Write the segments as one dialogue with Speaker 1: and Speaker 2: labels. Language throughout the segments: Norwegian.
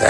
Speaker 1: er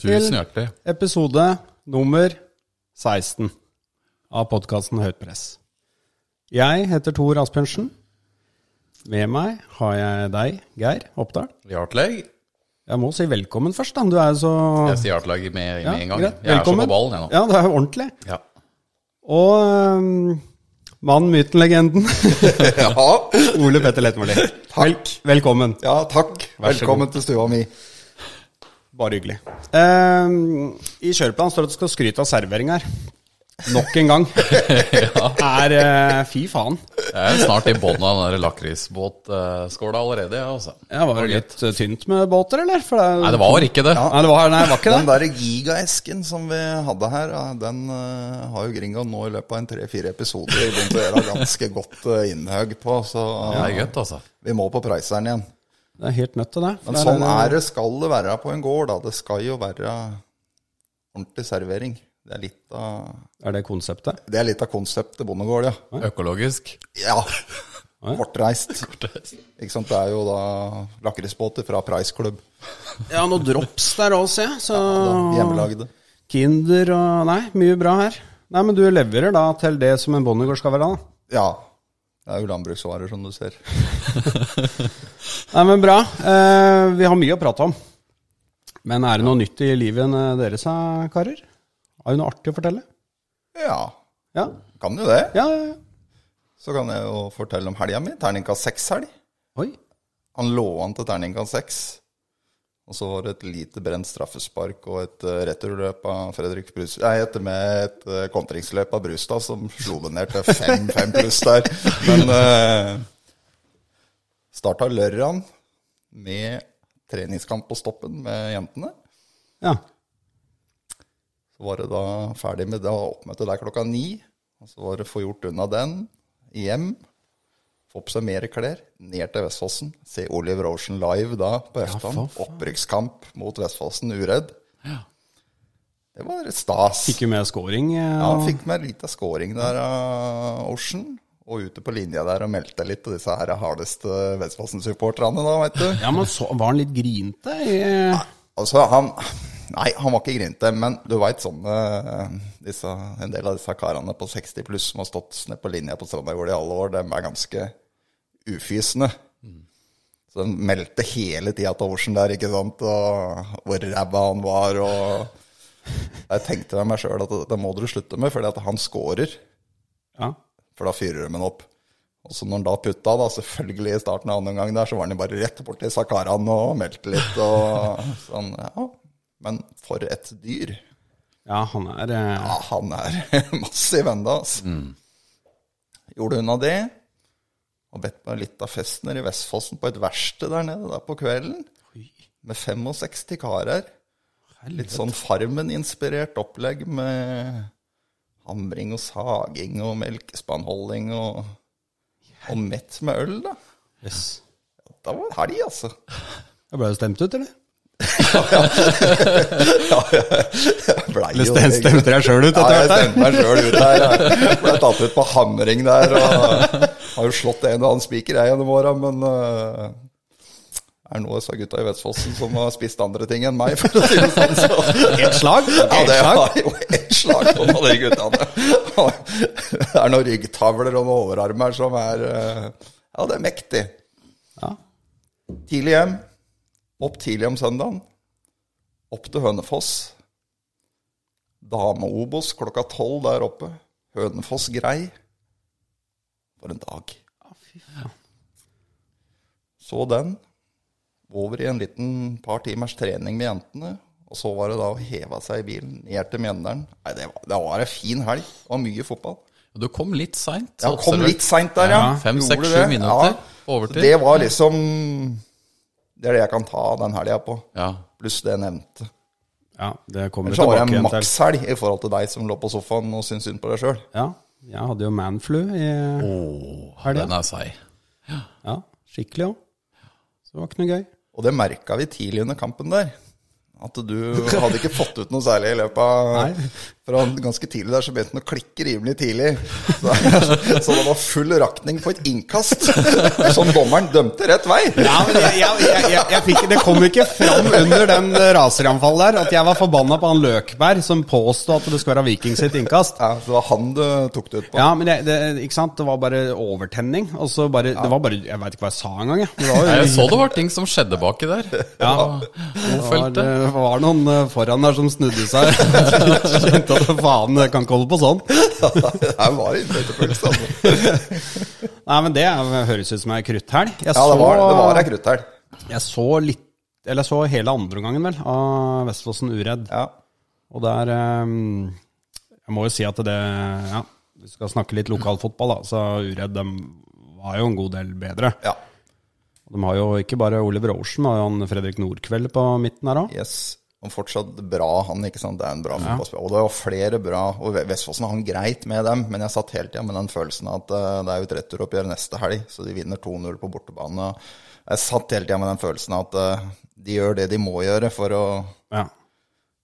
Speaker 2: Tusen hjertelig.
Speaker 3: episode nummer 16 av podkasten Høyt press. Jeg heter Tor Asbjørnsen. Med meg har jeg deg, Geir Oppdal.
Speaker 2: Hjertelig.
Speaker 3: Jeg må si velkommen først, da. Du er jo så
Speaker 2: Jeg sier hjertelig med, med
Speaker 3: Ja,
Speaker 2: en gang.
Speaker 3: greit.
Speaker 2: Jeg
Speaker 3: Velkommen.
Speaker 2: er så på ballen, jeg nå.
Speaker 3: Ja, det er jo ordentlig.
Speaker 2: Ja.
Speaker 3: Og øhm, mannen, myten, legenden
Speaker 4: Ja,
Speaker 3: Ole Petter Lettmoli.
Speaker 4: takk.
Speaker 3: Velkommen.
Speaker 4: Ja, takk.
Speaker 3: Vær så
Speaker 4: Velkommen til stua mi.
Speaker 3: Bare hyggelig. Ehm, I kjøreplanen står det at du skal skryte av servering her. Nok en gang. Er eh, Fy faen.
Speaker 2: Jeg er snart i bånn av den der lakrisbåtskåla allerede, jeg, altså.
Speaker 3: Ja, var det litt eh, tynt med båter, eller? For det, er-
Speaker 2: Nei, det var ikke det.
Speaker 3: Nei, det var, nei, det var ikke
Speaker 4: Den
Speaker 3: det.
Speaker 4: der gigaesken som vi hadde her, ja, den eh, har jo Gringo nå i løpet av en tre-fire episoder begynt å gjøre ganske godt uh, innhøg på, så
Speaker 2: Det er
Speaker 4: eh,
Speaker 2: godt, altså.
Speaker 4: vi må på preiseren igjen.
Speaker 3: Det er helt nødt til det.
Speaker 4: Men sånn er det skal det være på en gård, da. Det skal jo være ordentlig servering. Det er litt av,
Speaker 3: Er det konseptet?
Speaker 4: det er litt av konseptet bondegård, ja.
Speaker 2: Økologisk.
Speaker 4: Ja. Kortreist. Ikke sant. Det er jo da lakrisbåter fra Price Club.
Speaker 3: Ja, noen drops der òg, se. Så
Speaker 4: Hjemmelagde.
Speaker 3: Kinder og Nei, mye bra her. Nei, men du leverer da til det som en bondegård skal være, da.
Speaker 4: Ja. Det er jo landbruksvarer, som du ser.
Speaker 3: Nei, men bra. Eh, vi har mye å prate om. Men er det noe nytt i livet eh, deres, eh, karer? Har du noe artig å fortelle?
Speaker 4: Ja,
Speaker 3: Ja,
Speaker 4: kan jo det.
Speaker 3: ja, ja. ja.
Speaker 4: Så kan jeg jo fortelle om helga mi. Terningkast seks-helg.
Speaker 3: Oi.
Speaker 4: Han lå an til terningkast seks. Og så var det et lite brent straffespark og et eh, returløp av Fredrik Brus... Nei, etter med et eh, kontringsløp av Brustad som slo det ned til fem, fem pluss der. Men eh, starta lørdagen med treningskamp på stoppen med jentene.
Speaker 3: Ja.
Speaker 4: Så var det da ferdig med det oppmøtet der klokka ni. Og så var det få gjort unna den, hjem, få på seg mer klær, ned til Vestfossen. Se Oliver Ocean live da på
Speaker 3: for
Speaker 4: eftermiddagen.
Speaker 3: faen.
Speaker 4: Opprykkskamp mot Vestfossen, uredd. Det var stas.
Speaker 3: Fikk jo med scoring. eh,
Speaker 4: Ja, han
Speaker 3: og-
Speaker 4: fikk med litt av scoring der av Ocean. Og ute på linja der og meldte litt til disse her hardeste Vestfossen-supporterne, da, veit du.
Speaker 3: ja, men så var han litt grinete. i- eh,
Speaker 4: Altså, han Nei, han var ikke grinte, men du veit sånne eh, disse, En del av disse karene på 60 pluss som har stått ned på linja på Strandagård i alle år, de er ganske ufysende. Så den meldte hele tida til Ocean der, ikke sant, og hvor ræva han var, og Jeg tenkte med meg sjøl at dette må dere slutte med, fordi at han scorer.
Speaker 3: Ja.
Speaker 4: For da fyrer de den opp. Og så når han da putta, da, selvfølgelig i starten av annen omgang der, så var han jo bare rett bort til Sakaran og meldte litt og sånn. Ja. Men for et dyr.
Speaker 3: ja, han er eh,
Speaker 4: Ja, han er massiv ennå, altså. Gjorde unna det. Og bedt meg litt av Festner i Vestfossen på et verksted der nede der på kvelden. Med 65 karer. Litt sånn Farmen-inspirert opplegg med hamring og saging og melkespannholding og, og mett med øl, da.
Speaker 3: yes.
Speaker 4: Da var det helg, altså.
Speaker 3: Jeg ble jo stemt ut, eller?
Speaker 4: Jeg blei
Speaker 3: Eller
Speaker 4: jo
Speaker 3: stem-
Speaker 4: egentlig-
Speaker 3: stemte deg sjøl ut
Speaker 4: Ja,
Speaker 3: etter hvert?
Speaker 4: jeg
Speaker 3: der?
Speaker 4: stemte meg sjøl ut der. Jeg ble tatt ut på hamring der. Og har jo slått en og annen spiker jeg gjennom åra, men eh, det er noe av disse gutta i Vestfossen som har spist andre ting enn meg, for å si det sånn. Så.
Speaker 3: Ett slag?
Speaker 4: Ja,
Speaker 3: Ett
Speaker 4: det
Speaker 3: slag?
Speaker 4: var jo ett slag på noen av de guttene. Det er noen ryggtavler og noen overarmer som er eh, Ja, det er mektig.
Speaker 3: Ja.
Speaker 4: Tidlig hjem. Opp tidlig om søndagen. Opp til Hønefoss. Dame-Obos klokka tolv der oppe. Hønefoss grei. For en dag. Så den. Over i en liten par timers trening med jentene. Og så var det da å heve seg i bilen, ned til Mjøndalen. Nei, det var, det var en fin helg. Det var mye fotball.
Speaker 2: Du kom litt seint.
Speaker 4: Ja, kom litt seint der, ja.
Speaker 2: Ja, fem,
Speaker 4: Gjorde
Speaker 2: seks,
Speaker 4: det.
Speaker 2: sju minutter på overtid.
Speaker 4: Det var liksom Det er det jeg kan ta den helga på.
Speaker 2: Ja.
Speaker 4: Pluss det jeg nevnte.
Speaker 3: Ja, det kommer vi
Speaker 4: Ellers så var
Speaker 3: tilbake
Speaker 4: jeg
Speaker 3: igjen til.
Speaker 4: makshelg i forhold til deg som lå på sofaen og syntes synd på deg sjøl.
Speaker 3: Ja, jeg hadde jo manflu i
Speaker 2: Åh,
Speaker 3: helga.
Speaker 2: den er seig.
Speaker 3: Ja, skikkelig òg. Så det var ikke noe gøy.
Speaker 4: Og det merka vi tidlig under kampen der. At du hadde ikke fått ut noe særlig i løpet av
Speaker 3: Nei.
Speaker 4: Fra ganske tidlig der så begynte den å klikke rimelig tidlig. Så, så det var full rakning på et innkast. Som dommeren dømte rett vei.
Speaker 3: Ja, men jeg, jeg, jeg, jeg, jeg fikk, Det kom ikke fram under den eh, raseranfallet der at jeg var forbanna på han Løkberg som påstod at det skulle være Viking sitt innkast.
Speaker 4: Ja, så det var han du tok det ut på.
Speaker 3: Ja, men det, det, ikke sant? det var bare overtenning. Og så bare, Det var bare Jeg veit ikke hva jeg sa engang. jeg. Det var
Speaker 2: Nei,
Speaker 3: jo
Speaker 2: Jeg så det var ting som skjedde baki der.
Speaker 3: Ja.
Speaker 2: Hun
Speaker 3: Det
Speaker 2: følte.
Speaker 3: var, det var noen eh, foran der som snudde seg. Kjente at faen, jeg kan ikke holde på sånn.
Speaker 4: Det her var innflytelse, altså.
Speaker 3: Nei, men det er- høres ut som ei krutthelg. Jeg
Speaker 4: Ja, det var det.
Speaker 3: så-
Speaker 4: var ei krutthelg.
Speaker 3: Jeg så litt Eller jeg så hele andre omgangen, vel, av Vestfossen Uredd.
Speaker 4: Ja.
Speaker 3: Og der ehm, Jeg må jo si at det Ja, vi skal snakke litt lokalfotball, da. Så Uredd dem var jo en god del bedre.
Speaker 4: ja.
Speaker 3: De har jo ikke bare Oliver Ocean, men har jo han Fredrik Nordkveld på midten her òg.
Speaker 4: Yes. Og fortsatt bra, han. ikke sant? Det er en bra fotballspiller. Og det var flere bra. Og Ve- Vestfossen hang greit med dem, men jeg satt hele tida med den følelsen at eh, det er jo et returoppgjør neste helg, så de vinner 2-0 på bortebane. Jeg satt hele tida med den følelsen at eh, de gjør det de må gjøre for å
Speaker 3: Ja.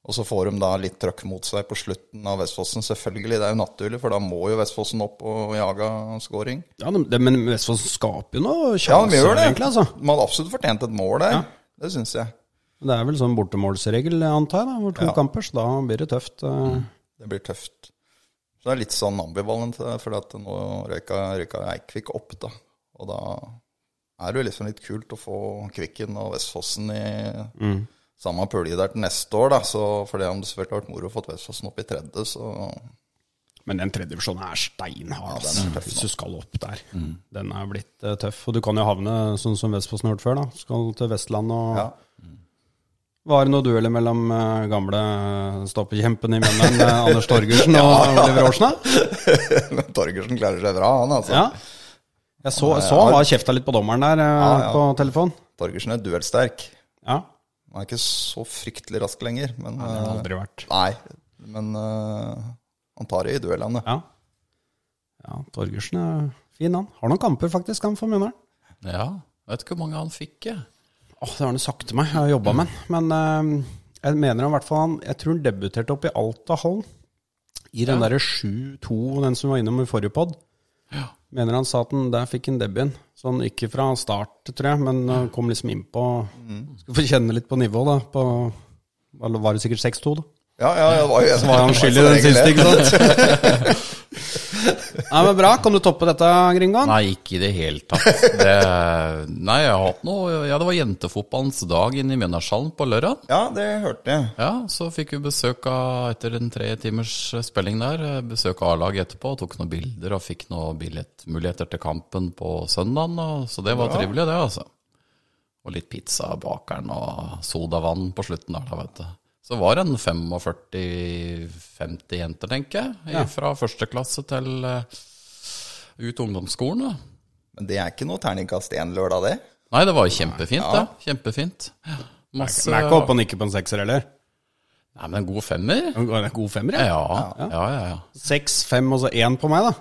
Speaker 4: Og så får de da litt trøkk mot seg på slutten av Vestfossen, selvfølgelig. Det er jo naturlig, for da må jo Vestfossen opp og jage scoring.
Speaker 3: Ja, de, de, men Vestfossen skaper jo noe
Speaker 4: Ja, de
Speaker 3: sjanser,
Speaker 4: gjør det.
Speaker 3: egentlig. altså.
Speaker 4: De hadde absolutt fortjent et mål der. Det syns jeg.
Speaker 3: Det er vel sånn bortemålsregel, antar jeg, da, hvor to kamper, så da blir det tøft. eh.
Speaker 4: Det blir tøft. Så det er litt sånn ambivalent, for at nå røyka, røyka Eikvik opp, da. Og da er det jo liksom litt kult å få Kvikken og Vestfossen i
Speaker 3: Mm.
Speaker 4: samme pulje der til neste år, da. Så for det om det selvfølgelig har vært moro å få Vestfossen opp i tredje, så
Speaker 3: Men den tredje divisjonen er steinhard,
Speaker 4: Ja,
Speaker 3: altså,
Speaker 4: den er tøff, Mm.
Speaker 3: hvis du skal opp der. Den er blitt eh, tøff. Og du kan jo havne sånn som Vestfossen har gjort før, da. Skal til Vestlandet og
Speaker 4: Ja.
Speaker 3: Var det noen dueller mellom eh, gamle stoppekjempen i Mjøndalen, eh, Anders Torgersen og Oliver Aarsen? da?
Speaker 4: Men Torgersen klarer seg bra, han altså.
Speaker 3: Ja. Jeg så, så han var kjefta litt på dommeren der eh, på telefon.
Speaker 4: Torgersen er duellsterk.
Speaker 3: Ja.
Speaker 4: Han er ikke så fryktelig rask lenger, men
Speaker 3: Det har
Speaker 4: eh,
Speaker 3: aldri vært.
Speaker 4: Nei, men eh, han tar det i duellene.
Speaker 3: Ja. ja, Torgersen er fin, han. Har noen kamper, faktisk, han for Mjøndalen.
Speaker 2: Ja, vet ikke hvor mange han fikk, jeg.
Speaker 3: Åh, det har han jo sagt til meg. Jeg har jobba med han. Men eh, jeg mener han i hvert fall han Jeg tror han debuterte opp i Alta-hallen. I den derre 7-2, den som vi var innom i forrige pod. Mener han sa at han der fikk han debuten. Sånn ikke fra start, tror jeg, men eh, kom liksom innpå Skal få kjenne litt på nivået, da. På eller var det sikkert 6-2, da?
Speaker 4: Ja, ja, det var jo jeg som
Speaker 3: Var han skyld i den siste, ikke sant? Nei, men Bra. Kan du toppe dette, Gringoen?
Speaker 2: Nei, ikke i det hele tatt. Det, nei, jeg har hatt noe Ja, det var jentefotballens dag inne i Mjøndalshallen på lørdag.
Speaker 4: Ja, det hørte jeg.
Speaker 2: Ja, så fikk vi besøk av, etter en tre timers spilling der, besøk av A-laget etterpå. Tok noen bilder og fikk noen billettmuligheter til kampen på søndagen. og- Så det var trivelig, det, altså. Og litt pizza av bakeren og sodavann på slutten der, da, vet du. Så var det en 45-50 jenter, tenker jeg. Fra første klasse til eh, ut ungdomsskolen. da.
Speaker 4: Men det er ikke noe terningkast én lørdag, det.
Speaker 2: Nei, det var jo kjempefint, det. Kjempefint. Masse
Speaker 3: Den er ikke oppe og nikker på en sekser heller.
Speaker 2: Nei, men en god femmer?
Speaker 3: Den er God femmer,
Speaker 2: Ja,
Speaker 3: ja.
Speaker 2: ja, ja. ja, ja.
Speaker 3: Seks, fem og så én på meg, da.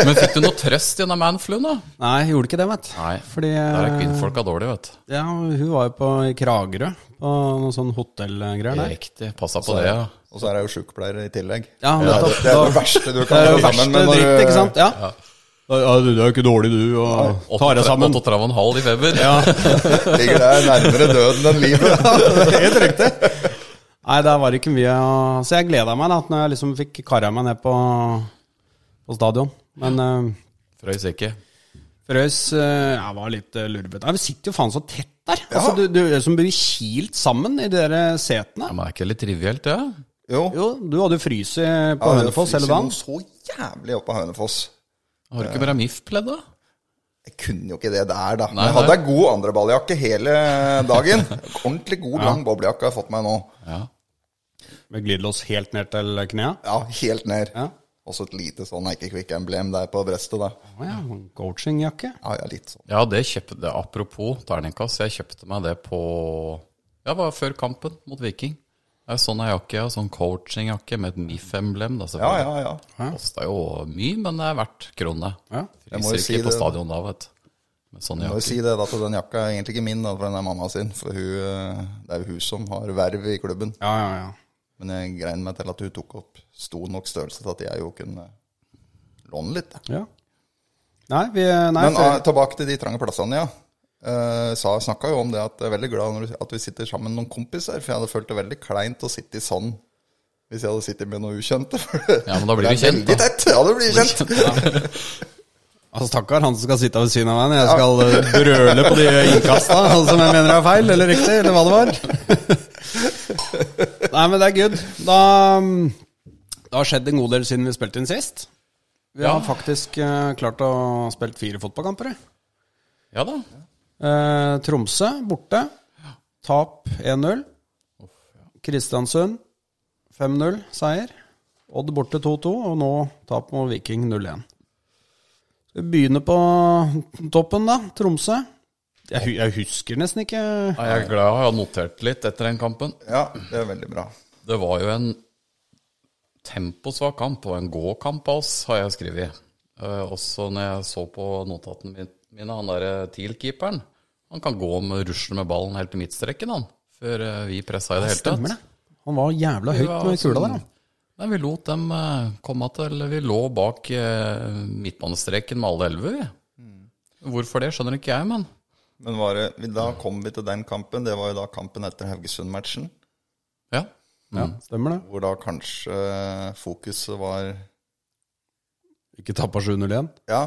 Speaker 2: Men fikk du noe trøst gjennom manfluen, da?
Speaker 3: Nei, jeg gjorde ikke det, vet du.
Speaker 2: Nei,
Speaker 3: Fordi eh,
Speaker 2: der er kvinnfolka dårlige, vet du.
Speaker 3: ja, hun var jo på i Kragerø, på noen sånn hotellgreier der.
Speaker 2: Riktig. Passa på det, ja.
Speaker 4: Og så er jeg jo sjukepleier i tillegg.
Speaker 3: Ja,
Speaker 4: det, er-
Speaker 3: nettopp.
Speaker 4: det er det
Speaker 3: Da-
Speaker 4: verste du
Speaker 3: Det
Speaker 4: kan
Speaker 3: er jo
Speaker 4: gjøre
Speaker 3: verste
Speaker 4: sammen med når
Speaker 3: dritt,
Speaker 4: du-
Speaker 3: ikke sant? Ja. ja du, du er jo ikke dårlig, du, og tar deg sammen.
Speaker 2: 38,5 i feber. Ja.
Speaker 4: ligger der nærmere døden enn livet.
Speaker 3: Helt riktig. Nei, der var det ikke mye å Så jeg gleda meg da, at når jeg liksom fikk kara meg ned på, på stadion. Men eh,
Speaker 2: Frøys ikke.
Speaker 3: Frøys eh, jeg var litt eh, lurvet. Nei, Vi sitter jo faen så tett der. Altså, du, du er som blir kilt sammen i de der eh, setene.
Speaker 2: Ja, men er ikke det litt trivielt, det? Ja?
Speaker 4: Jo,
Speaker 3: Jo, du hadde jo fryst på
Speaker 4: Ja, det
Speaker 3: Hønefoss hele
Speaker 4: fryser
Speaker 3: dagen.
Speaker 4: noe Så jævlig oppe av Hønefoss.
Speaker 2: Har du ikke med deg MIF-pledd, da?
Speaker 4: Jeg kunne jo ikke det der, da. Men
Speaker 2: Nei,
Speaker 4: jeg hadde
Speaker 2: nei.
Speaker 4: ei god andreballjakke hele dagen. Ordentlig god, lang boblejakke har jeg fått meg nå.
Speaker 2: Ja.
Speaker 3: Med glidelås helt ned til knea?
Speaker 4: Ja, helt ned.
Speaker 3: Ja.
Speaker 4: Også et lite sånn Eikekvikk-emblem der på brestet, da.
Speaker 3: Å ja, coachingjakke.
Speaker 4: Ja, ja, litt sånn.
Speaker 2: Ja, det kjøpte det, Apropos terningkast, jeg kjøpte meg det på Ja, det var før kampen mot Viking. Det er sånn ei jakke, og sånn coachingjakke med et MIF-emblem. da,
Speaker 4: Ja,
Speaker 2: selvfølgelig.
Speaker 4: ja, ja.
Speaker 2: Kosta jo mye, men det er verdt kronene.
Speaker 3: Ja.
Speaker 4: Jeg må jo
Speaker 2: Fryser
Speaker 4: si
Speaker 2: ikke på
Speaker 4: det.
Speaker 2: stadion da, vet du. Med sånne
Speaker 4: Jeg må jo
Speaker 2: jakker.
Speaker 4: si det da, at den jakka er egentlig ikke min, da, for den er mamma sin. For hun, eh, det er jo hun som har verv i klubben.
Speaker 3: Ja, ja, ja.
Speaker 4: Men jeg grein meg til at hun tok opp stor nok størrelse til at jeg jo kunne låne litt. da.
Speaker 3: ja. Nei, vi nei,
Speaker 4: Men
Speaker 3: for-
Speaker 4: eh, tilbake til de trange plassene, ja. Eh, sa- Snakka jo om det at jeg er veldig glad når, du- at vi sitter sammen med noen kompiser. For jeg hadde følt det veldig kleint å sitte i sånn hvis jeg hadde sittet med noen ukjente.
Speaker 2: Ja, men da blir vi kjent,
Speaker 4: Det
Speaker 2: da.
Speaker 4: er veldig tett. Ja, det blir kjent.
Speaker 3: Altså, Stakkar han som skal sitte ved siden av meg når jeg skal eh, brøle på de innkasta altså, som jeg mener er feil eller riktig, eller hva det var. Nei, men det er good. Da, mm, det har skjedd en god del siden vi spilte inn sist. Vi har faktisk eh, klart å spille fire fotballkamper. jeg.
Speaker 2: Ja da.
Speaker 3: Eh, Tromsø borte. Tap 1-0. Kristiansund 5-0 seier. Odd borte 2-2, og nå tap mot Viking 0-1. Skal vi begynne på toppen, da? Tromsø. Jeg, hu- jeg husker nesten ikke
Speaker 2: Nei, Jeg er glad jeg har notert litt etter den kampen.
Speaker 4: Ja, det er veldig bra.
Speaker 2: Det var jo en temposvak kamp, og en gåkamp av oss, har jeg skrevet. Eh, også når jeg så på notatene min- mine, han derre TIL-keeperen. Han kan gå med rusle med ballen helt i midtstreken, han. Før eh, vi pressa i det hele tatt.
Speaker 3: Stemmer det? Han var jævla høyt
Speaker 2: var
Speaker 3: med kula
Speaker 2: sånn-
Speaker 3: der, han.
Speaker 2: Nei, vi lot dem eh, komme til Vi lå bak eh, midtbanestreken med alle elleve, vi. Hvorfor det, skjønner ikke jeg, men
Speaker 4: Men var det, da kom vi til den kampen. Det var jo da kampen etter Haugesund-matchen.
Speaker 2: ja.
Speaker 3: Ja, stemmer det.
Speaker 4: Hvor da kanskje fokuset var
Speaker 3: Ikke tappa 7-0 igjen.
Speaker 4: Ja,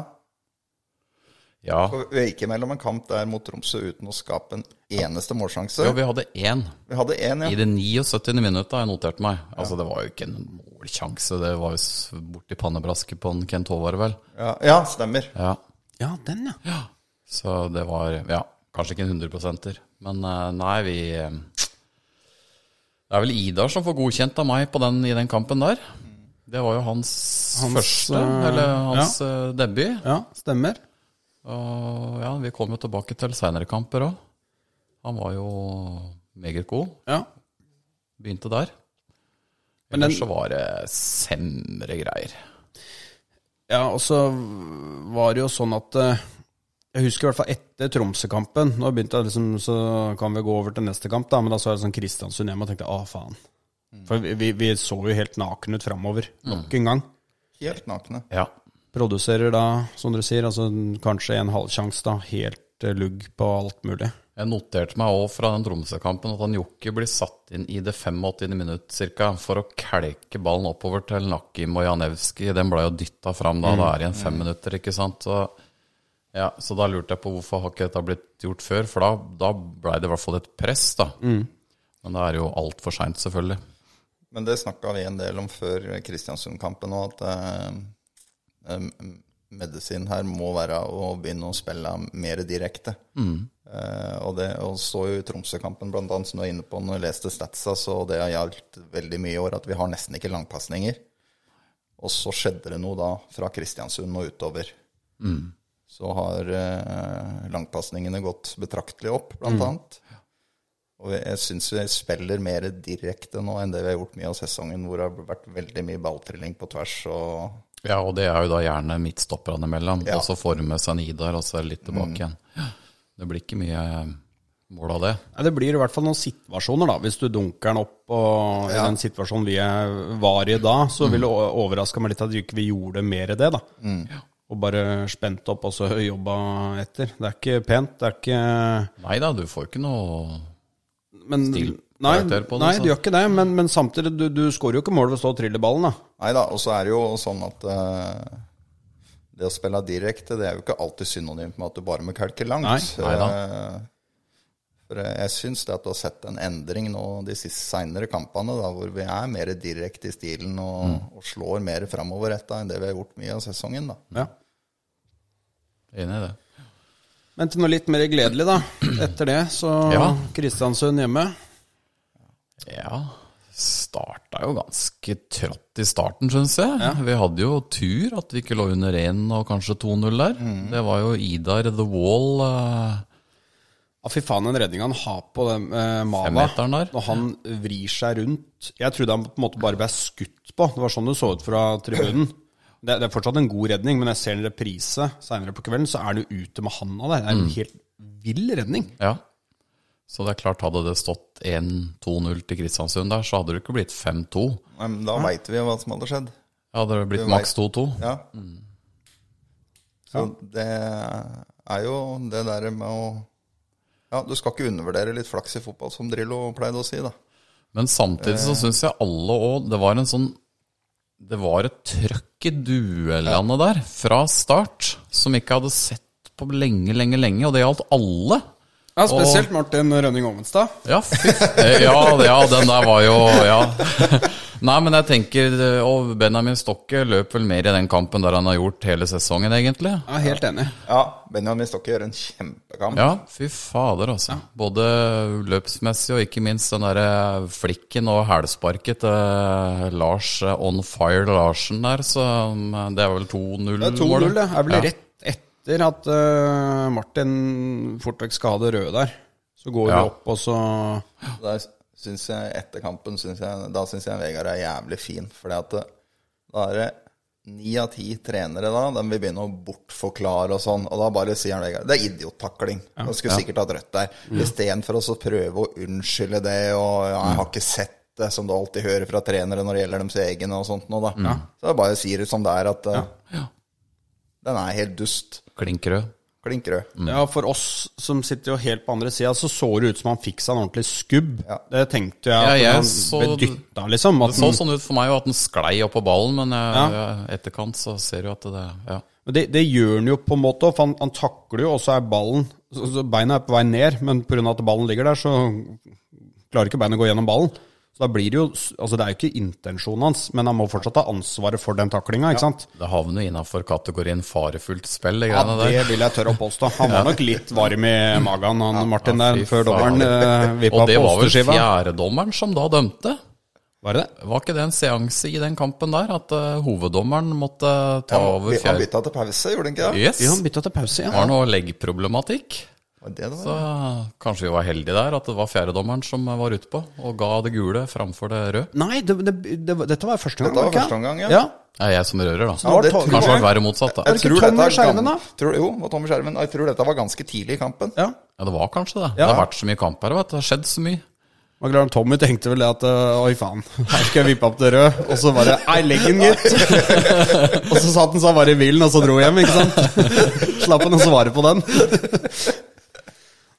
Speaker 2: Ja.
Speaker 4: for vi gikk imellom en kamp der mot Tromsø uten å skape en eneste målsjanse.
Speaker 2: ja, vi hadde én.
Speaker 4: Vi hadde én,
Speaker 2: I
Speaker 4: ja.
Speaker 2: det 79. minuttet har jeg notert meg. Altså, det var jo ikke en målsjanse. Det var jo s- borti pannebrasket på en Kent Håvard, vel.
Speaker 4: ja. Ja, stemmer.
Speaker 2: Ja.
Speaker 3: Ja, den, ja.
Speaker 2: Så det var Ja, kanskje ikke en 100 men eh, nei, vi eh, Det er vel Idar som får godkjent av meg på den, i den kampen der. Det var jo hans,
Speaker 3: Hans,
Speaker 2: første,
Speaker 3: eh,
Speaker 2: eller hans eh, debut.
Speaker 3: Ja, stemmer.
Speaker 2: Og ja, vi kom jo tilbake til seinere kamper òg. Han var jo meget god.
Speaker 3: Ja.
Speaker 2: Begynte der.
Speaker 3: Men den-
Speaker 2: Ellers så var det semre greier.
Speaker 3: Ja, og så var det jo sånn at eh, Jeg husker i hvert fall etter Tromsø-kampen. Nå begynte jeg liksom, så kan vi gå over til neste kamp, da, men da så jeg sånn Kristiansund hjemme og tenkte ah, faen. For vi, vi, vi så jo helt naken ut framover, nok en gang.
Speaker 4: Helt nakne.
Speaker 2: Ja.
Speaker 3: Produserer da, som dere sier, altså kanskje en halvsjanse, da. Helt eh, lugg på alt mulig.
Speaker 2: Jeg noterte meg òg fra den Tromsø-kampen at han Jokke blir satt inn i det 85. minutt cirka, for å kelke ballen oppover til Nakim og Janewski. Den ble jo dytta fram da, da er det igjen fem minutter, ikke sant. Så, ja, så da lurte jeg på hvorfor har ikke dette blitt gjort før, for da, da blei det i hvert fall et press, da. Men det er jo altfor seint, selvfølgelig.
Speaker 4: Men det snakka vi en del om før Kristiansund-kampen òg, at eh, eh, medisin her må være å begynne å spille mer direkte. Eh, og det og så jo i Tromsø-kampen, blant annet, som du er inne på når jeg leste statsa, så det har gjaldt veldig mye i år at vi har nesten ikke langpasninger. Og så skjedde det noe da fra Kristiansund og utover. Så har eh, langpasningene gått betraktelig opp, blant annet. Og jeg syns vi spiller mer direkte nå enn det vi har gjort mye av sesongen, hvor det har vært veldig mye balltrilling på tvers og
Speaker 2: Ja, og det er jo da gjerne midtstopperne imellom.
Speaker 4: Ja.
Speaker 2: Og så får de med seg en Idar, og så er det litt tilbake igjen. Det blir ikke mye mål av det.
Speaker 3: Nei, Det blir i hvert fall noen situasjoner, da. Hvis du dunker den opp og i den situasjonen vi er- var i da, så ville det o- overraske meg litt at vi ikke vi gjorde mer i det, da.
Speaker 2: Mm.
Speaker 3: Og bare spente opp og så jobba etter. Det er ikke pent, det er ikke
Speaker 2: Nei da, du får ikke noe
Speaker 3: men,
Speaker 2: Stil-
Speaker 3: Nei,
Speaker 2: karakter på det,
Speaker 3: nei
Speaker 2: så.
Speaker 3: du gjør ikke det, men, men samtidig, du, du skårer jo ikke mål ved å stå og trille ballen, da.
Speaker 4: Nei da, og så er det jo sånn at eh, det å spille direkte, det er jo ikke alltid synonymt med at du bare må kalke langt.
Speaker 3: Nei,
Speaker 2: nei da.
Speaker 4: Eh, For jeg- jeg syns det at du har sett en endring nå de siste seinere kampene, da, hvor vi er mer direkte i stilen og,
Speaker 3: Mm.
Speaker 4: og slår mer framoverretta enn det vi har gjort mye av sesongen, da.
Speaker 3: Ja.
Speaker 2: Enig i det.
Speaker 3: Men til noe litt mer gledelig, da. Etter det, så
Speaker 2: Ja.
Speaker 3: Kristiansund hjemme.
Speaker 2: Ja. Starta jo ganske trått i starten, syns jeg. Vi hadde jo tur at vi ikke lå under 1 og kanskje 2-0 der. Det var jo Idar The Wall eh,
Speaker 3: Ja, fy faen, den redninga han har på den eh, Mala
Speaker 2: Femmeteren der.
Speaker 3: Når han vrir seg rundt Jeg trodde han på en måte bare ble skutt på. Det var sånn det så ut fra tribunen. Det, det er fortsatt en god redning, men jeg ser en reprise seinere på kvelden, så er du ute med handa der. Det er en helt vill redning.
Speaker 2: Ja. Så det er klart, hadde det stått 1-2-0 til Kristiansund der, så hadde det ikke blitt 5-2.
Speaker 4: Nei, Men da veit vi jo hva som hadde skjedd.
Speaker 2: Hadde det blitt
Speaker 4: Du
Speaker 2: maks
Speaker 4: vet.
Speaker 2: 2-2.
Speaker 4: Ja. Så det er jo det der med å Ja, du skal ikke undervurdere litt flaks i fotball, som Drillo pleide å si, da.
Speaker 2: Men samtidig så syns jeg alle òg Det var en sånn Det var et trøkk i duellene der fra start som ikke hadde sett på lenge, lenge, lenge, og det gjaldt alle.
Speaker 3: Ja,
Speaker 2: spesielt
Speaker 3: Martin Rønning Ovenstad.
Speaker 2: Ja, fy eh, ja, ja, den der var jo Ja. Nei, men jeg tenker eh, Og Benjamin Stokke løp vel mer i den kampen der han har gjort hele sesongen, egentlig.
Speaker 3: Jeg er helt enig.
Speaker 4: Ja, Benjamin Stokke gjør en kjempekamp.
Speaker 2: Ja, fy fader, altså. Både løpsmessig og ikke minst den derre flikken og hælsparket til Lars eh, On Fire Larsen der, så mm, det er vel 2-0-målet?
Speaker 3: Det er 2-0, det. Er vel
Speaker 2: Ja.
Speaker 3: rett etter at eh, Martin fort vekk skal ha det røde der. Så går
Speaker 2: Ja.
Speaker 3: vi opp, og så
Speaker 4: Der synes jeg etter kampen synes jeg, Da syns jeg Vegard er jævlig fin. Fordi at det, da er det ni av ti trenere da, de vil begynne å bortforklare og sånn. Og da bare sier han Vegard det er idiottakling. Han skulle sikkert hatt rødt der. Istedenfor å så prøve å unnskylde det og ja, 'jeg har ikke sett det', som du alltid hører fra trenere når det gjelder deres egne og sånt noe, da. Så jeg bare sier det som det er, at eh, den er helt dust.
Speaker 2: Klinkrød.
Speaker 4: Klink rød.
Speaker 2: Mm.
Speaker 3: Ja, for oss som sitter jo helt på andre sida, så så det ut som han fikk seg en ordentlig skubb.
Speaker 4: Ja.
Speaker 3: Det tenkte jeg.
Speaker 2: Ja,
Speaker 3: At
Speaker 2: jeg
Speaker 3: han
Speaker 2: så-
Speaker 3: ble dytta, liksom.
Speaker 2: Det
Speaker 3: At
Speaker 2: så
Speaker 3: han,
Speaker 2: sånn ut for meg jo at den sklei opp på ballen, men eh,
Speaker 3: Ja.
Speaker 2: etterkant så ser du at det Ja.
Speaker 3: Men det, det gjør han jo på en måte, for han, han takler jo, og så er ballen så, så Beina er på vei ned, men pga. at ballen ligger der, så klarer ikke beinet å gå gjennom ballen. Så da blir det jo Altså, det er jo ikke intensjonen hans, men han må fortsatt ha ansvaret for den taklinga, ikke sant?
Speaker 2: Det havner jo innafor kategorien farefullt spill, de
Speaker 3: Ja,
Speaker 2: greiene der.
Speaker 3: det vil jeg tørre å påstå. Han var nok litt varm i magen, han Martin,
Speaker 2: ja,
Speaker 3: der,
Speaker 2: fy
Speaker 3: før
Speaker 2: faen.
Speaker 3: dommeren eh, vippa
Speaker 2: Og det
Speaker 3: på
Speaker 2: var vel
Speaker 3: osteskiva.
Speaker 2: fjerdedommeren som da dømte.
Speaker 3: Var det det?
Speaker 2: Var ikke det en seanse i den kampen der at eh, hoveddommeren måtte ta over
Speaker 4: Han
Speaker 2: fjerde...
Speaker 4: bytta til pause, gjorde han ikke det?
Speaker 2: Yes.
Speaker 3: Ja, han bytta til pause,
Speaker 2: Det var
Speaker 3: ja.
Speaker 2: noe leggproblematikk.
Speaker 4: Var det det var?
Speaker 2: Så eh, kanskje vi var heldige der, at det var fjerdedommeren som eh, var ute på og ga det gule framfor det røde.
Speaker 3: Nei, det, det, det, var- dette var første gang.
Speaker 4: Dette var
Speaker 3: ikke?
Speaker 4: første omgang, ja.
Speaker 3: ja.
Speaker 2: Det er jeg som rører, da.
Speaker 3: Ja, det
Speaker 4: tror
Speaker 2: kanskje det
Speaker 4: jeg.
Speaker 2: var verre motsatt, da.
Speaker 4: Jeg
Speaker 3: det ikke
Speaker 4: tror dette
Speaker 3: Tommy
Speaker 4: er
Speaker 3: Skjerven,
Speaker 4: gam-
Speaker 3: da?
Speaker 4: Tror, jo, og Tommy Skjerven. Jeg tror dette var ganske tidlig i kampen.
Speaker 3: ja.
Speaker 2: Ja, det var kanskje det. Det har vært så mye kamp her, vet du. Det har skjedd så mye.
Speaker 3: Og Glad Tommy tenkte vel det at øh, Oi, faen, her skal jeg vippe opp til rød. Og så bare Ei, legg den, gutt! og så satt han seg bare i bilen, og så dro hjem, ikke sant? Slapp han å svare på den.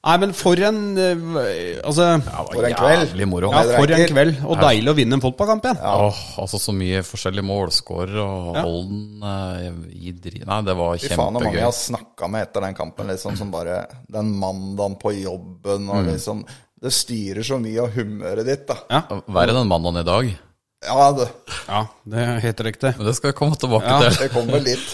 Speaker 3: Nei, men for en øh, Altså,
Speaker 2: Det var
Speaker 4: For en kveld.
Speaker 2: Jævlig moro.
Speaker 3: ja,
Speaker 2: Åh,
Speaker 4: det er
Speaker 3: for en
Speaker 4: ekkelt.
Speaker 3: kveld. Og deilig å vinne en fotballkamp igjen.
Speaker 2: altså så mye forskjellige målskårer og Holden eh, i dri... Nei, det var
Speaker 4: Fy faen, hvor mange
Speaker 2: kjempegøy.
Speaker 4: jeg har snakka med etter den kampen, liksom, som bare Den mandagen på jobben og liksom Det styrer så mye av humøret ditt, da.
Speaker 3: Ja.
Speaker 2: Verre den mandagen i dag.
Speaker 4: Ja, det,
Speaker 3: ja, det er helt riktig.
Speaker 2: Men det skal vi komme tilbake
Speaker 3: Ja.
Speaker 2: til.
Speaker 4: det kommer litt.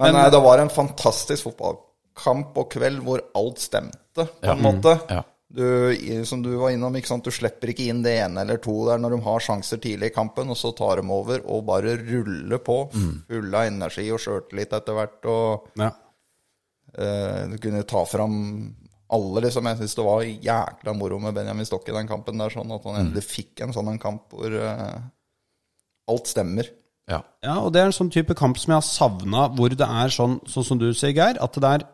Speaker 4: Men nei, det var en fantastisk fotballkamp og kveld hvor alt stemte, på en måte.
Speaker 2: Ja.
Speaker 4: Du, i- som du var innom, ikke sant? du slipper ikke inn det ene eller to der når de har sjanser tidlig i kampen, og så tar de over og bare ruller på.
Speaker 3: Mm.
Speaker 4: Fulle av energi og sjøltillit etter hvert. og...
Speaker 3: Ja.
Speaker 4: Eh, Du kunne ta fram alle, liksom. Jeg syns det var jækla moro med Benjamin Stokke i den kampen der, sånn at han endelig
Speaker 3: Mm.
Speaker 4: fikk en sånn en kamp hvor eh, alt stemmer.
Speaker 2: Ja.
Speaker 3: Ja, og det er en sånn type kamp som jeg har savna, hvor det er sånn, sånn som du sier, Geir, at det er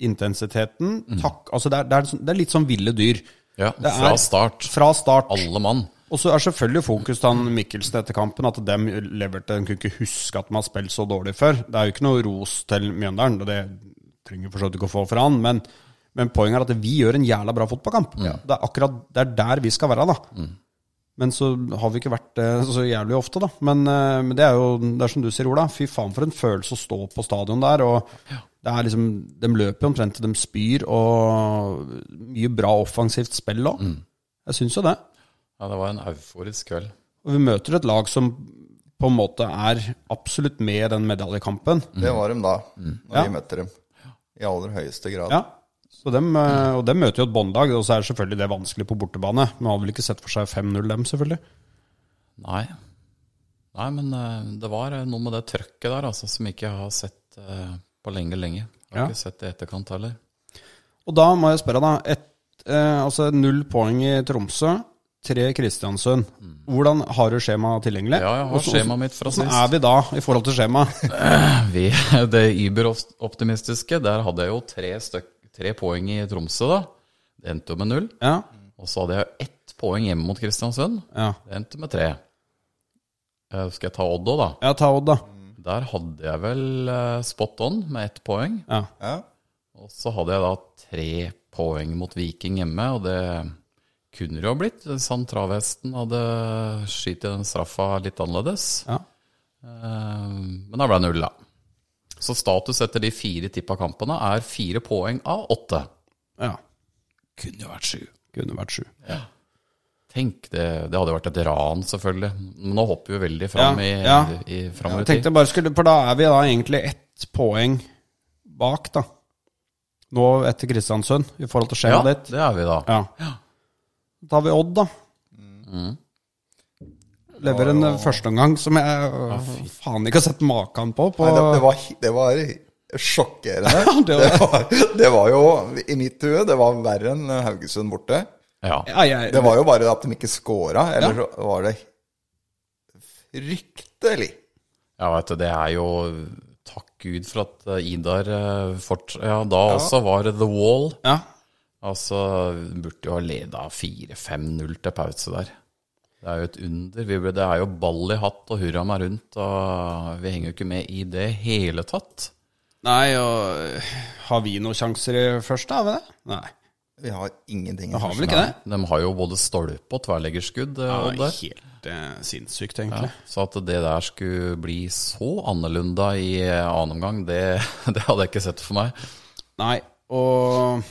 Speaker 3: intensiteten takk, altså det er, det, er, sånn- det er litt sånn ville dyr.
Speaker 2: ja.
Speaker 3: Det
Speaker 2: Fra
Speaker 3: er-
Speaker 2: start.
Speaker 3: Fra start.
Speaker 2: Alle mann.
Speaker 3: Og så er selvfølgelig fokus til han Mikkelsen etter kampen at dem leverte De kunne ikke huske at de har spilt så dårlig før. Det er jo ikke noe ros til Mjøndalen, og det trenger for så vidt ikke å få fra han, men, men poenget er at vi gjør en jævla bra fotballkamp. Det er akkurat det er der vi skal være, da. Men så har vi ikke vært det så jævlig ofte, da. Men, eh, men det er jo det er som du sier, Ola. Fy faen for en følelse å stå på stadion der. Og det er liksom, De løper jo omtrent til de spyr, og mye bra offensivt spill òg. Jeg syns jo det.
Speaker 2: Ja, det var en euforisk kveld.
Speaker 3: Og vi møter et lag som på en måte er absolutt med i den medaljekampen.
Speaker 4: Det var de da, når
Speaker 3: Mm. Ja.
Speaker 4: vi møtte dem. I aller høyeste grad.
Speaker 3: Ja. Så dem, eh, og de møter jo et båndlag, og så er selvfølgelig det vanskelig på bortebane. Men hadde vel ikke sett for seg 5-0 dem, selvfølgelig.
Speaker 2: Nei. Nei, men eh, det var eh, noe med det trøkket der altså, som ikke jeg har sett eh, på lenge, lenge. Jeg har
Speaker 3: Ja.
Speaker 2: ikke sett det i etterkant heller.
Speaker 3: Og da må jeg spørre, da. Et, eh, altså null poeng i Tromsø, tre i Kristiansund. Hvordan har du skjemaet tilgjengelig?
Speaker 2: Ja, jeg har
Speaker 3: Og så-
Speaker 2: skjemaet mitt fra
Speaker 3: Hvordan
Speaker 2: sist.
Speaker 3: er vi da i forhold til skjemaet?
Speaker 2: Vi, det überoptimistiske, der hadde jeg jo tre, støk, tre poeng i Tromsø, da. Det endte jo med null.
Speaker 3: Ja,
Speaker 2: Og så hadde jeg ett poeng hjemme mot Kristiansund.
Speaker 3: ja.
Speaker 2: Det endte med tre. Eh, Skal jeg ta Odd òg, da?
Speaker 3: ja ta Odd, da.
Speaker 2: Der hadde jeg vel eh, spot on med ett poeng.
Speaker 3: Ja.
Speaker 4: Ja.
Speaker 2: Og så hadde jeg da tre poeng mot Viking hjemme, og det kunne det jo ha blitt. Sand Travesten hadde skutt den straffa litt annerledes.
Speaker 3: Ja.
Speaker 2: Eh, Men da ble det null, da. Så status etter de fire tippa kampene er fire poeng av åtte.
Speaker 3: ja.
Speaker 2: Kunne jo vært sju.
Speaker 3: Kunne vært sju.
Speaker 2: Tenk, det, det hadde jo vært et ran, selvfølgelig. Men nå hopper vi veldig fram
Speaker 3: Ja,
Speaker 2: i,
Speaker 3: ja.
Speaker 2: i, framover
Speaker 3: Jeg
Speaker 2: i tid.
Speaker 3: tenkte jeg bare skulle, For da er vi da egentlig ett poeng bak, da. Nå etter Kristiansund, i forhold til
Speaker 2: Ja,
Speaker 3: skjemaet ditt.
Speaker 2: det er vi da.
Speaker 3: Ja. Da har vi Odd, da. Lever en førsteomgang som jeg øh, faen ikke har sett maken på. på
Speaker 4: Nei, det, det, var, hi- det var sjokkerende.
Speaker 3: Det
Speaker 4: det, var, det var jo, i mitt hue, det var verre enn Haugesund borte.
Speaker 2: Ja.
Speaker 3: ja, jeg,
Speaker 4: Det var jo bare at de ikke scora, eller så var det fryktelig.
Speaker 2: Ja, vet du, det er jo Takk Gud for at eh, Idar eh, fort... Ja, da også var det The Wall.
Speaker 3: ja.
Speaker 2: Altså, burde jo ha leda 4-5-0 til pause der. Det er jo et under. Vi, ble- det er jo ball i hatt og hurra meg rundt, og vi henger jo ikke med i det hele tatt.
Speaker 3: Nei, og øh, har vi noen sjanser i første, har vi det? Nei.
Speaker 4: Vi har ingenting.
Speaker 3: Vi har vel ikke det?
Speaker 2: De har jo både stolpe og tverrleggerskudd. eh, Odd,
Speaker 3: Det
Speaker 2: der.
Speaker 3: er helt eh, sinnssykt, egentlig.
Speaker 2: Så at det der skulle bli så annerledes i eh, annen omgang, det, det hadde jeg ikke sett for meg.
Speaker 3: Nei, og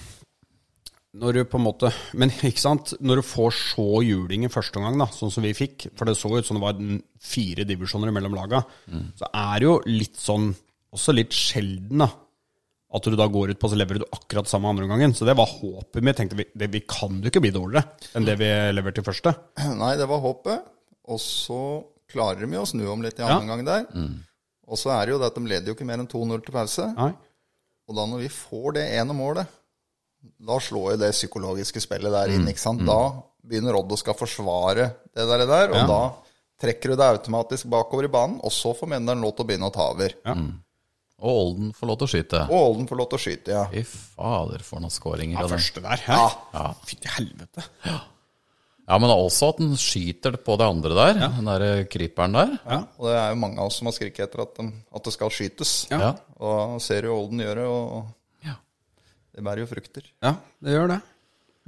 Speaker 3: når du på en måte Men ikke sant, når du får så juling i første omgang, da, sånn som vi fikk, for det så ut som det var n- fire divisjoner mellom laga, så er det jo litt sånn, også litt sjelden, da, at du da går ut på så leverer du akkurat samme andre omgangen. Så det var håpet mitt. tenkte Vi, det, vi kan jo ikke bli dårligere enn det vi leverte i første.
Speaker 4: Nei, det var håpet. Og så klarer de jo å snu om litt i annen gang der. Og så er det jo det at de leder jo ikke mer enn 2-0 til pause.
Speaker 3: Nei.
Speaker 4: Og da når vi får det ene målet, da slår jo det psykologiske spillet der inn, ikke sant? Da begynner Odd å skal forsvare det der, og der, og da trekker du deg automatisk bakover i banen, og så får Mjøndalen lov til å begynne å ta over.
Speaker 2: Og Olden får lov til å skyte.
Speaker 4: Og Olden får lov til å skyte, ja.
Speaker 2: Fy fader, for noen skåringer.
Speaker 3: Ja,
Speaker 2: av den.
Speaker 3: første der. Hæ?
Speaker 4: Ja.
Speaker 3: Fy til helvete.
Speaker 2: Ja, men også at den skyter på det andre der, den der eh, kryperen der.
Speaker 4: Og det er jo mange av oss som har skriket etter at, de, at det skal skytes.
Speaker 3: Ja.
Speaker 2: Ja.
Speaker 4: Og ser jo Olden gjøre, og
Speaker 2: Ja.
Speaker 4: det bærer jo frukter.
Speaker 3: Ja, det gjør det.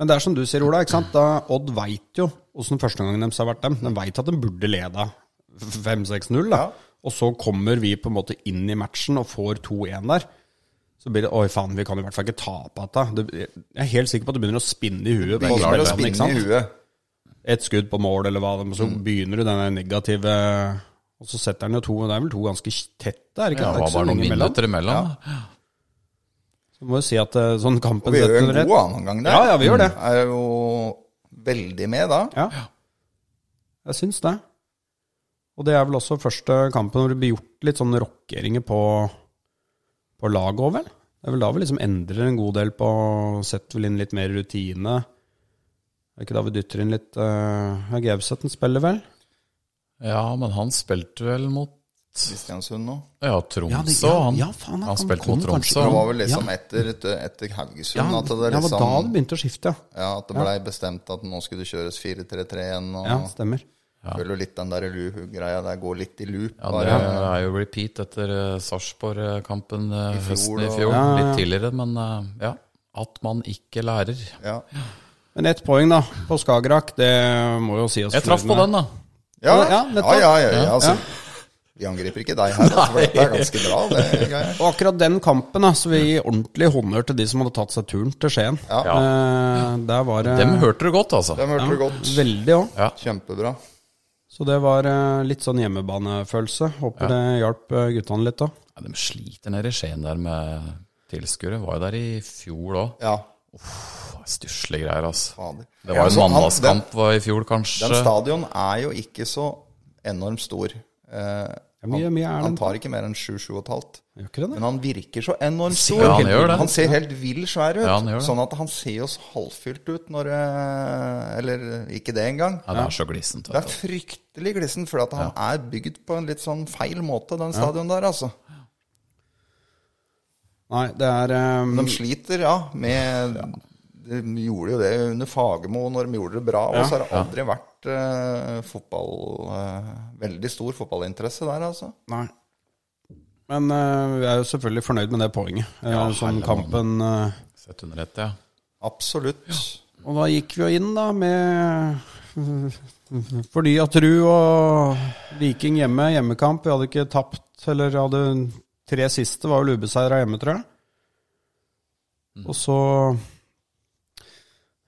Speaker 3: Men det er som du sier, Ola. ikke sant? Da Odd veit jo åssen førsteomgangen deres har vært dem. De veit at de burde leda 5-6-0. da.
Speaker 4: Ja.
Speaker 3: Og så kommer vi på en måte inn i matchen og får 2-1 der. Så blir det Oi, faen, vi kan i hvert fall ikke tape dette. Det- Jeg er helt sikker på at det begynner å spinne i huet. på
Speaker 4: Begynner
Speaker 3: spillerne,
Speaker 4: å
Speaker 3: ikke
Speaker 4: spinne
Speaker 3: sant?
Speaker 4: i huet. Mm.
Speaker 3: Et skudd på mål, eller hva. det- Så begynner du den negative Og så setter han jo to. Det er vel to ganske tette, er det ikke?
Speaker 2: Det
Speaker 3: er
Speaker 2: var
Speaker 3: ikke så
Speaker 2: bare noen
Speaker 3: mange imellom.
Speaker 2: minutter imellom.
Speaker 3: Så må jo si at eh, sånn kampen
Speaker 4: Og vi gjør jo
Speaker 3: setter
Speaker 4: en
Speaker 3: rett.
Speaker 4: god annen gang der. Mm.
Speaker 3: Ja, ja, vi gjør det.
Speaker 4: Er jo veldig med da.
Speaker 3: Ja, jeg syns det. Og det er vel også første kampen hvor det blir gjort litt sånn rockeringer på, på laget òg, vel? Det er vel da vi liksom endrer en god del på Setter vel inn litt mer rutine. Er ikke da vi dytter inn litt uh, Gauseth'n spiller vel?
Speaker 2: Ja. men han spilte vel mot
Speaker 4: Kristiansund nå.
Speaker 2: ja, Tromsø. han, han, spilte mot Tromsø.
Speaker 3: Ja,
Speaker 4: Det var vel liksom etter, etter Haugesund
Speaker 3: ja,
Speaker 4: at
Speaker 3: det sånn-
Speaker 4: det
Speaker 3: var da
Speaker 4: liksom
Speaker 3: det begynte å skifte, ja.
Speaker 4: Ja, at det blei bestemt at nå skulle det kjøres 4-3-3 igjen. Og
Speaker 3: Ja, Stemmer.
Speaker 4: føler litt den der luhu-greia der går litt i loop.
Speaker 2: Ja, det
Speaker 4: bare.
Speaker 2: er jo repeat etter eh, Sarpsborg-kampen eh,
Speaker 4: fjor,
Speaker 2: høsten i
Speaker 4: og-
Speaker 2: fjor.
Speaker 3: Ja, ja, ja.
Speaker 2: Litt tidligere, men eh, ja. At man ikke lærer.
Speaker 4: Ja.
Speaker 3: Men ett poeng, da, på Skagerrak. Det må jo si oss
Speaker 2: Jeg traff
Speaker 3: fornøyd
Speaker 2: på
Speaker 3: med.
Speaker 2: den, da.
Speaker 4: Ja,
Speaker 3: Ja,
Speaker 4: ja,
Speaker 3: nettopp.
Speaker 4: ja, ja, altså. Vi angriper ikke deg her, altså, for dette er ganske bra. Det, Geir.
Speaker 3: Og akkurat den kampen, da, så vi gir ordentlig honnør til de som hadde tatt seg turen til Skien.
Speaker 4: Ja.
Speaker 3: Eh, der var det
Speaker 2: Dem hørte du godt, altså.
Speaker 4: Dem hørte du godt.
Speaker 3: veldig òg.
Speaker 4: Kjempebra.
Speaker 3: Så det var eh, litt sånn hjemmebanefølelse. Håper det hjalp eh, guttene litt, da.
Speaker 2: Ja, de sliter nede i Skien der med tilskuere. Var jo der i fjor òg.
Speaker 4: Ja,
Speaker 2: Stusslige greier, altså.
Speaker 4: fader.
Speaker 2: Det var
Speaker 4: Ja,
Speaker 2: jo
Speaker 4: så
Speaker 2: en
Speaker 4: han-
Speaker 2: mandagskamp var i fjor, kanskje.
Speaker 4: Den stadion er jo ikke så enormt stor. Eh,
Speaker 3: Ja, mye, mye er
Speaker 4: Han
Speaker 3: den.
Speaker 4: tar ikke mer enn 7-7,5.
Speaker 3: Gjør ikke det?
Speaker 4: Men han virker så enormt stor.
Speaker 2: Ja, han gjør det.
Speaker 4: Han ser helt vill svær ut.
Speaker 2: Ja, han gjør det.
Speaker 4: Sånn at han ser oss halvfylt ut når eh, Eller ikke det engang.
Speaker 2: Ja, det er så glissent.
Speaker 4: Det
Speaker 2: vet du.
Speaker 4: er fryktelig glissent, for at han er bygd på en litt sånn feil måte, den stadion der, altså.
Speaker 3: Nei, det er ehm,
Speaker 4: De sliter, ja, med De gjorde jo det under Fagermo når de gjorde det bra, og så har det aldri vært eh, fotball eh, Veldig stor fotballinteresse der, altså.
Speaker 3: Nei. Men eh, vi er jo selvfølgelig fornøyd med det poenget, eh,
Speaker 2: Ja,
Speaker 3: som
Speaker 2: herlig,
Speaker 3: kampen eh,
Speaker 2: Sett under ett, ja.
Speaker 4: Absolutt.
Speaker 3: Og da gikk vi jo inn, da, med fornya tru og Viking hjemme, hjemmekamp. Vi hadde ikke tapt, eller hadde tre siste var vel ubeseira hjemme, tror jeg. Og så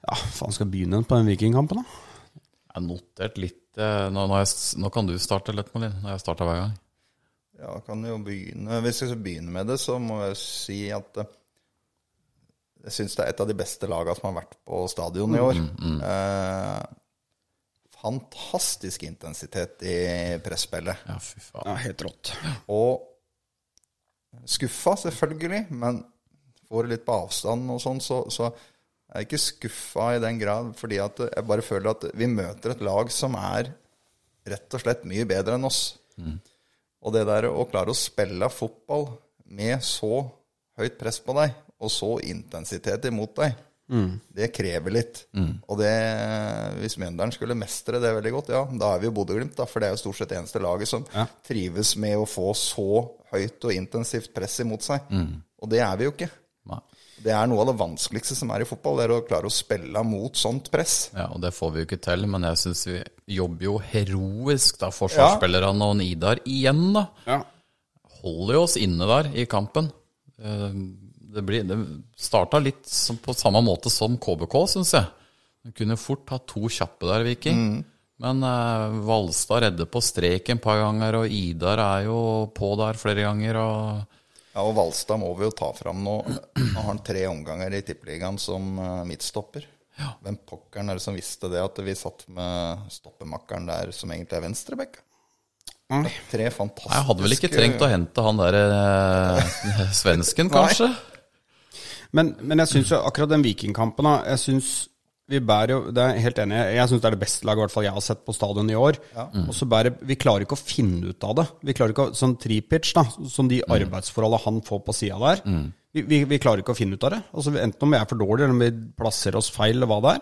Speaker 3: Ja, faen, skal jeg begynne på den vikingkampen, da?
Speaker 2: Jeg har notert litt eh, nå, nå, har jeg, s- nå kan du starte litt, Malin. Nå har jeg starta hver gang.
Speaker 4: Ja, kan jo begynne. Hvis jeg skal begynne med det, så må jeg si at eh, jeg syns det er et av de beste laga som har vært på stadion i år. Eh, fantastisk intensitet i presspillet.
Speaker 2: Ja, fy faen.
Speaker 3: Ja, helt rått.
Speaker 4: Og skuffa, selvfølgelig, men får litt på avstand og sånn, så, så er jeg ikke skuffa i den grad, fordi at jeg bare føler at vi møter et lag som er rett og slett mye bedre enn oss. Og det der å klare å spille fotball med så høyt press på deg, og så intensitet imot deg, det krever litt. Og det, hvis Mjøndalen skulle mestre det veldig godt, ja, da er vi jo Bodø-Glimt, da. For det er jo stort sett det eneste laget som trives med å få så høyt og intensivt press imot seg. Og det er vi jo ikke.
Speaker 2: Nei.
Speaker 4: Det er noe av det vanskeligste som er i fotball, det er å klare å spille mot sånt press.
Speaker 2: Ja, og det får vi jo ikke til, men jeg syns vi jobber jo heroisk, da. Forsvarsspillerne og en Idar igjen, da.
Speaker 3: Ja.
Speaker 2: Holder jo oss inne der i kampen. Eh, Det, blir, det starta litt som- på samme måte som KBK, syns jeg. De kunne fort ha to kjappe der, Viking. Men eh, Valstad redder på strek en par ganger, og Idar er jo på der flere ganger. og...
Speaker 4: Ja, og Valstad må vi jo ta fram nå. Nå har han tre omganger i Tippeligaen som eh, midtstopper. Hvem pokkeren er det som visste det, at vi satt med stoppemakkeren der som egentlig er venstrebekk?
Speaker 3: Nei.
Speaker 4: Tre fantastiske
Speaker 2: Jeg hadde vel
Speaker 3: eh,
Speaker 2: ikke trengt å hente han der eh, svensken, kanskje?
Speaker 3: Men, men jeg syns jo akkurat den vikingkampen da, Jeg synes vi bærer jo det er jeg helt enig, i. Jeg syns det er det beste laget i hvert fall jeg har sett på stadion i år. Og så bærer Vi klarer ikke å finne ut av det. Vi klarer ikke å, Som Tripic, da, som de arbeidsforholdene han får på sida der vi, vi, vi klarer ikke å finne ut av det. Altså, enten om vi er for dårlige, eller om vi plasserer oss feil, eller hva det er.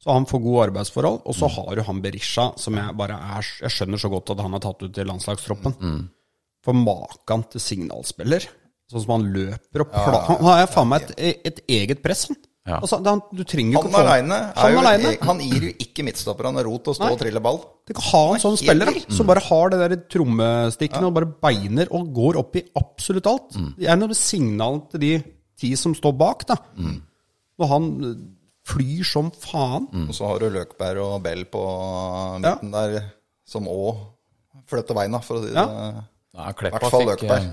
Speaker 3: Så han får gode arbeidsforhold. Og så har jo han Berisha, som jeg bare er Jeg skjønner så godt at han er tatt ut i landslagstroppen. For maken til signalspiller. Sånn som han løper og pla... Han har faen meg et, e, et eget press, han.
Speaker 2: Ja.
Speaker 3: Altså, det, han du trenger jo
Speaker 4: Han
Speaker 3: ikke å få
Speaker 4: aleine
Speaker 3: Han
Speaker 4: han,
Speaker 3: alene.
Speaker 4: han gir jo ikke midtstopper. Han er rot og stå og trille ball.
Speaker 3: Du kan ha en sånn spiller da, som bare har det der trommestikkene og bare beiner og går opp i absolutt alt. Det er noe signal til de ti som står bak, da. Når han eh, flyr som faen.
Speaker 4: Og så har du Løkberg og Bell på midten der, som òg flytter beina, for å si det. sånn.
Speaker 3: Ja.
Speaker 2: Nei, Kleppa
Speaker 4: Hvertfall
Speaker 2: fikk, eh,
Speaker 4: Løkberg.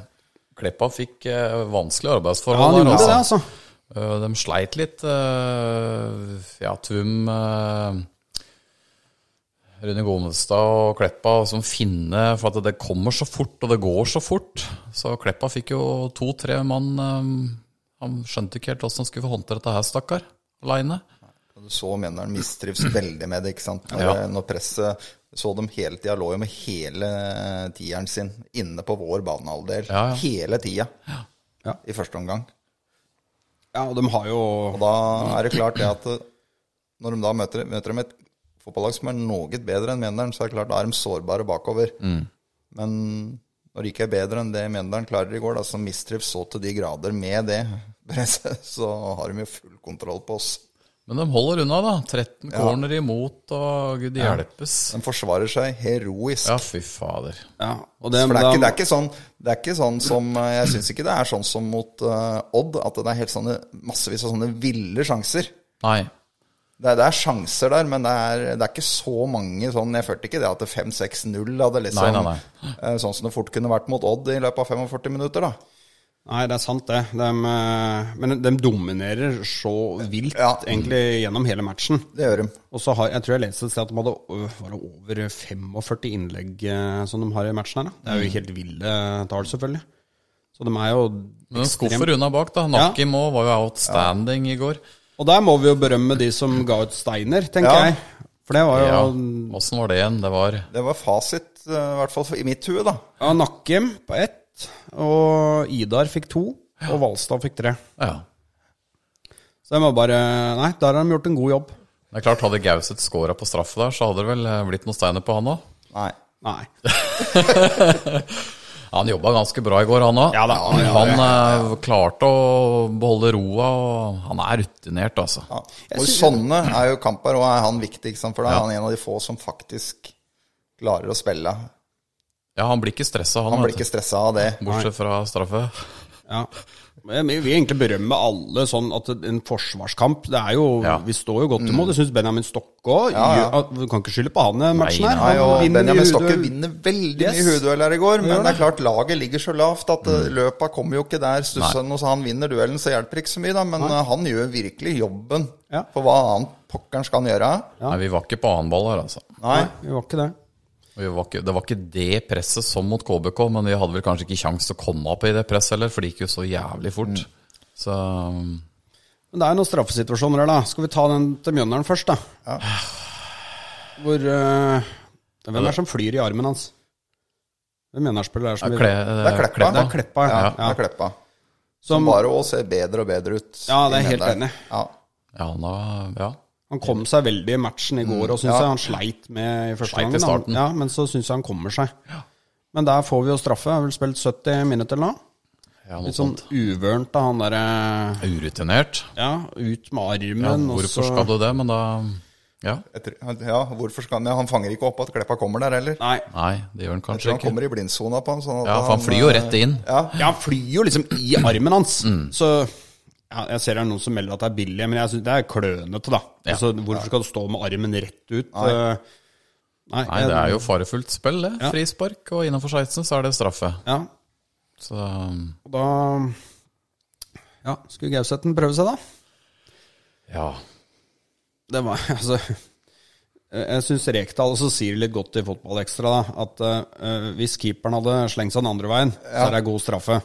Speaker 2: Kleppa fikk eh, vanskelige
Speaker 3: Ja, han
Speaker 2: arbeidsforhold
Speaker 3: gjorde det,
Speaker 2: der.
Speaker 3: altså.
Speaker 2: Eh, De sleit litt. eh, Ja, Tvum eh, Rune Gonestad og Kleppa som finne For at det kommer så fort, og det går så fort. Så Kleppa fikk jo to-tre mann eh, Han skjønte ikke helt hvordan han skulle håndtere dette her, stakkar. Aleine.
Speaker 4: Og Du så Mjøndalen mistrives veldig med det, ikke sant? Når, eh,
Speaker 2: Ja.
Speaker 4: når presset så dem hele tida, lå jo med hele tieren sin inne på vår banehalvdel.
Speaker 2: Ja, ja.
Speaker 4: Hele tida
Speaker 3: Ja.
Speaker 4: i første omgang.
Speaker 3: Ja, og de har jo
Speaker 4: Og da er det klart det at eh, når de da møter, møter de et fotballag som er noe bedre enn Mjøndalen, så er det klart da er de sårbare bakover.
Speaker 2: Mm.
Speaker 4: Men når de ikke er bedre enn det Mjøndalen klarer i går, da, som mistrives så til de grader med det presset, så har de jo full kontroll på oss.
Speaker 2: Men de holder unna, da. 13 corner imot, og gud hjelpes.
Speaker 4: De forsvarer seg heroisk.
Speaker 2: Ja, fy fader.
Speaker 3: ja, og det,
Speaker 4: For det er, ikke, det,
Speaker 3: da-
Speaker 4: er ikke sånn, det er ikke sånn som eh, Jeg syns ikke det er sånn som mot eh, Odd, at det er helt sånne, massevis av sånne ville sjanser.
Speaker 2: Nei.
Speaker 4: Det er, det er sjanser der, men det er, det er ikke så mange sånn Jeg følte ikke det at det 5-6-0 hadde
Speaker 2: Nei,
Speaker 4: liksom
Speaker 2: nei,
Speaker 4: eh, Sånn som det fort kunne vært mot Odd i løpet av 45 minutter, da.
Speaker 3: Nei, det er sant, det. Dem, eh, men de dominerer så vilt
Speaker 4: Ja.
Speaker 3: egentlig gjennom hele matchen.
Speaker 4: Det gjør de.
Speaker 3: Og så har, Jeg tror jeg leste et sted at de hadde ø, var det over 45 innlegg eh, som de har i matchen. her da. Det er
Speaker 4: Mm.
Speaker 3: jo helt ville tall, selvfølgelig. Så de er jo
Speaker 2: Men en skuffer
Speaker 3: ekstremt
Speaker 2: unna bak, da. Nakim òg var jo outstanding i går.
Speaker 3: Og der må vi jo berømme de som ga ut Steiner, tenker
Speaker 4: Ja.
Speaker 3: jeg. For det var jo
Speaker 2: Ja,
Speaker 3: ja.
Speaker 2: Åssen var det igjen? Det var
Speaker 4: Det var fasit, eh, i hvert fall i mitt hue, da.
Speaker 3: Nakkim på ett, og Idar fikk to, og Valstad fikk tre.
Speaker 2: Ja.
Speaker 3: Så de var bare Nei, der har de gjort en god jobb.
Speaker 2: Det er klart, hadde Gauseth scora på straffe der, så hadde det vel eh, blitt noen steiner på han òg.
Speaker 4: Nei.
Speaker 3: Nei.
Speaker 2: Han jobba ganske bra i går, han òg.
Speaker 3: Ja da, ja, ja,
Speaker 2: han eh, klarte å beholde roa, og han er rutinert, altså.
Speaker 4: Ja. Og i sånne er jo kamper, og er han viktig, ikke sant? for da er han en av de få som faktisk klarer å spille.
Speaker 2: Ja, han blir ikke stressa, han.
Speaker 4: Han blir
Speaker 2: vet du.
Speaker 4: ikke stressa av det.
Speaker 2: Bortsett fra straffe.
Speaker 3: Ja. Men Jeg vil egentlig berømme alle sånn at en forsvarskamp det er jo,
Speaker 2: Ja.
Speaker 3: Vi står jo godt
Speaker 4: Mm.
Speaker 3: imot. Det syns Benjamin Stokke òg. Du kan ikke skylde på han i matchen
Speaker 2: Nei,
Speaker 3: her.
Speaker 4: Nei,
Speaker 3: Han
Speaker 4: og
Speaker 3: vinner i
Speaker 4: Benjamin
Speaker 3: hodet.
Speaker 4: Stokke vinner veldig
Speaker 3: Yes.
Speaker 4: mye hodedueller i går, men det er klart laget ligger så lavt at
Speaker 2: Mm.
Speaker 4: eh, løpa kommer jo ikke der. Stussen hos han vinner duellen, så hjelper det ikke så mye, da. Men eh, han gjør virkelig jobben
Speaker 3: Ja.
Speaker 4: for hva annet pokkeren skal han gjøre.
Speaker 2: Nei, vi var ikke på annen ball her, altså.
Speaker 4: Nei.
Speaker 3: Det var ikke det.
Speaker 2: Og Vi var ikke, det var ikke det presset som mot KBK, men vi hadde vel kanskje ikke kjangs til å komme opp i det presset heller, for det gikk jo så jævlig fort. Så
Speaker 3: Men det er noen straffesituasjoner her, da. Skal vi ta den til Mjøndalen først, da? Hvor eh, Hvem er det som flyr i armen hans? Hvem Mjøndalen-spiller er det som
Speaker 2: eh, kle,
Speaker 4: Det er Kleppa.
Speaker 3: Det er Kleppa, ja.
Speaker 4: Ja, det
Speaker 3: ja.
Speaker 4: er Kleppa. Som
Speaker 3: Som,
Speaker 4: bare å se bedre og bedre ut.
Speaker 3: Ja, det er
Speaker 4: i
Speaker 3: helt
Speaker 4: Mjøndalen.
Speaker 3: enig.
Speaker 4: Ja.
Speaker 2: Ja, han var, ja.
Speaker 3: han kom seg veldig i matchen i går, og syns
Speaker 4: ja.
Speaker 3: jeg han sleit med i første
Speaker 2: Mm. Sleit i
Speaker 3: gangen. da.
Speaker 2: starten.
Speaker 3: Ja, men så syns jeg han kommer seg. Men der får vi jo straffe. Jeg har vel spilt 70 minutter eller noe.
Speaker 2: ja noe
Speaker 3: Litt sånn
Speaker 2: sånt.
Speaker 3: uvørent av han derre
Speaker 4: sånn-
Speaker 2: Urutinert.
Speaker 3: Ja, ut med armen.
Speaker 2: Ja,
Speaker 3: og
Speaker 2: hvorfor
Speaker 3: så-
Speaker 2: skal du det? Men da Ja.
Speaker 4: Jeg tror- ja, hvorfor skal han ja, Han fanger ikke opp at Kleppa kommer der heller.
Speaker 3: Nei.
Speaker 2: Nei, det gjør han
Speaker 4: Jeg tror
Speaker 2: kanskje
Speaker 4: han
Speaker 2: ikke.
Speaker 4: kommer i blindsona på han. Sånn at
Speaker 2: Ja, for han flyr jo rett inn.
Speaker 4: Ja,
Speaker 3: Ja, han flyr jo liksom i armen hans.
Speaker 2: Mm.
Speaker 3: Så ja, Jeg ser det er noen som melder at det er billig, men jeg synes det er klønete, da. Altså, hvorfor skal du stå med armen rett ut? Eh, Nei,
Speaker 2: Nei, det er jo farefullt spill, det. Frispark, og innenfor 16 så er det straffe.
Speaker 3: Ja,
Speaker 2: Så
Speaker 3: og da Ja, skulle Gauseten prøve seg, da?
Speaker 2: ja.
Speaker 3: Det var altså eh, Jeg syns Rekdal også sier det litt godt i Fotballekstra da, at eh, hvis keeperen hadde slengt seg den andre veien, så er det god straffe.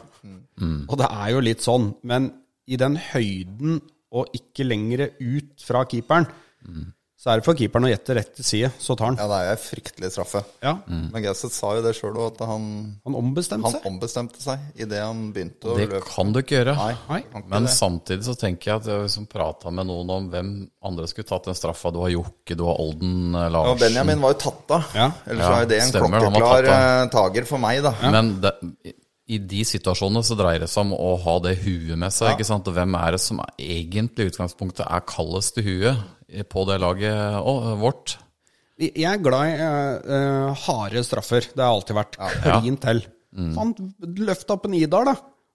Speaker 3: Og det er jo litt sånn, men i den høyden og ikke lengre ut fra keeperen, så er det for keeperen å gjette rett til side, så tar han.
Speaker 4: ja det er jo en fryktelig straffe.
Speaker 3: Ja,
Speaker 2: Mm.
Speaker 4: Men Gauseth sa jo det sjøl òg, at han,
Speaker 3: Han ombestemte
Speaker 4: han
Speaker 3: seg.
Speaker 4: ombestemte seg idet han begynte å
Speaker 2: Det
Speaker 4: løpe.
Speaker 2: kan du ikke gjøre.
Speaker 4: Nei,
Speaker 3: Nei.
Speaker 4: han kan
Speaker 2: Men
Speaker 4: ikke det.
Speaker 2: samtidig så tenker jeg at jeg liksom prata med noen om hvem andre skulle tatt den straffa. Du har Jokke, du har Olden eh,
Speaker 4: ja,
Speaker 2: Larsen.
Speaker 4: Benjamin var jo tatt av.
Speaker 3: Ja.
Speaker 4: Ellers
Speaker 2: Ja,
Speaker 4: er jo det en
Speaker 2: stemmer, han var
Speaker 4: klokkeklar
Speaker 2: tatt
Speaker 4: eh, tager for meg, da.
Speaker 2: Men det, i de situasjonene så dreier det seg om å ha det huet med seg. ikke sant? Og hvem er det som er egentlig i utgangspunktet er kaldest i huet på det laget å, vårt?
Speaker 3: Jeg er glad i eh, eh, harde straffer. Det har alltid vært klin til.
Speaker 4: Mm.
Speaker 3: Han løfta opp en Idar, da.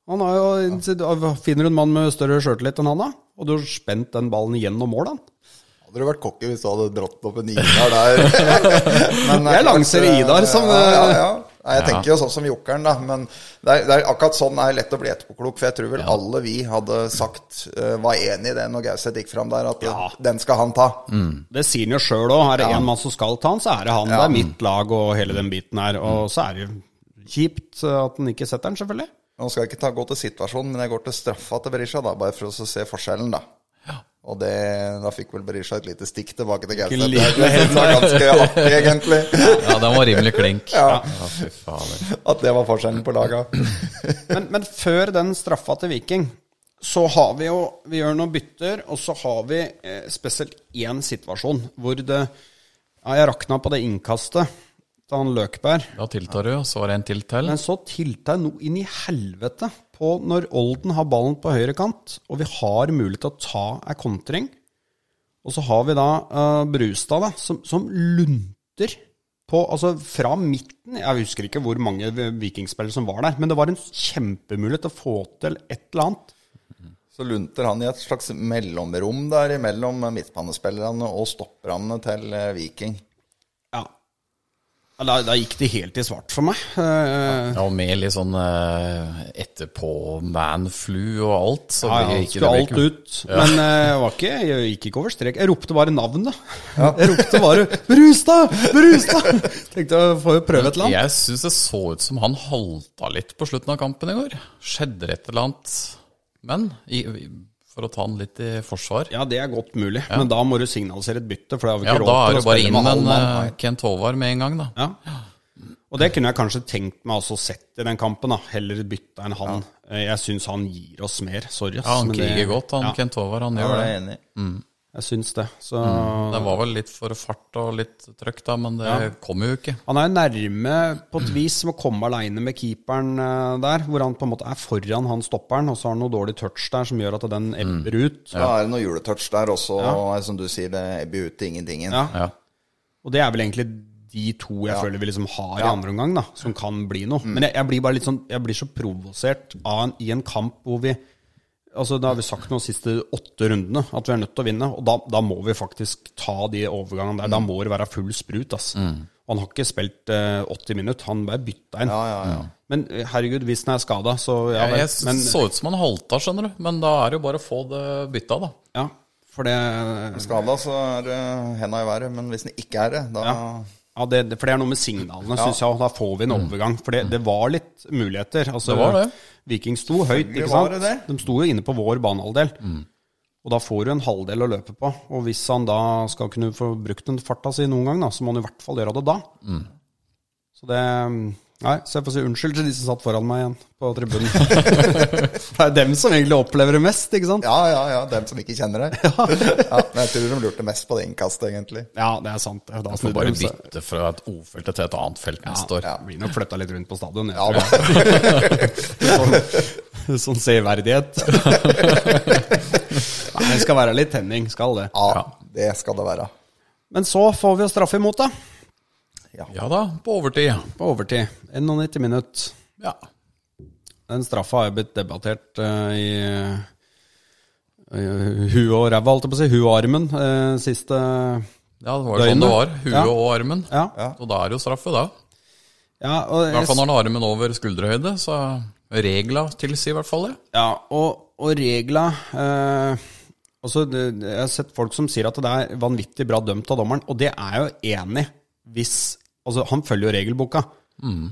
Speaker 3: Han har jo, Finner du en mann med større sjøltillit enn han, da? Og du har spent den ballen gjennom mål, da.
Speaker 4: Hadde du vært cocky hvis du hadde dratt opp en Idar der? Men,
Speaker 3: Jeg lanserer Idar som,
Speaker 4: eh,
Speaker 3: eh,
Speaker 4: ja, ja, ja. Nei, Jeg tenker jo sånn som jokeren, da. Men det er, det er akkurat sånn er lett å bli etterpåklok. For jeg tror vel alle vi hadde sagt eh, var enig i det når Gauseth gikk fram der, at
Speaker 3: Ja.
Speaker 4: den skal han ta.
Speaker 3: Det sier han jo sjøl òg. Er det én mann som skal ta han, så er det han. Det er mitt lag og hele den biten her. Og
Speaker 4: Mm.
Speaker 3: så er det jo kjipt at han ikke setter den, selvfølgelig.
Speaker 4: Nå skal jeg ikke ta, gå til situasjonen, men jeg går til straffa til Berisha, da, bare for å se forskjellen, da. Og det, da fikk vel Berisha et lite stikk tilbake til Gauseth.
Speaker 3: lite
Speaker 4: Det er- det var ganske artig, egentlig.
Speaker 2: Ja, den var rimelig klink.
Speaker 4: Ja.
Speaker 2: ja fy fader.
Speaker 4: At det var forskjellen på laga.
Speaker 3: Men, men før den straffa til Viking, så har vi jo Vi gjør noen bytter, og så har vi eh, spesielt én situasjon hvor det Ja, jeg rakna på det innkastet til han Løkberg.
Speaker 2: Da tiltar du, og så var det en til til.
Speaker 3: Men så tilta jeg noe inn i helvete på når Olden har ballen på høyre kant, og vi har mulighet til å ta ei kontring. Og så har vi da eh, Brustad, da, som, som lunter på Altså fra midten Jeg husker ikke hvor mange vikingspillere som var der, men det var en kjempemulighet til å få til et eller annet.
Speaker 4: Så lunter han i et slags mellomrom der mellom midtbanespillerne og stopperne til eh, Viking.
Speaker 3: Ja. Ja, Da, da gikk det helt i svart for meg. Eh,
Speaker 2: Ja, og med litt sånn eh, etterpå-man-flu og alt. Så
Speaker 3: ja,
Speaker 2: blir
Speaker 3: ja,
Speaker 2: ikke
Speaker 3: skulle
Speaker 2: det
Speaker 3: alt
Speaker 2: kult.
Speaker 3: ut. Men eh, jeg, var ikke, jeg gikk ikke over strek. Jeg ropte bare navnet. Jeg ropte bare 'Brustad! Brustad!' Tenkte jeg får jo prøve et eller annet.
Speaker 2: Jeg syns det så ut som han halta litt på slutten av kampen i går. Skjedde det et eller annet? Men i, i- for å ta han litt i forsvar
Speaker 3: Ja, det er godt mulig, men da må du signalisere et bytte. For det har vi
Speaker 2: Ja,
Speaker 3: ikke
Speaker 2: da
Speaker 3: råd
Speaker 2: er
Speaker 3: til
Speaker 2: det
Speaker 3: å
Speaker 2: bare
Speaker 3: spille
Speaker 2: inn
Speaker 3: med halv
Speaker 2: en
Speaker 3: mann.
Speaker 2: eh, Kent Håvard med en gang, da.
Speaker 3: Ja. Og det kunne jeg kanskje tenkt meg også sett i den kampen. da Heller bytte enn han. Eh, Jeg syns han gir oss mer. Sorry. ass,
Speaker 2: Ja, han
Speaker 3: men det-
Speaker 2: kriger godt, han
Speaker 3: Ja,
Speaker 2: Kent Håvard. Han
Speaker 4: Jeg
Speaker 2: gjør
Speaker 4: er
Speaker 2: det.
Speaker 4: enig.
Speaker 3: jeg syns det. Så
Speaker 2: Det var vel litt for fart og litt trøkk, da, men det kom jo ikke.
Speaker 3: Han er jo nærme på et vis med å komme aleine med keeperen eh, der, hvor han på en måte er foran han stopperen, og så har han noe dårlig touch der som gjør at den ebber
Speaker 4: Mm.
Speaker 3: ut.
Speaker 4: Da er det noe juletouch der også, og som du sier, det ebber ut til ingentingen.
Speaker 3: Ja.
Speaker 2: Ja.
Speaker 3: Og det er vel egentlig de to jeg føler vi liksom har i andre omgang, da, som kan bli noe.
Speaker 4: Mm.
Speaker 3: Men jeg, jeg blir bare litt sånn Jeg blir så provosert av en, i en kamp hvor vi Altså, Da har vi sagt noe de siste åtte rundene at vi er nødt til å vinne. Og da, da må vi faktisk ta de overgangene der. Da
Speaker 4: Mm.
Speaker 3: må det være full sprut. ass. Og han har ikke spilt eh, 80 minutter, han bare bytta inn.
Speaker 4: Ja, ja, ja.
Speaker 3: Men eh, herregud, hvis den er skada, så ja
Speaker 2: Jeg,
Speaker 3: vel.
Speaker 2: jeg
Speaker 3: Men,
Speaker 2: så ut som han halta, skjønner du. Men da er det jo bare å få det bytta, da.
Speaker 3: ja, for det,
Speaker 4: Skada, så er det henda i været. Men hvis den ikke er det, da
Speaker 3: ja, det, det- for det er noe med signalene, synes jeg. og Da får vi en overgang. For det, det var litt muligheter. Altså,
Speaker 2: Mm. Det var det.
Speaker 3: Viking sto høyt,
Speaker 4: Selvfølgelig
Speaker 3: ikke
Speaker 4: var
Speaker 3: sant?
Speaker 4: det det.
Speaker 3: De sto jo inne på vår banehalvdel.
Speaker 2: Mm.
Speaker 3: Og da får du en halvdel å løpe på. Og hvis han da skal kunne få brukt den farta si noen gang, da, så må han i hvert fall gjøre det da.
Speaker 2: Mm.
Speaker 3: Så det mm, Nei, så jeg får si unnskyld til de som satt foran meg igjen på tribunen. det er dem som egentlig opplever det mest, ikke sant?
Speaker 4: Ja, ja, ja. Dem som ikke kjenner deg. Ja. men jeg tror de lurte mest på det innkastet, egentlig.
Speaker 3: Ja, det er sant. Da
Speaker 2: Får
Speaker 3: snudde
Speaker 2: bare
Speaker 3: de seg.
Speaker 2: bytte fra et O-felt til et annet felt neste år.
Speaker 3: Ja, blir nok flytta litt rundt på stadion. Ja.
Speaker 4: Ja, da.
Speaker 3: Sånn, sånn severdighet. Nei, det skal være litt tenning, skal det.
Speaker 4: ja, det skal det være.
Speaker 3: Men så får vi jo straffe imot, da.
Speaker 2: Ja da, på overtid.
Speaker 3: På overtid. 91 minutt.
Speaker 2: Ja.
Speaker 3: Den straffa har jo blitt debattert eh, i uh, huet og ræva, holdt jeg på å si. Huet og armen eh, siste
Speaker 2: ja, det var jo sånn det var.
Speaker 3: Døgnet.
Speaker 2: Huet
Speaker 3: Ja.
Speaker 2: og armen.
Speaker 3: Ja.
Speaker 2: Og da er det jo straffe, da.
Speaker 3: ja, og
Speaker 2: I hvert fall når han har armen over skulderhøyde, så regla tilsier i hvert fall det.
Speaker 3: Ja, og, og regla eh, altså, det, det- Jeg har sett folk som sier at det er vanvittig bra dømt av dommeren, og det er jeg jo enig hvis Altså, han følger jo regelboka.
Speaker 2: Mm.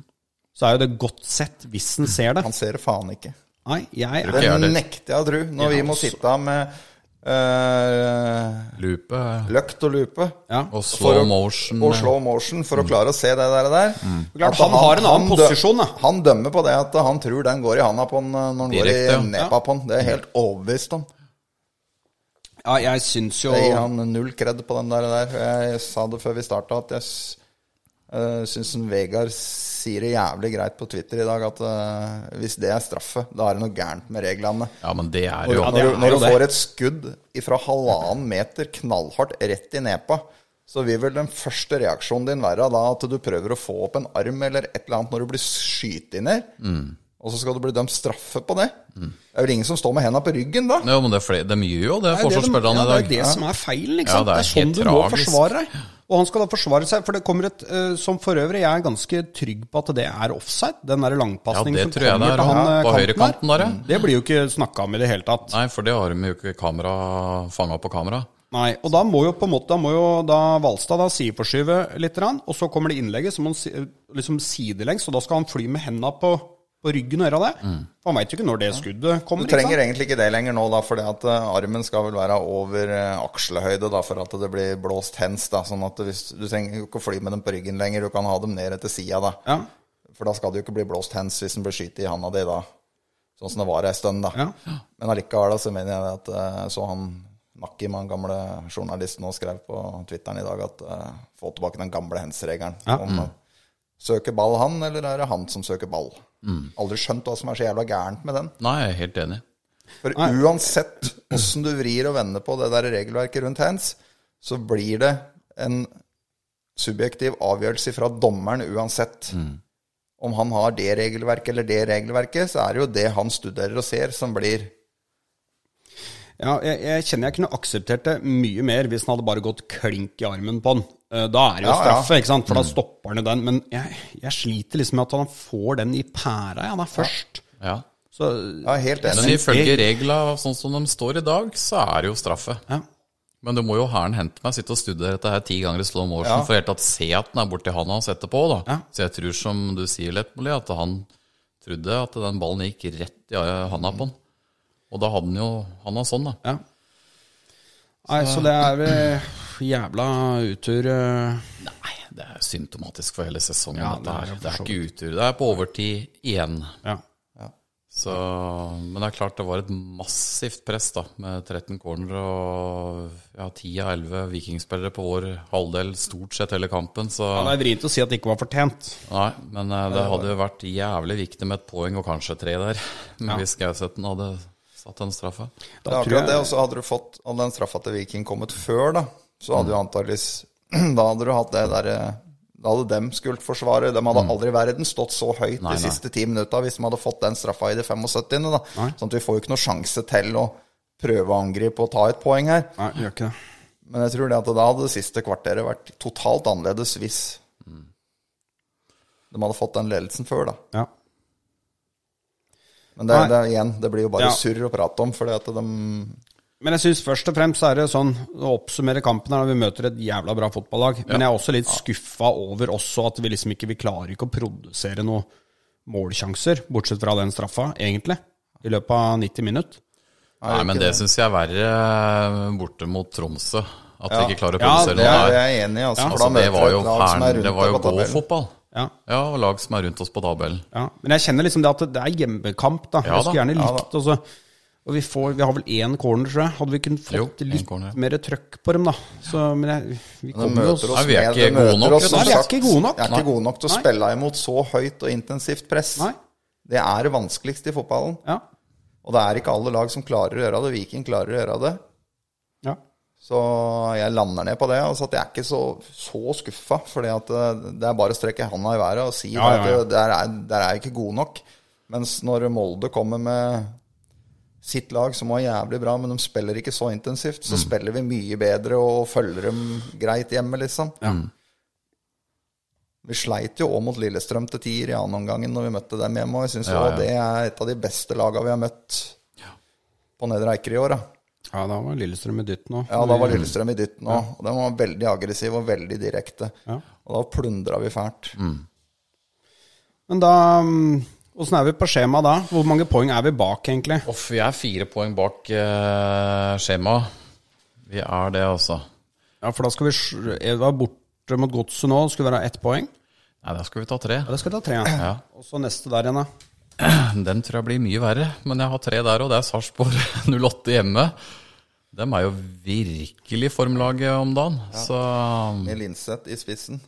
Speaker 3: Så er jo det godt sett hvis en ser det.
Speaker 4: Han ser det faen ikke.
Speaker 3: Nei, jeg er
Speaker 4: Det
Speaker 2: jeg heller.
Speaker 4: nekter jeg å tro, når vi må sitte her med eh,
Speaker 2: Lupe
Speaker 4: løkt og lupe.
Speaker 3: ja.
Speaker 2: og
Speaker 4: For
Speaker 2: slow
Speaker 4: å-
Speaker 2: motion. eh.
Speaker 4: Og slow motion for å klare å se det der. der.
Speaker 3: Klart,
Speaker 4: At
Speaker 3: han har en annen
Speaker 4: dø-
Speaker 3: posisjon, da.
Speaker 4: Han dømmer på det at han tror den går i handa på han eh, når han går i
Speaker 2: Direkte, ja.
Speaker 4: nepa på han. Det er jeg helt overbevist om.
Speaker 3: ja, jeg syns jo
Speaker 4: Jeg gir han null kred på den der. der. Jeg sa det før vi starta, at jeg uh, syns Vegard sier det jævlig greit på Twitter i dag at eh, hvis det er straffe, da er det noe gærent med reglene.
Speaker 2: Ja, men det er jo
Speaker 4: Når,
Speaker 3: det
Speaker 4: når,
Speaker 3: er
Speaker 4: du- når
Speaker 3: jo
Speaker 4: du
Speaker 3: det.
Speaker 4: får et skudd ifra halvannen meter knallhardt rett i nepa, så vil vel den første reaksjonen din være da at du prøver å få opp en arm eller et eller annet når du blir skutt ned,
Speaker 3: Mm.
Speaker 4: og så skal du bli dømt straffe på det. Det er vel ingen som står med henda på ryggen da?
Speaker 2: Ja, men det er flere, De gjør jo det,
Speaker 3: Nei, det, er ja,
Speaker 2: forsvarsspillerne i
Speaker 3: det er
Speaker 2: dag.
Speaker 3: det som er feilen. Ikke
Speaker 2: Ja,
Speaker 3: sant?
Speaker 2: det
Speaker 3: det,
Speaker 2: er
Speaker 3: er sånn
Speaker 2: helt
Speaker 3: du må
Speaker 2: tragisk.
Speaker 3: forsvare deg. Og han skal da forsvare seg, for det kommer et eh, Som for øvrig, jeg er ganske trygg på at det er offside. Den der langpasningen
Speaker 2: Ja,
Speaker 3: som
Speaker 2: det tror jeg
Speaker 3: kommer
Speaker 2: det er,
Speaker 3: til han
Speaker 2: ja,
Speaker 3: eh,
Speaker 2: på
Speaker 3: kanten
Speaker 2: høyrekanten der, ja.
Speaker 3: Det blir jo ikke snakka om i det hele tatt.
Speaker 2: Nei, for det har de jo ikke kamera fanga på kamera.
Speaker 3: Nei, og da må jo på en måte Da må jo da Valstad da sideforskyve litt, grann, og så kommer det innlegget, så må han si, liksom sidelengs, og da skal han fly med henda på, på ryggen og gjøre det. For han veit jo ikke når det skuddet
Speaker 4: Mm. Du
Speaker 3: kommer.
Speaker 4: trenger
Speaker 3: ikke sant?
Speaker 4: egentlig ikke det lenger nå, da, fordi at eh, armen skal vel være over eh, akslehøyde da, for at det blir blåst hens. da, sånn at hvis, Du trenger jo ikke å fly med dem på ryggen lenger, du kan ha dem ned etter sida. da.
Speaker 3: Ja.
Speaker 4: For da skal det jo ikke bli blåst hens hvis den blir skutt i handa di da. Sånn som det var ei stund, da.
Speaker 3: Ja.
Speaker 4: Men allikevel da, så mener jeg at eh, så han Nakkim, han gamle journalisten, nå skrev på Twitteren i dag at eh, få tilbake den gamle hens-regelen. Om
Speaker 3: Mm.
Speaker 4: eh, Søker ball han, eller er det han som søker ball?
Speaker 3: Mm.
Speaker 4: Aldri skjønt hva som er så jævla gærent med den.
Speaker 2: Nei, jeg er helt enig.
Speaker 4: For uansett åssen du vrir og vender på det der regelverket rundt hands, så blir det en subjektiv avgjørelse fra dommeren uansett. Om han har det regelverket eller det regelverket, så er det jo det han studerer og ser, som blir
Speaker 3: Ja, jeg, jeg kjenner jeg kunne akseptert det mye mer hvis han hadde bare gått klink i armen på han. Eh, Da er det jo
Speaker 4: Ja, Mm. ja.
Speaker 3: straffe, ikke sant? For da stopper han jo den. Men jeg, jeg sliter liksom med at han får den i pæra, ja, da, først.
Speaker 2: Ja.
Speaker 3: Så
Speaker 4: Ja, helt
Speaker 2: Men
Speaker 4: enig.
Speaker 2: ifølge regla sånn som de står i dag, så er det jo straffe.
Speaker 3: ja.
Speaker 2: Men du må jo hæren hente meg, sitte og studere dette her ti ganger i slow motion for i det hele tatt se at den er borti handa hans etterpå. da.
Speaker 3: Ja.
Speaker 2: Så jeg tror, som du sier, Lettmoli, at han trodde at den ballen gikk rett i handa på han. Og da hadde han jo handa sånn, da.
Speaker 3: ja. Nei, så det er eh, jævla utur. eh.
Speaker 2: Nei, det er symptomatisk for hele sesongen.
Speaker 3: Ja,
Speaker 2: dette
Speaker 3: det er
Speaker 2: her.
Speaker 3: jo
Speaker 2: Det
Speaker 3: for
Speaker 2: er
Speaker 3: så
Speaker 2: ikke utur. Det er på overtid igjen.
Speaker 3: Ja.
Speaker 2: Så, men det er klart det var et massivt press da, med 13 corner og ja, 10 av 11 vikingspillere på vår halvdel stort sett hele kampen. Så
Speaker 3: Ja, Det er vrient å si at det ikke var fortjent.
Speaker 2: nei, men eh, det hadde jo vært jævlig viktig med et poeng og kanskje tre der. Men hvis Gausethten hadde satt den straffa.
Speaker 4: Det er akkurat det, og så hadde du fått hadde den straffa til Viking kommet før, da. Så hadde du antakeligvis Da hadde du hatt det derre Da hadde dem skult forsvare. De hadde aldri i verden stått så
Speaker 2: Nei,
Speaker 4: høyt
Speaker 2: nei.
Speaker 4: de siste ti minutta hvis de hadde fått den straffa i de 75. da. Sånn at vi får jo ikke noe sjanse til å prøve å angripe og ta et poeng her.
Speaker 3: Nei, gjør ikke det.
Speaker 4: Men jeg tror det at da hadde det siste kvarteret vært totalt annerledes hvis de hadde fått den ledelsen før, da.
Speaker 3: Ja.
Speaker 4: Men det,
Speaker 3: Nei.
Speaker 4: det, er igjen, det blir jo bare
Speaker 3: Ja.
Speaker 4: surr å prate om, fordi at de
Speaker 3: Men jeg syns først og fremst så er det sånn å oppsummere kampen her, vi møter et jævla bra fotballag. Men jeg er også litt skuffa over også at vi liksom ikke vi klarer ikke å produsere noen målsjanser, bortsett fra den straffa, egentlig, i løpet av 90 minutter.
Speaker 2: Nei, men det syns jeg er verre eh, borte mot Tromsø. At de ikke klarer å
Speaker 3: Ja,
Speaker 2: produsere
Speaker 4: Det
Speaker 2: noe
Speaker 4: er
Speaker 2: der.
Speaker 4: jeg enig i, altså. for
Speaker 2: Altså,
Speaker 4: da
Speaker 2: det
Speaker 4: møter
Speaker 2: var
Speaker 4: du
Speaker 2: jo,
Speaker 4: et lag som er
Speaker 2: herren,
Speaker 4: rundt
Speaker 2: det var jo
Speaker 4: deg på tabellen.
Speaker 2: gå-fotball.
Speaker 3: Ja.
Speaker 2: Ja, og lag som er rundt oss på tabellen.
Speaker 3: Ja. Men jeg kjenner liksom det at det er hjemmekamp, da.
Speaker 2: Ja
Speaker 3: jeg skulle
Speaker 2: da,
Speaker 3: gjerne
Speaker 4: ja
Speaker 3: likt og så- Og vi, får, vi har vel én corner, tror jeg. Hadde vi kunnet
Speaker 2: Jo,
Speaker 3: fått
Speaker 2: én
Speaker 3: litt
Speaker 2: corner, ja.
Speaker 3: mer trøkk på dem, da. Så, men jeg, vi
Speaker 4: De
Speaker 3: kommer jo
Speaker 4: møter
Speaker 3: oss
Speaker 4: oss
Speaker 2: Nei, vi er
Speaker 4: med-
Speaker 2: ikke
Speaker 4: de
Speaker 2: gode
Speaker 4: møter
Speaker 2: nok,
Speaker 4: oss,
Speaker 2: vet du.
Speaker 4: som
Speaker 3: Nei, vi er
Speaker 4: sagt,
Speaker 3: ikke gode nok.
Speaker 4: er ikke
Speaker 3: Nei.
Speaker 4: gode nok til å
Speaker 3: Nei.
Speaker 4: spille imot så høyt og intensivt press.
Speaker 3: Nei.
Speaker 4: Det er det vanskeligste i fotballen.
Speaker 3: Ja.
Speaker 4: Og det er ikke alle lag som klarer å gjøre det. Viking klarer å gjøre det.
Speaker 3: ja.
Speaker 4: Så jeg lander ned på det. Altså at jeg er ikke så, så skuffa. For eh, det er bare å strekke handa i været og si
Speaker 3: Ja, ja, ja.
Speaker 4: at eh, der er, der er jeg ikke god nok. Mens når Molde kommer med sitt lag, som var jævlig bra, men de spiller ikke så intensivt,
Speaker 3: Mm.
Speaker 4: så spiller vi mye bedre og følger dem greit hjemme, liksom.
Speaker 2: Mm.
Speaker 4: Vi sleit jo òg mot Lillestrøm til tier i annen omgang når vi møtte dem hjemme. Og jeg syns
Speaker 2: Ja, ja.
Speaker 4: det er et av de beste laga vi har møtt på Nedre Eiker i år. da.
Speaker 3: ja, da var Lillestrøm i dytt nå.
Speaker 4: Ja, da var Lillestrøm i dytten òg. Og den var veldig aggressiv og veldig direkte.
Speaker 3: Ja. Mhm.
Speaker 4: Og da plundra vi fælt.
Speaker 3: Men da mm, Åssen er vi på skjema da? Hvor mange poeng er vi bak, egentlig?
Speaker 2: Off, vi er fire poeng bak eh, skjemaet. Vi er det, altså.
Speaker 3: Ja, for da skal vi sj- Jeg var borte mot Godset nå, skulle være ett poeng.
Speaker 2: Nei, da skal vi ta tre.
Speaker 3: Ja, det skal ta tre. Ja. Og så neste der igjen, da.
Speaker 2: Den tror jeg blir mye verre, men jeg har tre der, og det er Sarpsborg 08 hjemme. Dem er jo virkelig formlaget om dagen. Så,
Speaker 4: Med Linseth i spissen.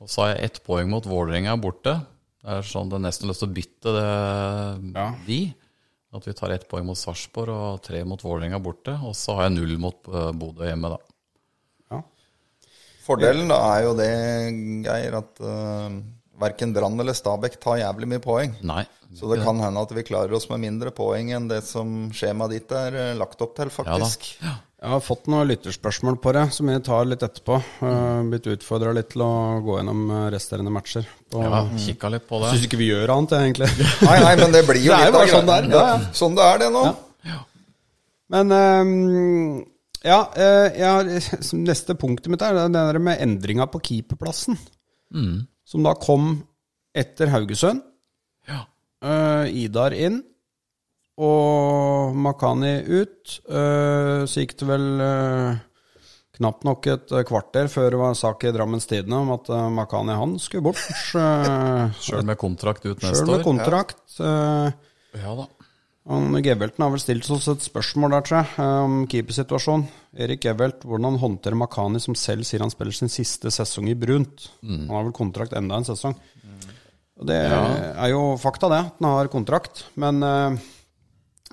Speaker 2: og så har jeg ett poeng mot Vålerenga borte. Det er sånn det er nesten lyst til å bytte det, de. At vi tar ett poeng mot Sarpsborg og tre mot Vålerenga borte. Og så har jeg null mot eh, Bodø hjemme, da.
Speaker 3: Ja.
Speaker 4: Fordelen da er jo det, Geir, at uh, verken Brann eller Stabæk tar jævlig mye poeng.
Speaker 2: Nei.
Speaker 4: Så det kan hende at vi klarer oss med mindre poeng enn det som skjemaet ditt er eh, lagt opp til,
Speaker 2: Ja da.
Speaker 4: faktisk.
Speaker 2: Ja.
Speaker 3: Jeg har fått noen lytterspørsmål på det, som jeg tar litt etterpå. Uh, blitt utfordra litt til å gå gjennom eh, resterende matcher. Og
Speaker 2: Ja, kikka litt på det.
Speaker 3: Syns ikke vi gjør annet, jeg, egentlig.
Speaker 4: Nei, nei, men det blir jo
Speaker 3: Det er
Speaker 4: litt
Speaker 3: jo
Speaker 4: av
Speaker 3: bare sånn
Speaker 4: greia.
Speaker 3: det er. Ja,
Speaker 4: Ja, Sånn det er, det nå.
Speaker 3: Men ehm, ja, eh, jeg har, som neste punktet mitt er det der med endringa på keeperplassen. Som da kom etter Haugesund.
Speaker 2: Ja.
Speaker 3: Eh, Idar inn, og Makani ut. Eh, så gikk det vel eh, knapt nok et eh, kvarter før det var en sak i Drammens Tidende om at eh, Makani han skulle bort. eh, Uh,
Speaker 2: Sjøl med kontrakt ut neste
Speaker 3: Sjøl med
Speaker 2: år.
Speaker 3: kontrakt. Eh,
Speaker 2: Ja da.
Speaker 3: han Gevelten har vel stilt oss et spørsmål der, tror jeg, eh, om keepersituasjonen. Erik Gevelt, hvordan håndterer Makani, som selv sier han spiller sin siste sesong i brunt?
Speaker 2: Mm.
Speaker 3: Han har vel kontrakt enda en sesong. Og det er jo fakta, det, at han har kontrakt. Men eh,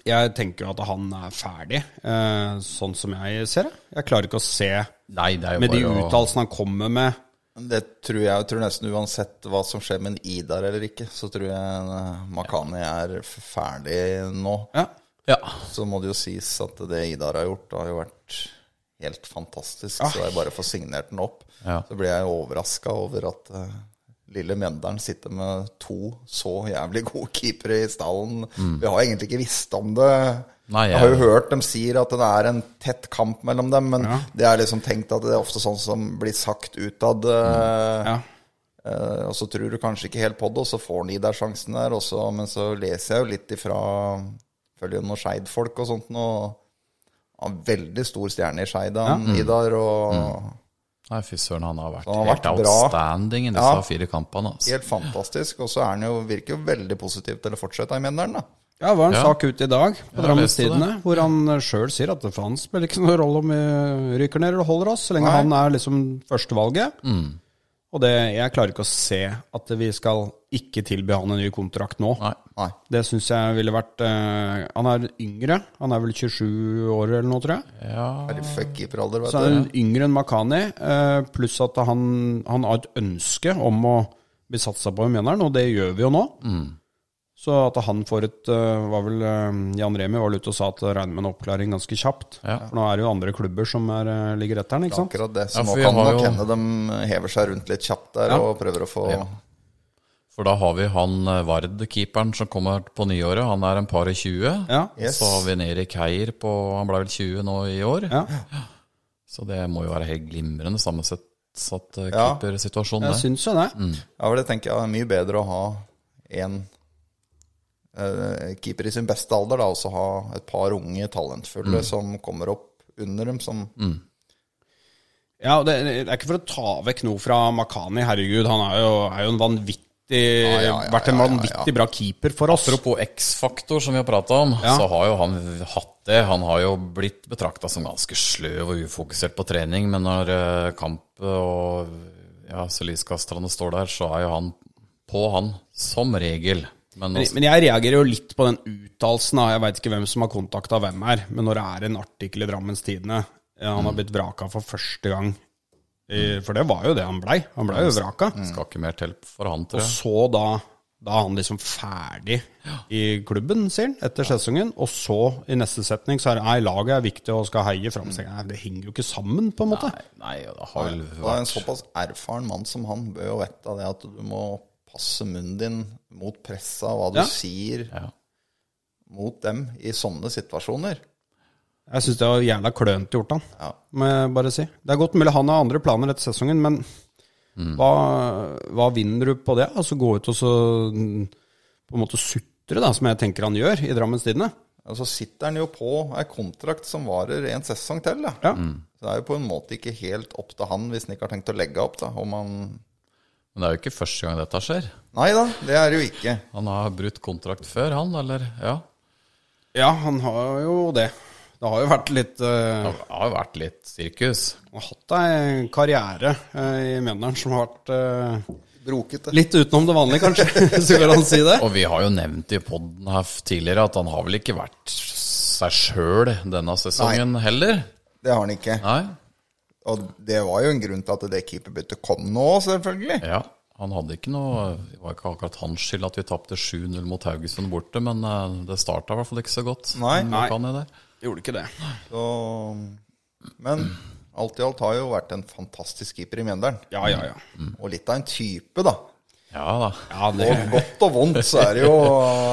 Speaker 3: jeg tenker jo at han er ferdig, eh, sånn som jeg ser det. Jeg klarer ikke å se,
Speaker 2: Nei, det er jo
Speaker 3: med de
Speaker 2: bare å-
Speaker 3: uttalelsene han kommer med
Speaker 4: Det tror jeg, jeg tror nesten uansett hva som skjer med en Idar eller ikke, så tror jeg eh, Makani er f- ferdig nå.
Speaker 3: Ja.
Speaker 2: Ja.
Speaker 4: Så må det jo sies at det Idar har gjort, har jo vært helt fantastisk. Så jeg bare får signert den opp.
Speaker 2: Ah. Ja.
Speaker 4: Så blir jeg overraska over at eh, lille Mjøndalen sitter med to så jævlig gode keepere i stallen. Vi har egentlig ikke visst om det.
Speaker 2: Mm. Nei,
Speaker 4: jeg har jo
Speaker 2: jeg-
Speaker 4: hørt dem sier at det er en tett kamp mellom dem, men det er liksom tenkt at det er ofte sånn som blir sagt utad.
Speaker 2: Mm.
Speaker 4: eh,
Speaker 3: Ja.
Speaker 4: Eh, og så tror du kanskje ikke helt på det, og så får han i deg sjansen der. Og så, men så leser jeg jo litt ifra Følger jo noen Skeid-folk og sånt. nå, Og han er veldig stor stjerne i Skeid, han Idar. Og
Speaker 2: Nei, fy søren, han har vært
Speaker 4: Han har
Speaker 2: helt
Speaker 4: vært bra.
Speaker 2: outstanding i disse
Speaker 4: Ja.
Speaker 2: fire kampene. Altså.
Speaker 4: helt fantastisk. Og så er han jo, virker jo veldig positiv til å fortsette i Mjøndalen, da.
Speaker 3: Ja, det var en
Speaker 2: Ja.
Speaker 3: sak ute i dag på
Speaker 2: jeg
Speaker 3: Drammens
Speaker 2: leste det.
Speaker 3: Tidende hvor han sjøl sier at for han spiller ikke noen rolle om vi ryker ned eller holder oss, så lenge
Speaker 4: Nei.
Speaker 3: han er liksom førstevalget.
Speaker 2: Mm.
Speaker 3: Og det, jeg klarer ikke å se at vi skal ikke tilby han en ny kontrakt nå.
Speaker 2: Nei.
Speaker 4: Nei.
Speaker 3: Det syns jeg ville vært eh, Han er yngre, han er vel 27 år eller noe, tror jeg.
Speaker 2: Ja.
Speaker 4: Er det fuck keeperalder, vet
Speaker 3: Så han
Speaker 4: du.
Speaker 3: er yngre enn Makani, eh, pluss at han, han har et ønske om å bli satsa på i Mjøndalen, og det gjør vi jo nå.
Speaker 4: Mm.
Speaker 3: Så at han får et eh, var vel, eh, Jan Remi var vel ute og sa at det regner med en oppklaring ganske kjapt.
Speaker 2: Ja.
Speaker 3: For nå er det jo andre klubber som er, eh, ligger etter han, ikke sant?
Speaker 4: Akkurat det. Så
Speaker 2: Ja,
Speaker 4: nå
Speaker 2: for vi
Speaker 4: kan
Speaker 2: har
Speaker 4: nok
Speaker 2: jo-
Speaker 4: hende de hever seg rundt litt kjapt der
Speaker 3: Ja.
Speaker 4: og prøver å få
Speaker 2: For da har vi han eh, Vard-keeperen som kommer på nyåret. Han er en par og 20.
Speaker 3: Ja.
Speaker 4: Yes.
Speaker 2: Så har vi Neri Keir på Han ble vel 20 nå i år.
Speaker 3: Ja.
Speaker 2: Så det må jo være helt glimrende sammensatt satt, eh,
Speaker 4: Ja. Mm.
Speaker 2: keepersituasjon.
Speaker 3: Jeg
Speaker 2: der.
Speaker 3: syns jo det.
Speaker 4: Ja, for det tenker jeg er mye bedre å ha en eh, keeper i sin beste alder, da, og så ha et par unge talentfulle som kommer opp under dem, som
Speaker 3: Ja, og det, det er ikke for å ta vekk noe fra Makani, herregud. Han er jo, er jo en vanvittig
Speaker 4: ja, ja,
Speaker 3: Vært en
Speaker 4: ja, ja,
Speaker 3: vanvittig
Speaker 4: ja.
Speaker 3: bra keeper for oss.
Speaker 2: Apropos X-faktor, som vi har prata om,
Speaker 3: Ja.
Speaker 2: så har jo han hatt det. Han har jo blitt betrakta som ganske sløv og ufokusert på trening, men når eh, kamp og ja, lyskasterne står der, så er jo han på, han, som regel. Men,
Speaker 3: Men, men jeg reagerer jo litt på den uttalelsen. da. Jeg veit ikke hvem som har kontakta hvem her, men når det er en artikkel i Drammens Tidende ja, Han har blitt vraka for første gang. Eh, For det var jo det han blei. Han blei jo vraka.
Speaker 2: skal ikke mer til for han,
Speaker 3: Og
Speaker 2: tror jeg.
Speaker 3: så da da er han liksom ferdig i klubben, sier han, etter sesongen. Og så, i neste setning, så er det nei, laget er viktig og skal heie fram. Så tenker jeg, Nei, det henger jo ikke sammen, på en måte.
Speaker 2: Nei, nei, det har vel
Speaker 4: Og En
Speaker 2: vært
Speaker 4: såpass erfaren mann som han bør jo vite av det at du må passe munnen din mot pressa, hva du
Speaker 3: Ja.
Speaker 4: sier
Speaker 2: ja.
Speaker 4: mot dem i sånne situasjoner.
Speaker 3: Jeg syns det var jævla klønete gjort han,
Speaker 4: Ja.
Speaker 3: må jeg bare si. Det er godt mulig han har andre planer etter sesongen, men hva, hva vinner du på det? Altså gå ut og så mm, på en måte sutre, da, som jeg tenker han gjør i Drammens Tidende.
Speaker 4: Og så sitter han jo på ei kontrakt som varer en sesong til. Da.
Speaker 3: Ja.
Speaker 4: Så det er jo på en måte ikke helt opp til han hvis han ikke har tenkt å legge opp. Da. Om han...
Speaker 2: Men det er jo ikke første gang dette skjer.
Speaker 4: Nei da, det er det jo ikke.
Speaker 2: Han har brutt kontrakt før, han, eller? Ja.
Speaker 3: ja, han har jo det. Det har jo vært litt eh,
Speaker 2: Det har jo vært litt sirkus.
Speaker 3: Han har hatt ei karriere eh, i Mjøndalen som har vært eh,
Speaker 4: Brokete.
Speaker 3: litt utenom det vanlige, kanskje, hvis det går an å si det.
Speaker 2: Og vi har jo nevnt i poden her tidligere at han har vel ikke vært seg sjøl denne sesongen heller.
Speaker 4: Det har han ikke.
Speaker 2: Nei.
Speaker 4: Og det var jo en grunn til at det keeperbyttet kom nå, selvfølgelig.
Speaker 2: Ja. Han hadde ikke noe Det var ikke akkurat hans skyld at vi tapte 7-0 mot Haugesund borte, men eh, det starta i hvert fall ikke så godt.
Speaker 4: Nei.
Speaker 2: Nå kan jeg det.
Speaker 3: Gjorde ikke det.
Speaker 4: Så, men alt i alt har jo vært en fantastisk keeper i Mjøndalen.
Speaker 3: Ja, ja, ja.
Speaker 4: Og litt av en type, da.
Speaker 2: Ja da.
Speaker 3: ja det,
Speaker 4: Og godt og vondt så er det jo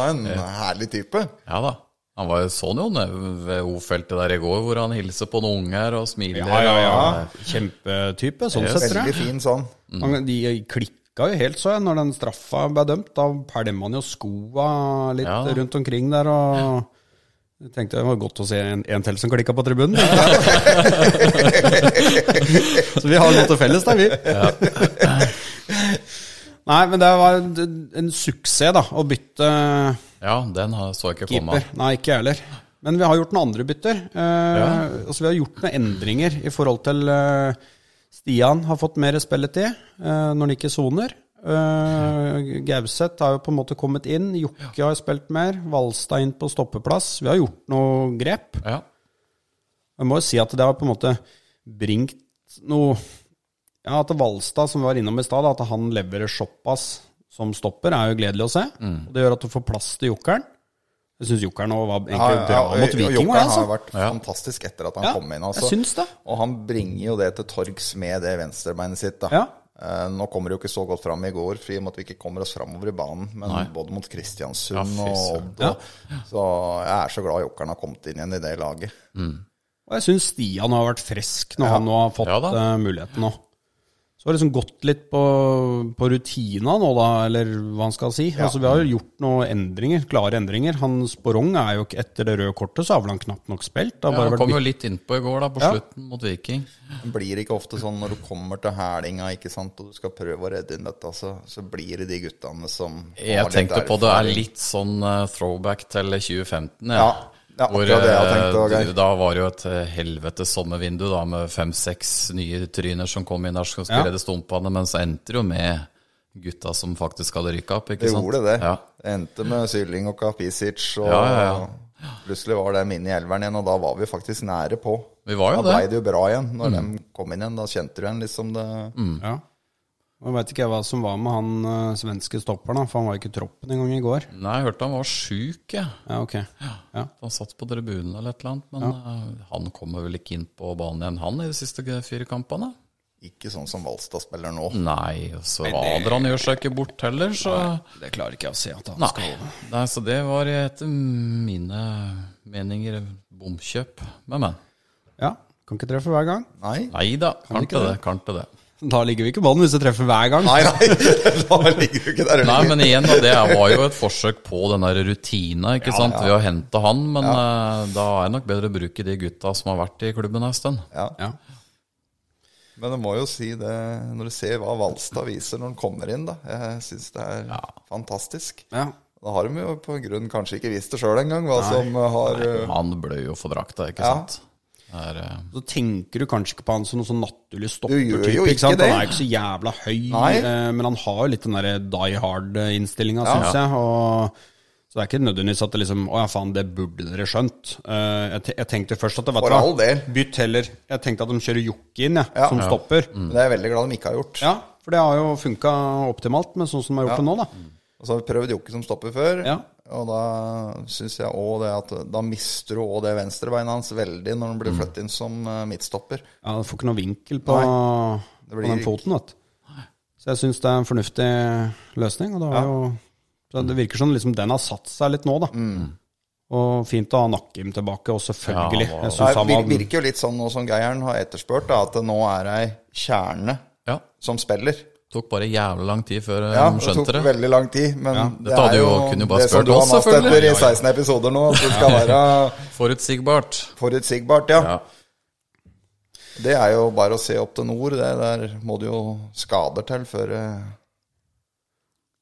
Speaker 4: en herlig type.
Speaker 2: Ja da. Han var jo sånn jo nede ved O-feltet der i går, hvor han hilser på noen unger og smiler.
Speaker 3: ja, ja, ja.
Speaker 2: og-
Speaker 3: Kjempetype, sånn sett, tror jeg.
Speaker 4: Veldig fin sånn.
Speaker 3: Han, de klikka jo helt, så jeg, når den straffa ble dømt. Da pælma han jo skoa litt
Speaker 2: Ja.
Speaker 3: rundt omkring der, og jeg tenkte det var godt å se en, en til som klikka på tribunen. så vi har noe til felles der, vi. Nei, men det var en, en suksess, da, å bytte
Speaker 2: Ja, den har- så jeg ikke komme.
Speaker 3: keeper. Nei, ikke jeg heller. Men vi har gjort noen andre bytter. Eh, altså, vi har gjort noen endringer i forhold til eh, Stian har fått mer spilletid eh, når han ikke soner. Eh, Gauseth har jo på en måte kommet inn. Jokke har spilt mer. Valstad inn på stoppeplass. Vi har gjort noen grep.
Speaker 2: Ja.
Speaker 3: Jeg må jo si at det har på en måte bringt noe Ja, at Valstad, som vi var innom i stad, at han
Speaker 2: Mm.
Speaker 3: leverer såpass som stopper, er jo gledelig å se. Og det gjør at du får plass til jokeren. Jeg syns jokeren òg var egentlig
Speaker 4: Ja, ja,
Speaker 3: bra
Speaker 4: ja, og-
Speaker 3: mot
Speaker 4: og
Speaker 3: Viking.
Speaker 4: Jokeren
Speaker 3: også,
Speaker 4: har
Speaker 3: Altså.
Speaker 4: jo vært fantastisk etter at han
Speaker 3: Ja,
Speaker 4: kom inn.
Speaker 3: jeg
Speaker 4: Altså.
Speaker 3: syns det.
Speaker 4: Og han bringer jo det til torgs med det venstrebeinet sitt. Da.
Speaker 3: Ja.
Speaker 4: Eh, nå kommer det jo ikke så godt fram i går, fordi at vi ikke kommer oss framover i banen. Men både mot Kristiansund
Speaker 2: Ja, fy
Speaker 4: og
Speaker 2: søren.
Speaker 4: Odd. og- Så jeg er så glad Jokeren har kommet inn igjen i det laget.
Speaker 3: Og jeg syns Stian har vært frisk når han nå har fått
Speaker 2: Ja da.
Speaker 3: eh, muligheten nå. Så har det liksom gått litt på, på rutina nå, da, eller hva han skal si. Altså, vi har jo gjort noen endringer, klare endringer. Han Sporong er jo ikke etter det røde kortet, så har vel han knapt nok spilt. Det har
Speaker 2: Ja,
Speaker 3: bare
Speaker 2: han kom
Speaker 3: vært
Speaker 2: jo litt innpå i går, da, på
Speaker 3: Ja.
Speaker 2: slutten mot Viking.
Speaker 4: Det blir ikke ofte sånn når du kommer til hælinga ikke sant, og du skal prøve å redde inn dette, så, så blir det de guttene som har
Speaker 2: Jeg
Speaker 4: litt
Speaker 2: tenkte på det er
Speaker 4: erfaring.
Speaker 2: litt sånn eh, throwback til 2015. jeg.
Speaker 4: Ja, ja,
Speaker 2: Hvor,
Speaker 4: akkurat det jeg
Speaker 2: eh,
Speaker 4: tenkte, Geir.
Speaker 2: du- Da var det jo et eh, helvetes sommervindu da, med fem-seks nye tryner som kom inn der som skulle
Speaker 3: Ja.
Speaker 2: redde stumpene, men så endte det jo med gutta som faktisk hadde rykka opp. ikke
Speaker 4: Det
Speaker 2: sant?
Speaker 4: gjorde det.
Speaker 2: Ja.
Speaker 4: Det endte med Sylling og Kapisic, og
Speaker 2: Ja, ja, ja.
Speaker 4: plutselig var de inne i elveren igjen, og da var vi faktisk nære på.
Speaker 2: Vi var jo
Speaker 4: Da
Speaker 2: det. Mm.
Speaker 4: ble det jo bra igjen når de kom inn igjen. Da kjente du igjen liksom det
Speaker 3: Ja. Og Jeg veit ikke jeg hva som var med han eh, svenske stopperen, da, for han var ikke i troppen engang i går.
Speaker 2: Nei, jeg hørte han var sjuk, jeg.
Speaker 3: Ja, ok. Ja.
Speaker 2: Han satt på tribunen eller et eller annet, men eh, han kommer vel ikke inn på banen igjen, han, i de siste fire kampene?
Speaker 4: Ikke sånn som Valstad spiller nå.
Speaker 2: Mm. Nei, og så Adrian gjør seg ikke bort heller, så
Speaker 3: Det klarer ikke jeg å se at han
Speaker 2: Nei. Nei, så det var etter mine meninger bomkjøp. Men, men.
Speaker 3: Ja, Kan ikke treffe hver gang.
Speaker 4: Nei.
Speaker 2: Nei da, kan ikke det. Kan ikke det.
Speaker 3: Da ligger vi ikke i ballen hvis vi treffer hver gang.
Speaker 4: Nei, nei, da ligger du ikke der. du
Speaker 2: Nei,
Speaker 4: ligger-
Speaker 2: men igjen, da, det var jo et forsøk på den der rutina, ikke sant, ved å hente han. Men eh, da er det nok bedre å bruke de gutta som har vært i klubben en stund.
Speaker 4: Ja.
Speaker 3: Ja.
Speaker 4: Men jeg må jo si det, når du ser hva Valstad viser når han kommer inn, da. Jeg syns det er fantastisk.
Speaker 3: Ja.
Speaker 4: Da har de jo på grunn kanskje ikke visst det sjøl engang, hva som har uh,
Speaker 2: Han blør jo for drakta, ikke
Speaker 4: Ja.
Speaker 2: sant. Det er, eh,
Speaker 3: Så tenker du kanskje ikke på han som noen sånn naturlig stopper.
Speaker 4: Du gjør jo ikke
Speaker 3: sant?
Speaker 4: det.
Speaker 3: Han er jo ikke så jævla høy,
Speaker 4: Nei.
Speaker 3: eh, men han har jo litt den der die hard-innstillinga,
Speaker 4: Ja.
Speaker 3: syns jeg. Og så det er ikke nødvendigvis at det liksom Å ja, faen, det burde dere skjønt. Eh, jeg, te jeg tenkte først at det
Speaker 4: For
Speaker 3: var
Speaker 4: all del.
Speaker 3: Bytt heller. Jeg tenkte at de kjører Jokke inn, jeg,
Speaker 4: Ja.
Speaker 3: som
Speaker 4: Ja.
Speaker 3: stopper.
Speaker 2: Mm.
Speaker 4: Det er jeg veldig glad de ikke har gjort.
Speaker 3: Ja, for det har jo funka optimalt med sånn som de har gjort det nå, da.
Speaker 4: Og så har vi prøvd Jokke som stopper før.
Speaker 3: Ja.
Speaker 4: Og da syns jeg òg det at da mister du òg det venstrebeinet hans veldig når han
Speaker 2: Mm.
Speaker 4: blir flyttet inn som eh, midtstopper.
Speaker 3: Ja, du får ikke noe vinkel på,
Speaker 4: det
Speaker 3: på
Speaker 4: blir
Speaker 3: den
Speaker 4: ikke-
Speaker 3: foten, vet du. Så jeg syns det er en fornuftig løsning. Og det, har jo, så det virker som liksom den har satt seg litt nå, da. Og fint å ha Nakkim tilbake, og selvfølgelig.
Speaker 2: Ja, han
Speaker 3: jeg
Speaker 2: var-
Speaker 4: Det
Speaker 3: synes han
Speaker 4: vir-
Speaker 3: var
Speaker 4: virker jo litt sånn nå som Geiren har etterspurt, da, at det nå er ei kjerne
Speaker 2: ja.
Speaker 4: som spiller.
Speaker 2: Tok bare jævlig lang tid før eh,
Speaker 4: Ja,
Speaker 2: de
Speaker 4: det tok
Speaker 2: skjønte det.
Speaker 4: veldig lang tid, men det
Speaker 2: dette hadde
Speaker 4: er jo
Speaker 2: jo- kunne jo bare
Speaker 4: det som
Speaker 2: spurt
Speaker 4: du har
Speaker 2: oss,
Speaker 4: mast
Speaker 2: selvfølgelig.
Speaker 4: etter i
Speaker 2: Ja, ja.
Speaker 4: 16 episoder nå, at det skal være
Speaker 2: Forutsigbart.
Speaker 4: forutsigbart, ja.
Speaker 2: Ja.
Speaker 4: Det er jo bare å se opp til nord, det der må det jo skader til før eh,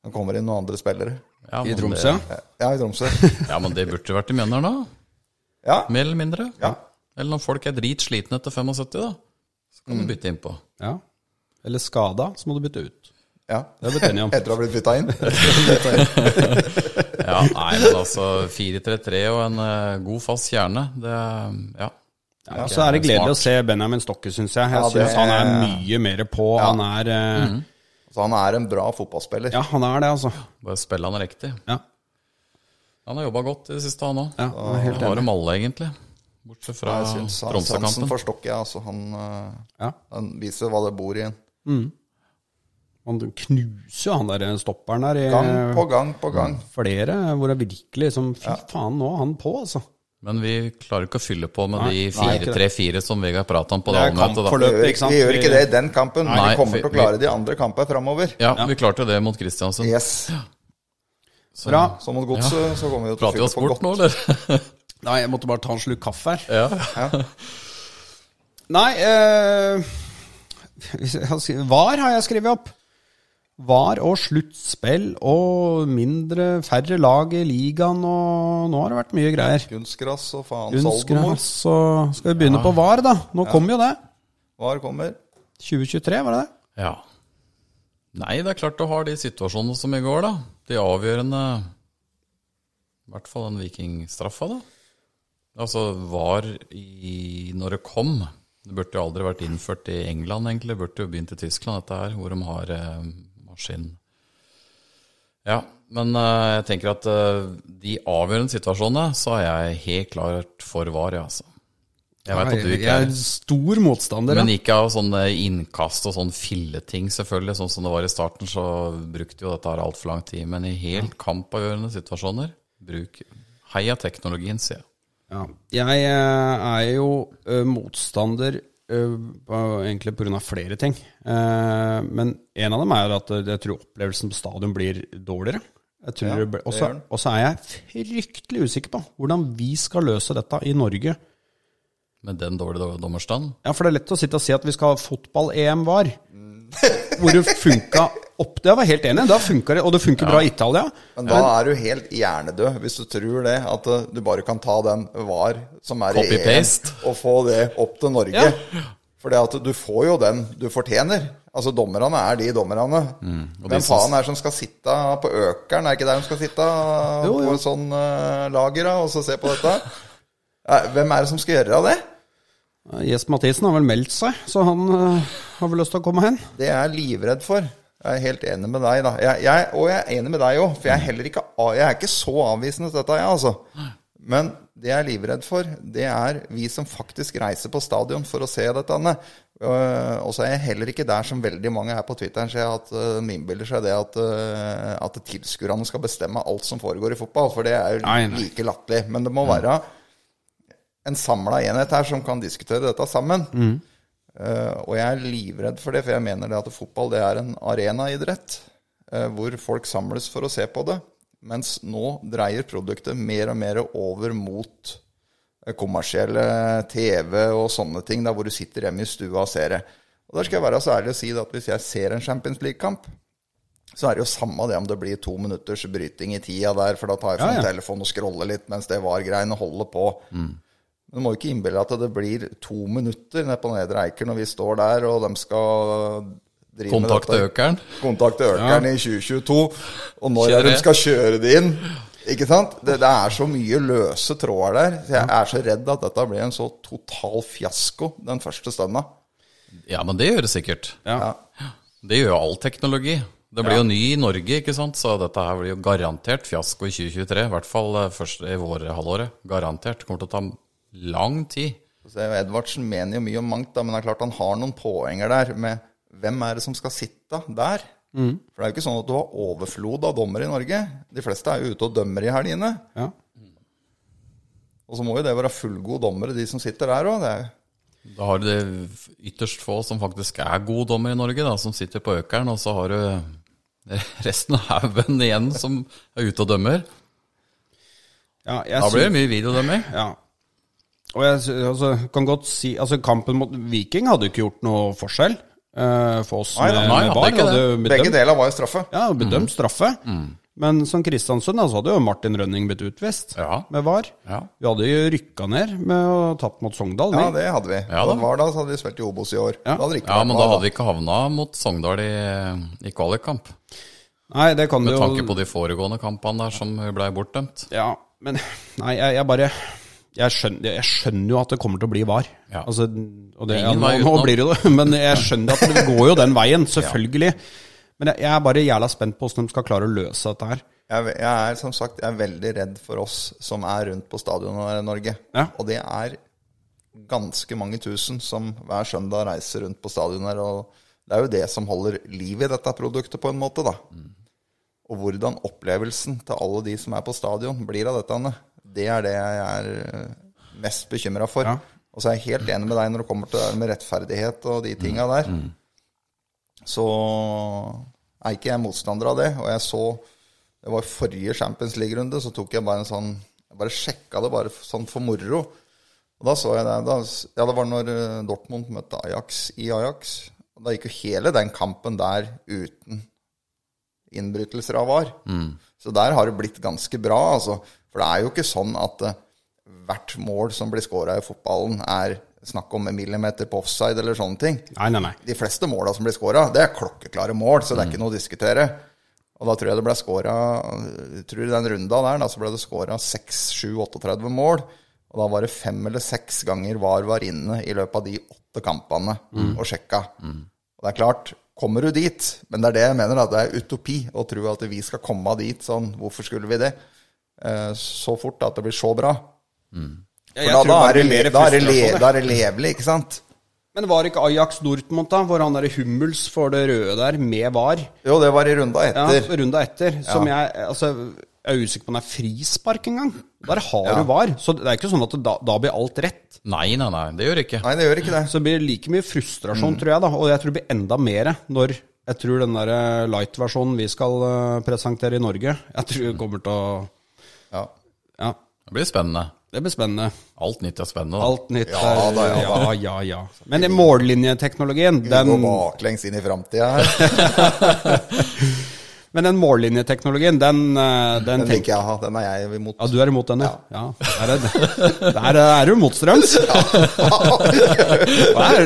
Speaker 4: det kommer inn noen andre spillere.
Speaker 2: Ja,
Speaker 3: i
Speaker 2: men
Speaker 3: Tromsø.
Speaker 2: det-
Speaker 4: Ja, i Tromsø.
Speaker 2: Ja, men det burde vært i Mjøndalen, da.
Speaker 4: Ja,
Speaker 2: Mer eller mindre.
Speaker 4: Ja.
Speaker 2: Eller når folk er dritslitne etter 75, da. Så
Speaker 3: Mm.
Speaker 2: kan du bytte innpå.
Speaker 3: Ja. Eller skada, så må du bytte ut.
Speaker 4: ja.
Speaker 3: Det har vi blitt enige om.
Speaker 4: Etter å ha blitt bytta inn.
Speaker 2: Ja, nei, men altså 4-3-3 og en eh, god, fast kjerne, det Ja.
Speaker 3: Ja, så er det gledelig å se Benjamin Stokke, syns jeg. Jeg
Speaker 4: Ja, det-
Speaker 3: synes han er mye mer på. Han er eh,
Speaker 4: Så han er en bra fotballspiller.
Speaker 3: Ja, han er det, altså.
Speaker 2: Bare spille han riktig.
Speaker 3: Ja,
Speaker 2: Han har jobba godt i det siste, han òg.
Speaker 3: ja jeg er helt
Speaker 2: Det
Speaker 3: enig.
Speaker 2: var dem alle, egentlig. Bortsett fra
Speaker 4: Jeg syns Sansen
Speaker 2: Tromsø-kampen.
Speaker 4: for Stokke, altså, han, eh,
Speaker 3: Ja.
Speaker 4: han viser hva det bor i. en.
Speaker 3: Han knuser jo han der eh, stopperen der i
Speaker 4: Gang på gang på gang.
Speaker 3: flere hvor jeg virkelig liksom Fy faen, nå er han på, altså.
Speaker 2: Men vi klarer ikke å fylle på med
Speaker 3: nei,
Speaker 2: de
Speaker 3: ikke
Speaker 2: 4-3-4 som Vegard prata om på
Speaker 3: Det
Speaker 2: det
Speaker 3: er
Speaker 2: allmøtet, da.
Speaker 3: kampforløp. Løpet,
Speaker 4: Vi gjør-
Speaker 3: ikke sant?
Speaker 4: Vi gjør ikke
Speaker 3: Vi-
Speaker 4: det i den kampen, men
Speaker 2: Nei,
Speaker 4: vi kommer
Speaker 2: vi-
Speaker 4: til å klare de andre kampene framover.
Speaker 2: Ja, vi klarte det mot Kristiansund.
Speaker 4: Yes.
Speaker 2: Så
Speaker 3: Bra.
Speaker 4: Så mot godset, så kommer vi jo til
Speaker 2: prater
Speaker 4: å
Speaker 2: vi
Speaker 4: fylle
Speaker 2: oss bort
Speaker 4: på godt.
Speaker 2: nå, eller?
Speaker 3: Nei, jeg måtte bare ta en slurk kaffe her.
Speaker 2: ja.
Speaker 3: Nei eh, jeg har skrevet- Var har jeg skrevet opp. Var og sluttspill og mindre, færre lag i ligaen og Nå har det vært mye greier.
Speaker 4: Kunstgras og faen Saldomor.
Speaker 3: Kunstgras og Skal vi begynne på VAR, da? Nå kommer jo det.
Speaker 4: Var kommer.
Speaker 3: 2023, var det det?
Speaker 2: ja. Nei, det er klart du har de situasjonene som i går, da. De avgjørende I hvert fall den vikingstraffa, da. Altså var i Når det kom. Det burde jo aldri vært innført i England, egentlig. Det burde jo begynt i Tyskland, dette her, hvor de har eh, maskin... Ja, Men eh, jeg tenker at eh, de avgjørende situasjonene, så er jeg helt klart for var, ja, altså. Jeg veit at du ikke
Speaker 3: jeg
Speaker 2: er
Speaker 3: er stor motstander.
Speaker 2: Men
Speaker 3: ja.
Speaker 2: ikke av sånne innkast og sånn filleting, selvfølgelig. Sånn som det var i starten, så brukte jo dette her altfor lang tid. Men i helt kampavgjørende situasjoner, bruk heia teknologien, sier jeg.
Speaker 3: Ja. Jeg eh, er jo eh, motstander eh, på, egentlig pga. flere ting. Eh, men en av dem er jo at eh, jeg tror opplevelsen på stadion blir dårligere. Jeg tror
Speaker 4: Ja,
Speaker 3: det blir-
Speaker 4: det
Speaker 3: også-
Speaker 4: gjør den.
Speaker 3: Og så er jeg fryktelig usikker på hvordan vi skal løse dette i Norge.
Speaker 2: Med den dårlige dommerstanden.
Speaker 3: Ja, for det er lett å sitte og si at vi skal ha fotball-EM var.
Speaker 4: Mm.
Speaker 3: Hvor det funka opp Det var jeg helt enig i. Da funka det, og det funker bra i Italia.
Speaker 4: Men da er du helt hjernedød hvis du tror det, at eh, du bare kan ta den var som er i EM,
Speaker 2: Copy-paste.
Speaker 4: og få det opp til Norge.
Speaker 3: Ja.
Speaker 4: For at du får jo den du fortjener. Altså, dommerne er de dommerne.
Speaker 2: Mm. og de
Speaker 4: Hvem
Speaker 2: som-
Speaker 4: faen er det som skal sitte på Økeren? Er det ikke der de skal sitte
Speaker 3: Jo, jo.
Speaker 4: på en sånn eh, lager da, og så se på dette? Eh, Hvem er det som skal gjøre av det?
Speaker 3: Eh, Jesper Mathisen har vel meldt seg, så han eh, har vel lyst til å komme hen.
Speaker 4: Det jeg er livredd for. Jeg er helt enig med deg, da. Jeg, jeg, og jeg er enig med deg òg, for jeg er heller ikke, a- jeg er ikke så avvisende til dette, jeg, altså. Men det jeg er livredd for, det er vi som faktisk reiser på stadion for å se dette. Anne. Øh, og så er jeg heller ikke der som veldig mange her på Twitteren ser at øh, de innbiller seg det at, øh, at tilskuerne skal bestemme alt som foregår i fotball, for det er jo
Speaker 3: Nei, Mm. nei.
Speaker 4: like latterlig. Men det må være en samla enhet her som kan diskutere dette sammen.
Speaker 3: Mm.
Speaker 4: Eh, og jeg er livredd for det, for jeg mener det at fotball det er en arenaidrett eh, hvor folk samles for å se på det. Mens nå dreier produktet mer og mer over mot eh, kommersielle TV og sånne ting, der hvor du sitter hjemme i stua og ser det. Og der skal jeg være så ærlig og si det at hvis jeg ser en Champions League-kamp, så er det jo samme det om det blir to minutters bryting i tida der, for da tar jeg
Speaker 3: Ja,
Speaker 4: fram
Speaker 3: ja.
Speaker 4: telefonen og scroller litt mens det var greiene holder på. Men du må jo ikke innbille deg at det blir to minutter nede på Nedre Eiker når vi står der, og de skal drive
Speaker 2: Kontakte
Speaker 4: med dette.
Speaker 2: økeren.
Speaker 4: Kontakte Økeren i 2022. Og når
Speaker 2: Kjøre
Speaker 4: er
Speaker 2: det.
Speaker 4: det de skal kjøre det inn. Ikke sant? Det, det er så mye løse tråder der. Så jeg er så redd at dette blir en så total fiasko den første stunda.
Speaker 2: Ja, men det gjør det sikkert.
Speaker 4: Ja.
Speaker 2: Det gjør jo all teknologi. Det blir jo ny i Norge, ikke sant? så dette her blir jo garantert fiasko i 2023. I hvert fall eh, først i vårhalvåret. Garantert. Det kommer til å ta lang tid.
Speaker 4: Så er jo Edvardsen mener jo mye om mangt, da, men det er klart han har noen poenger der med hvem er det som skal sitte der? For det er jo ikke sånn at du har overflod av dommere i Norge. De fleste er jo ute og dømmer i helgene.
Speaker 3: Ja.
Speaker 4: Og så må jo det være fullgode dommere, de som sitter der òg.
Speaker 2: Da har du det ytterst få som faktisk er gode dommer i Norge, da, som sitter på økeren, og så har du resten av haugen igjen som er ute og dømmer.
Speaker 3: Ja, jeg
Speaker 2: Da blir
Speaker 3: sy-
Speaker 2: det mye videodømming.
Speaker 3: Ja. Og jeg sy- altså, kan godt si Altså, kampen mot Viking hadde jo ikke gjort noe forskjell eh, for oss
Speaker 4: Nei,
Speaker 3: med,
Speaker 4: nei,
Speaker 2: nei,
Speaker 3: med
Speaker 2: hadde ikke
Speaker 3: VAR. Hadde
Speaker 2: det. Mm.
Speaker 3: jo
Speaker 4: Begge
Speaker 3: bedømt,
Speaker 4: deler var jo straffe.
Speaker 3: ja, bedømt straffe. Men som Kristiansund da, så hadde jo Martin Rønning blitt utvist
Speaker 2: Ja.
Speaker 3: med VAR.
Speaker 2: Ja.
Speaker 3: Vi hadde jo rykka ned med å tapt mot Sogndal.
Speaker 4: Ja,
Speaker 3: vi.
Speaker 4: det hadde vi.
Speaker 2: Ja, da.
Speaker 4: det var da så hadde vi spilt i Obos i år.
Speaker 3: Ja.
Speaker 4: Da hadde det ikke
Speaker 2: Ja, men da
Speaker 4: VAR,
Speaker 2: hadde vi ikke havna mot Sogndal i, i kvalikkamp.
Speaker 3: Nei, det kan du
Speaker 2: Med
Speaker 3: jo
Speaker 2: tanke på de foregående kampene der som blei bortdømt.
Speaker 3: Ja, men Nei, jeg, jeg bare jeg skjønner, jeg skjønner jo at det kommer til å bli var.
Speaker 2: Ja.
Speaker 3: Altså, og det,
Speaker 2: Ingen
Speaker 3: ja, nå,
Speaker 2: vei
Speaker 3: nå
Speaker 2: utenom.
Speaker 3: blir det jo det, men jeg skjønner at det går jo den veien, selvfølgelig. Men jeg, jeg er bare jævla spent på hvordan de skal klare å løse dette her.
Speaker 4: Jeg, jeg er som sagt jeg er veldig redd for oss som er rundt på stadionet her i Norge.
Speaker 3: Ja.
Speaker 4: Og det er ganske mange tusen som hver søndag reiser rundt på stadionet her. Og det er jo det som holder liv i dette produktet, på en måte, da. Og hvordan opplevelsen til alle de som er på stadion, blir av dette, Anne. Det er det jeg er eh, mest bekymra for.
Speaker 3: Ja.
Speaker 4: Og så er jeg helt enig med deg når det kommer til det her med rettferdighet og de tinga der så er ikke jeg motstander av det. Og jeg så Det var forrige Champions League-runde, så tok jeg bare en sånn Jeg bare sjekka det bare f- sånn for moro. Og da så jeg det da, s- Ja, det var når eh, Dortmund møtte Ajax i Ajax. Og da gikk jo hele den kampen der uten innbrytelser av VAR. Så der har det blitt ganske bra, altså. For det er jo ikke sånn at eh, hvert mål som blir scora i fotballen, er snakk om en millimeter på offside eller sånne ting
Speaker 3: Nei, nei, nei.
Speaker 4: de fleste måla som blir skåra, det er klokkeklare mål, så det er ikke noe å diskutere. Og da tror jeg det ble skåra Tror i den runda der, da, så ble det skåra 6-7-38 mål. Og da var det fem eller seks ganger VAR var inne i løpet av de åtte kampene og sjekka. Og det er klart, kommer du dit. Men det er det jeg mener, at det er utopi å tro at vi skal komme dit. Sånn, hvorfor skulle vi det? Eh, så fort at det blir så bra.
Speaker 3: Ja,
Speaker 4: For da, da, er det, le- da, er det le,
Speaker 3: frustrasjon, jeg.
Speaker 4: da er det levelig, ikke sant?
Speaker 3: Men var ikke Ajax Dortmund, da, hvor han der Hummels får det røde der, med var,
Speaker 4: Jo, det var i runda
Speaker 3: ja,
Speaker 4: etter.
Speaker 3: runda etter, som jeg altså, jeg er usikker på om det er frispark engang. Der har du var. Så det er ikke sånn at da, da blir alt rett.
Speaker 2: Nei, nei, nei, det gjør ikke.
Speaker 4: Nei, det gjør ikke det.
Speaker 3: Så det blir like mye
Speaker 4: Mm.
Speaker 3: frustrasjon, tror jeg, da. Og jeg tror det blir enda mer når jeg tror den der eh, light-versjonen vi skal eh, presentere i Norge, jeg tror det kommer til å
Speaker 4: Ja.
Speaker 3: Ja,
Speaker 2: Det blir spennende.
Speaker 3: det blir spennende.
Speaker 2: Alt nytt er spennende. da.
Speaker 3: Alt nytt
Speaker 4: Ja
Speaker 3: er-
Speaker 4: da, ja
Speaker 3: ja, ja, ja. Men den mållinjeteknologien,
Speaker 4: Vi går
Speaker 3: den
Speaker 4: baklengs inn i framtida her.
Speaker 3: Men den mållinjeteknologien, den, eh, den,
Speaker 4: Den
Speaker 3: tenker
Speaker 4: liker jeg å ha. Den er jeg imot.
Speaker 3: Ja, du er imot den, ja. ja. Er det, der er du motstrøms. Hva er
Speaker 4: Men
Speaker 3: det
Speaker 4: skal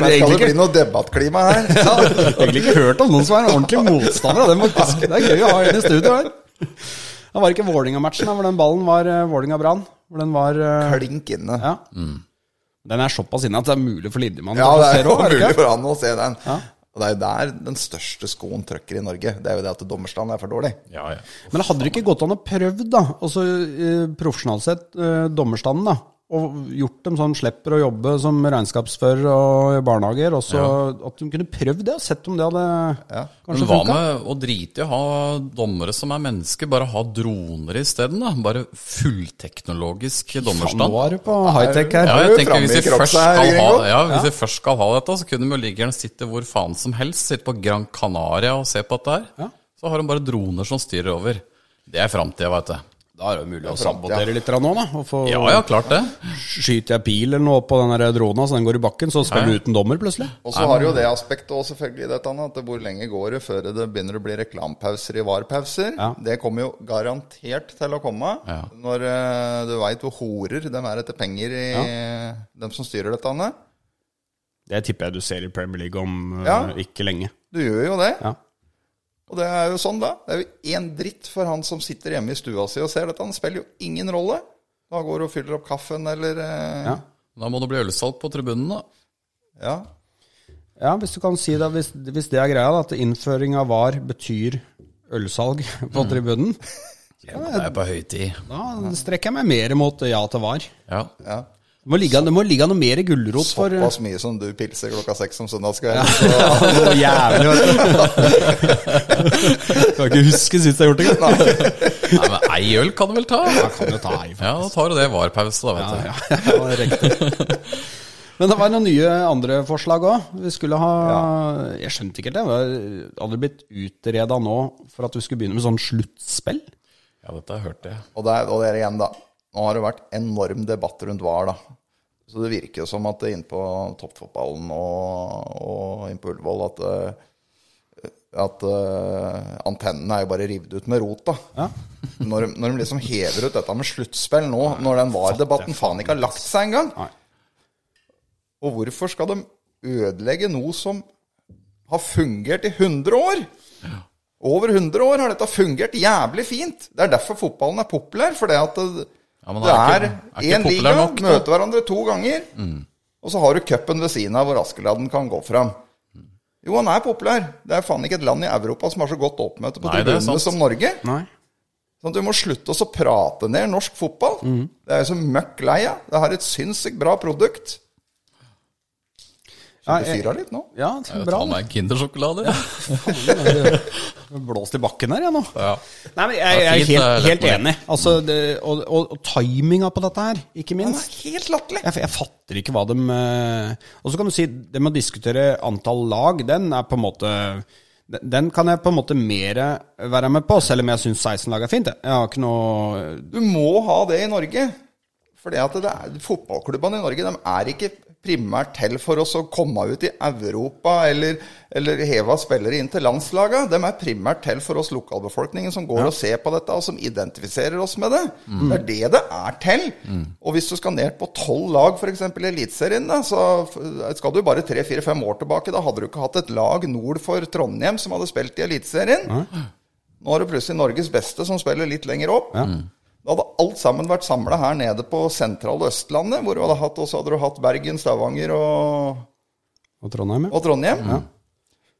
Speaker 4: det
Speaker 3: egentlig
Speaker 4: bli
Speaker 3: ikke?
Speaker 4: noe debattklima her?
Speaker 3: Ja, jeg har egentlig ikke hørt om noen som er ordentlig motstander av det. faktisk. Det er gøy å ha en i studio her. Det var ikke Vålinga-matchen da, hvor den ballen var eh, Vålinga-Brann. Hvor den var eh,
Speaker 4: Klink inne.
Speaker 3: Ja. Den er såpass inne at det er mulig for Lindemannen
Speaker 4: Mm. Ja,
Speaker 3: å
Speaker 4: det
Speaker 3: se
Speaker 4: er jo
Speaker 3: det
Speaker 4: mulig
Speaker 3: ikke?
Speaker 4: for han å se den.
Speaker 3: Ja.
Speaker 4: Og det er jo der den største skoen trøkker i Norge. Det er jo det at dommerstanden er for dårlig.
Speaker 2: Ja, ja.
Speaker 3: Men hadde det ikke gått an å prøve, da, altså eh, profesjonalt sett, eh, dommerstanden, da, og gjort dem sånn slipper å jobbe som regnskapsfører og i barnehager, og så at de kunne prøvd det, og sett om det hadde
Speaker 2: Men
Speaker 3: kanskje
Speaker 2: hva
Speaker 3: funka?
Speaker 2: med å drite i å ha dommere som er mennesker, bare ha droner isteden? da? Bare fullteknologisk
Speaker 3: Nå
Speaker 2: dommerstand?
Speaker 3: er du på high-tech her.
Speaker 2: Ja,
Speaker 4: du
Speaker 2: jeg tenker
Speaker 4: framme
Speaker 2: hvis
Speaker 4: i
Speaker 2: vi først
Speaker 4: Krokstad her,
Speaker 2: skal ha,
Speaker 4: Gringo?
Speaker 2: ja, hvis vi først skal ha dette, så kunne de jo like gjerne sitte hvor faen som helst. Sitte på Gran Canaria og se på dette her. Så har de bare droner som styrer over. Det er framtida, veit du.
Speaker 3: Da er det jo mulig å
Speaker 4: framtida.
Speaker 3: sabotere litt grann nå, da. Og få,
Speaker 2: Ja, ja, klart det.
Speaker 3: Skyter jeg pil eller noe på den der drona, så den går i bakken, så spiller du uten dommer plutselig.
Speaker 4: Og så har du jo det aspektet også, selvfølgelig, i dette, Anna, at hvor lenge går det før det begynner å bli reklamepauser i varpauser?
Speaker 3: Ja.
Speaker 4: Det kommer jo garantert til å komme.
Speaker 2: Ja.
Speaker 4: Når eh, du veit hvor horer de er etter penger i dem som styrer dette. Anna.
Speaker 3: Det tipper jeg du ser i Premier League om eh,
Speaker 4: Ja.
Speaker 3: ikke lenge.
Speaker 4: Du gjør jo det.
Speaker 3: Ja.
Speaker 4: Og det er jo sånn, da. Det er jo én dritt for han som sitter hjemme i stua si og ser dette. Han spiller jo ingen rolle. Da går og fyller opp kaffen, eller eh,
Speaker 3: Ja.
Speaker 2: Da må det bli ølsalg på tribunen, da.
Speaker 4: ja.
Speaker 3: Ja, hvis du kan si det, hvis, hvis det er greia, da, at innføring av VAR betyr ølsalg på tribunen,
Speaker 2: Ja, det er på høytid.
Speaker 3: da strekker jeg meg mer mot eh, ja til VAR.
Speaker 2: Ja.
Speaker 4: ja.
Speaker 3: Det må ligge, det må ligge noe mer gulrot for
Speaker 4: Såpass mye som du pilser klokka seks om søndagskvelden.
Speaker 3: Noe jævlig, vet du. Kan ikke huske sist jeg har gjort det.
Speaker 2: Nei, men ei øl kan du vel ta?
Speaker 3: Jeg kan jo ta ei,
Speaker 2: Ja, da tar du det i varpause, da, vet du.
Speaker 3: Ja, ja, det var riktig. Men det var noen nye andre forslag òg. Vi skulle ha Jeg skjønte ikke helt det. Det var- Hadde det blitt utreda nå for at vi skulle begynne med sånn sluttspill?
Speaker 2: Ja, dette hørte jeg.
Speaker 4: Og der, og der igjen, da. Nå har det vært enorm debatt rundt VAR, da. Så det virker jo som at det er inne på toppfotballen og, og inne på Ullevål at, eh, at eh, antennene er jo bare revet ut med rot, da. Når, de- når de liksom hever ut dette med sluttspill nå, når den VAR-debatten faen ikke har lagt seg engang.
Speaker 3: Nei.
Speaker 4: Og hvorfor skal de ødelegge noe som har fungert i 100 år? Over 100 år har dette fungert jævlig fint. Det er derfor fotballen er populær. Fordi at det,
Speaker 2: Ja, men
Speaker 4: det
Speaker 2: er
Speaker 4: er
Speaker 2: ikke- er ikke
Speaker 4: én
Speaker 2: populær
Speaker 4: liga,
Speaker 2: nok, da.
Speaker 4: møter hverandre to ganger. Og så har du cupen ved siden av hvor Askeladden kan gå fram. Jo, han er populær. Det er faen ikke et land i Europa som har så godt oppmøte på
Speaker 2: Nei, det er sant.
Speaker 4: tribunene som Norge.
Speaker 3: Nei.
Speaker 4: Sånn at Vi må slutte oss å prate ned norsk fotball.
Speaker 2: Mm.
Speaker 4: Det er jo så møkk lei av. Det har et sinnssykt bra produkt.
Speaker 3: Ja,
Speaker 4: Du
Speaker 3: jeg-
Speaker 4: fyrer litt nå.
Speaker 3: Ja, det er
Speaker 2: Ta
Speaker 3: bra.
Speaker 2: meg en Kindersjokolade. Ja.
Speaker 3: Blåst i bakken her, jeg nå.
Speaker 2: Ja.
Speaker 3: Nei, men jeg,
Speaker 2: Det er
Speaker 3: jeg er helt,
Speaker 2: fint, det er lett
Speaker 3: helt enig. Altså, det, og, og, og timinga på dette her, ikke
Speaker 4: Den
Speaker 3: minst.
Speaker 4: er helt latterlig.
Speaker 3: Jeg, jeg fatter ikke hva de eh, Og så kan du si det med å diskutere antall lag, den er på en måte den- Den kan jeg på en måte mer være med på, selv om jeg syns 16 lag er fint. jeg. Jeg har ikke noe
Speaker 4: Du må ha det i Norge. Fordi at det er, fotballklubbene i Norge de er ikke primært til for oss å komme ut i Europa eller, eller heve spillere inn til landslaga. De er primært til for oss lokalbefolkningen som går og ser på dette, og som identifiserer oss med det. Det er det det er til. Og hvis du skal ned på tolv lag, f.eks. i Eliteserien, da, så f- skal du bare tre-fire-fem år tilbake. Da hadde du ikke hatt et lag nord for Trondheim som hadde spilt i Eliteserien. Nå har du plutselig Norges beste som spiller litt lenger opp. Da hadde alt sammen vært samla her nede på sentrale Østlandet, hvor du hadde hatt, og så hadde du hatt Bergen, Stavanger og,
Speaker 3: Og Trondheim, ja.
Speaker 4: og Trondheim.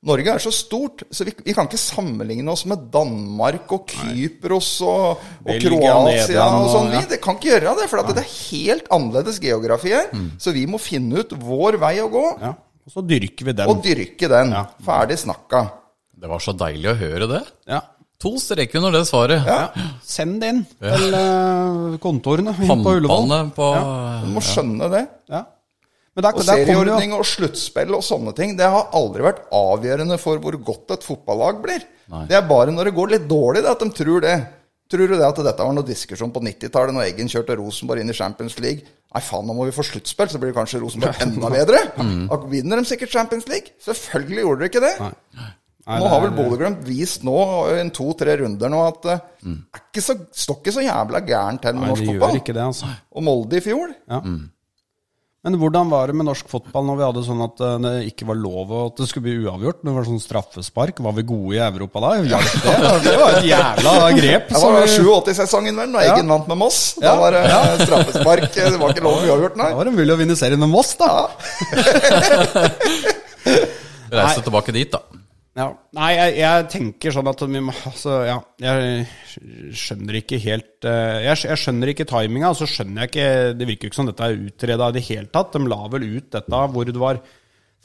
Speaker 4: Norge er så stort, så vi, vi kan ikke sammenligne oss med Danmark og Kypros og, og
Speaker 3: Belgia,
Speaker 4: Kroatia og
Speaker 3: Nederland og-
Speaker 4: sånn. Vi
Speaker 3: ja.
Speaker 4: det kan ikke gjøre det, for at det er helt annerledes geografi her. Så vi må finne ut vår vei å gå,
Speaker 3: Mm. Ja. Og så dyrker vi den.
Speaker 4: og dyrke den. Ferdig snakka.
Speaker 2: Det var så deilig å høre det.
Speaker 3: Ja.
Speaker 2: To streker under det svaret.
Speaker 3: Send det inn til eh, kontorene inn på Ullevål.
Speaker 2: Pampene på
Speaker 4: Du må skjønne det.
Speaker 3: Ja. Men der, der
Speaker 4: Og
Speaker 3: kommer det jo
Speaker 4: serieordning og sluttspill og sånne ting, det har aldri vært avgjørende for hvor godt et fotballag blir. Det er bare når det går litt dårlig, det at de tror det. Tror du det at dette var noe diskusjon på 90-tallet, når Eggen kjørte Rosenborg inn i Champions League? Nei, faen, nå må vi få sluttspill, så blir kanskje Rosenborg enda bedre. Da vinner de sikkert Champions League. Selvfølgelig gjorde de ikke det.
Speaker 3: Mm. Nei,
Speaker 4: nå
Speaker 3: det
Speaker 4: har
Speaker 3: er-
Speaker 4: vel Bodø-Glimt vist nå, i en to-tre runder nå, at det er ikke så, står ikke så jævla gærent til med
Speaker 3: Mm. Nei,
Speaker 4: norsk
Speaker 3: det gjør
Speaker 4: fotball.
Speaker 3: ikke det, altså.
Speaker 4: Og Molde i fjor
Speaker 3: Ja. Men hvordan var det med norsk fotball når vi hadde sånn at eh, det ikke var lov og at det skulle bli uavgjort? Men det var sånn straffespark. Var vi gode i Europa da? Hjalp det? Det var et jævla grep.
Speaker 4: Det
Speaker 3: som
Speaker 4: var
Speaker 3: vi-
Speaker 4: 87-sesongen, vel, da
Speaker 3: Ja.
Speaker 4: Eggen vant med Moss. Da var det eh, straffespark. Det var ikke lov å uavgjort, nei.
Speaker 3: Da var det mulig å vinne serien med Moss, da.
Speaker 2: Reise tilbake dit, da.
Speaker 3: Ja. Nei, jeg, jeg tenker sånn at vi må altså, ja, Jeg skjønner ikke helt eh, Jeg, skj- jeg skjønner ikke timinga, og så skjønner jeg ikke Det virker jo ikke som dette er utreda i det hele tatt. De la vel ut dette hvor det var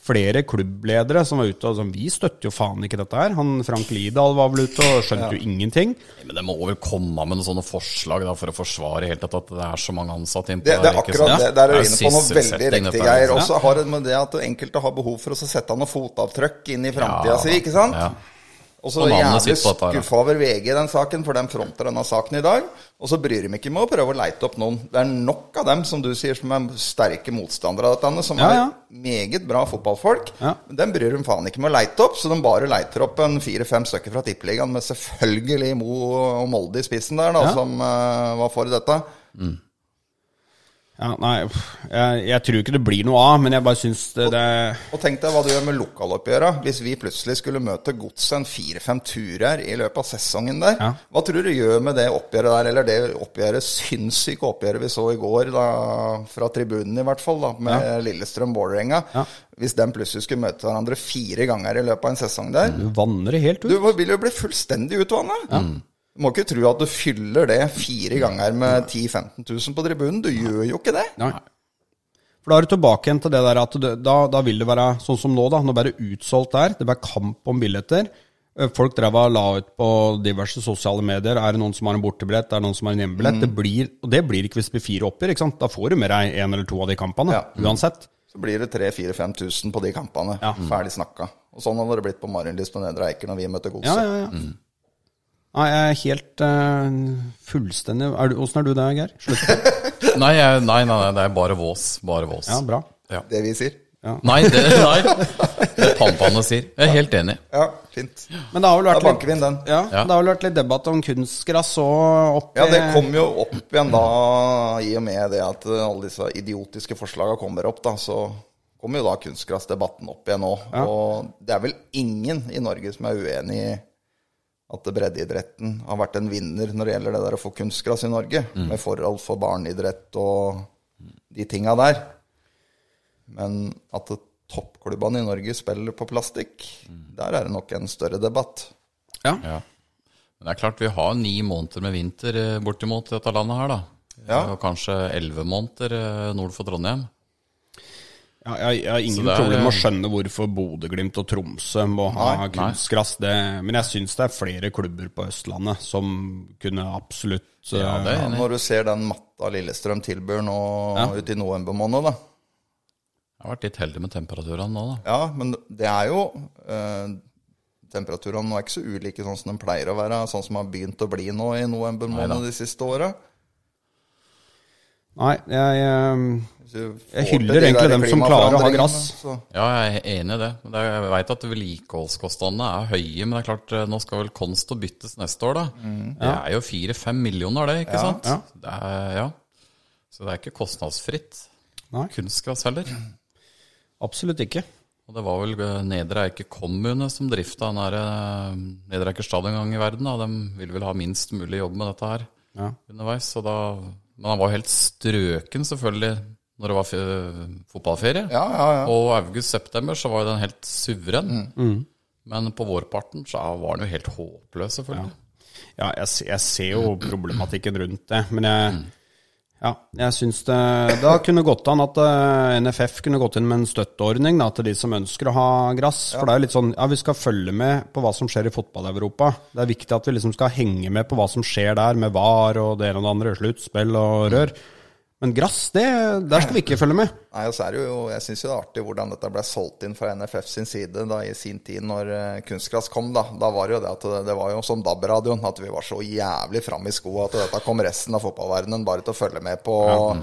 Speaker 3: flere klubbledere som var ute og sånn Vi støtter jo faen ikke dette her. Han Frank Lidahl var vel ute og skjønte jo ingenting.
Speaker 2: Nei, Men det må vel komme med noen sånne forslag da, for å forsvare helt at at det er så mange ansatte innpå
Speaker 4: Det, det er
Speaker 2: ikke sånn. sant?
Speaker 4: akkurat det. Der er
Speaker 2: Det
Speaker 4: du inne på noe veldig
Speaker 2: sysselsetting,
Speaker 4: riktig,
Speaker 2: dette her,
Speaker 4: Geir.
Speaker 2: ikke
Speaker 4: Og
Speaker 2: sant?
Speaker 4: så har det med det at enkelte har behov for å så sette noe fotavtrykk inn i framtida
Speaker 2: Ja,
Speaker 4: si, ikke sant?
Speaker 2: ja.
Speaker 4: Og så
Speaker 2: Og navnet
Speaker 4: jævlig
Speaker 2: sitt på dette her, ja.
Speaker 4: skuffa over VG i den saken, for de fronter denne saken i dag. Og så bryr de ikke med å prøve å leite opp noen. Det er nok av dem, som du sier, som er sterke motstandere av dette, som
Speaker 3: Ja,
Speaker 4: er
Speaker 3: ja.
Speaker 4: meget bra fotballfolk.
Speaker 3: Ja.
Speaker 4: Men dem bryr de faen ikke med å leite opp, så de bare leiter opp en fire-fem stykker fra Tippeligaen med selvfølgelig Mo og Molde i spissen der, da,
Speaker 3: Ja.
Speaker 4: som eh, var for dette.
Speaker 3: Ja, nei, uff, jeg, jeg tror ikke det blir noe av, men jeg bare syns det, det
Speaker 4: Og tenk deg hva du gjør med lokaloppgjøra. Hvis vi plutselig skulle møte godset en fire-fem turer i løpet av sesongen der,
Speaker 3: Ja.
Speaker 4: hva tror du gjør med det oppgjøret der, eller det oppgjøret, sinnssyke oppgjøret vi så i går, da, fra tribunen i hvert fall, da, med Lillestrøm-Vålerenga?
Speaker 3: Ja.
Speaker 4: Hvis de plutselig skulle møte hverandre fire ganger i løpet av en sesong der,
Speaker 3: Du vanner det helt ut.
Speaker 4: du vil jo bli fullstendig utvanna. Du må ikke tro at du fyller det fire ganger med 10 000-15 000 på tribunen. Du gjør jo ikke det.
Speaker 3: Nei. For da er du tilbake igjen til det der at det, da, da vil det være sånn som nå, da. Nå ble det utsolgt der. Det ble kamp om billetter. Eh, Folk drev og la ut på diverse sosiale medier. Er det noen som har en bortebillett? Er det noen som har en hjemmebillett?
Speaker 4: Mm.
Speaker 3: Det blir, og det blir ikke hvis det blir fire oppgjør. ikke sant? Da får du med deg en eller to av de kampene. Mm.
Speaker 4: Ja.
Speaker 3: Uansett.
Speaker 4: Så blir det 3-4-5 tusen på de kampene. Mm. Ferdig snakka. Og sånn hadde det blitt på Marienlyst på Nedre Eiker når vi møtte Godset.
Speaker 3: Ja, ja, ja.
Speaker 4: Mm.
Speaker 3: Nei, jeg er helt eh, fullstendig er du, Åssen er du der, Geir? Slutt.
Speaker 2: Nei, jeg, nei, nei, nei, det er bare vås. Bare vås.
Speaker 3: Ja, bra.
Speaker 4: Det vi sier.
Speaker 2: Nei, det, nei, det pampene sier. Jeg er helt enig.
Speaker 4: Ja, fint.
Speaker 3: Men det har vel
Speaker 4: Da
Speaker 3: vært
Speaker 4: banker vi inn den.
Speaker 3: Ja,
Speaker 2: Ja.
Speaker 3: Det har vel vært litt debatt om kunstgress og opp
Speaker 4: Ja, det
Speaker 3: i-
Speaker 4: kom jo opp igjen da, i og med det at eh, alle disse idiotiske forslaga kommer opp, da. Så kommer jo da kunstgressdebatten opp igjen nå. Og det er vel ingen i Norge som er uenig i at breddeidretten har vært en vinner når det gjelder det der å få kunstgress i Norge, med forhold for barneidrett og de tinga der. Men at toppklubbene i Norge spiller på plastikk, der er det nok en større debatt.
Speaker 3: Ja.
Speaker 2: Ja. Men det er klart, vi har ni måneder med vinter eh, bortimot i dette landet her, da.
Speaker 4: Ja.
Speaker 2: Og kanskje elleve måneder eh, nord for Trondheim.
Speaker 3: Ja, jeg, jeg har ingen
Speaker 2: det er- eh,
Speaker 3: problemer med å skjønne hvorfor Bodø-Glimt og Tromsø må ha kunstgress. Det, men jeg syns det er flere klubber på Østlandet som kunne absolutt
Speaker 2: Ja, det er
Speaker 3: eh,
Speaker 2: jeg
Speaker 4: Ja,
Speaker 2: enig. i.
Speaker 4: når du ser den matta Lillestrøm tilbyr nå ute i november måned, da.
Speaker 2: Jeg har vært litt heldig med temperaturene nå, da.
Speaker 4: Ja, men det er jo eh, Temperaturene nå er ikke så ulike sånn som de pleier å være, sånn som de har begynt å bli nå i november måned
Speaker 2: Neida.
Speaker 4: de siste åra.
Speaker 3: Nei, jeg, eh, Jeg hyller egentlig dem som klarer å ha gress.
Speaker 2: Ja, jeg er enig i det. Men det er- Jeg veit at vedlikeholdskostnadene er høye, men det er klart, eh, nå skal vel Konst og byttes neste år, da. Det er jo fire-fem millioner, det, ikke sant? Det er, ja. Så det er ikke kostnadsfritt.
Speaker 3: Nei.
Speaker 2: Kunstgras heller.
Speaker 3: absolutt ikke.
Speaker 2: Og det var vel eh, Nedre Eiker kommune som drifta den der eh, Nedre Eiker stadion en gang i verden. Da. De ville vel ha minst mulig jobb med dette her
Speaker 3: Ja.
Speaker 2: underveis. Så da, men han var jo helt strøken, selvfølgelig, når det var fe- fotballferie.
Speaker 4: Ja, Mm. ja, ja.
Speaker 3: Mm.
Speaker 2: Og august-september så var jo den helt suveren. Men på vårparten så var han jo helt håpløs, selvfølgelig.
Speaker 3: Ja, jeg, se- jeg ser jo problematikken rundt det, men jeg ja, jeg syns det Da kunne gått an at eh, NFF kunne gått inn med en støtteordning da, til de som ønsker å ha gress. For det er jo litt sånn Ja, vi skal følge med på hva som skjer i fotball-Europa. Det er viktig at vi liksom skal henge med på hva som skjer der, med VAR og det ene og det andre, sluttspill og rør. Men gress, det, der skal vi ikke følge med.
Speaker 4: Nei, og så er det jo, Jeg syns det er artig hvordan dette ble solgt inn fra NFF sin side da i sin tid, når eh, kunstgress kom. Da Da var det jo det at det, det var jo som DAB-radioen, at vi var så jævlig framme i skoa at dette kom resten av fotballverdenen bare til å følge med på. Og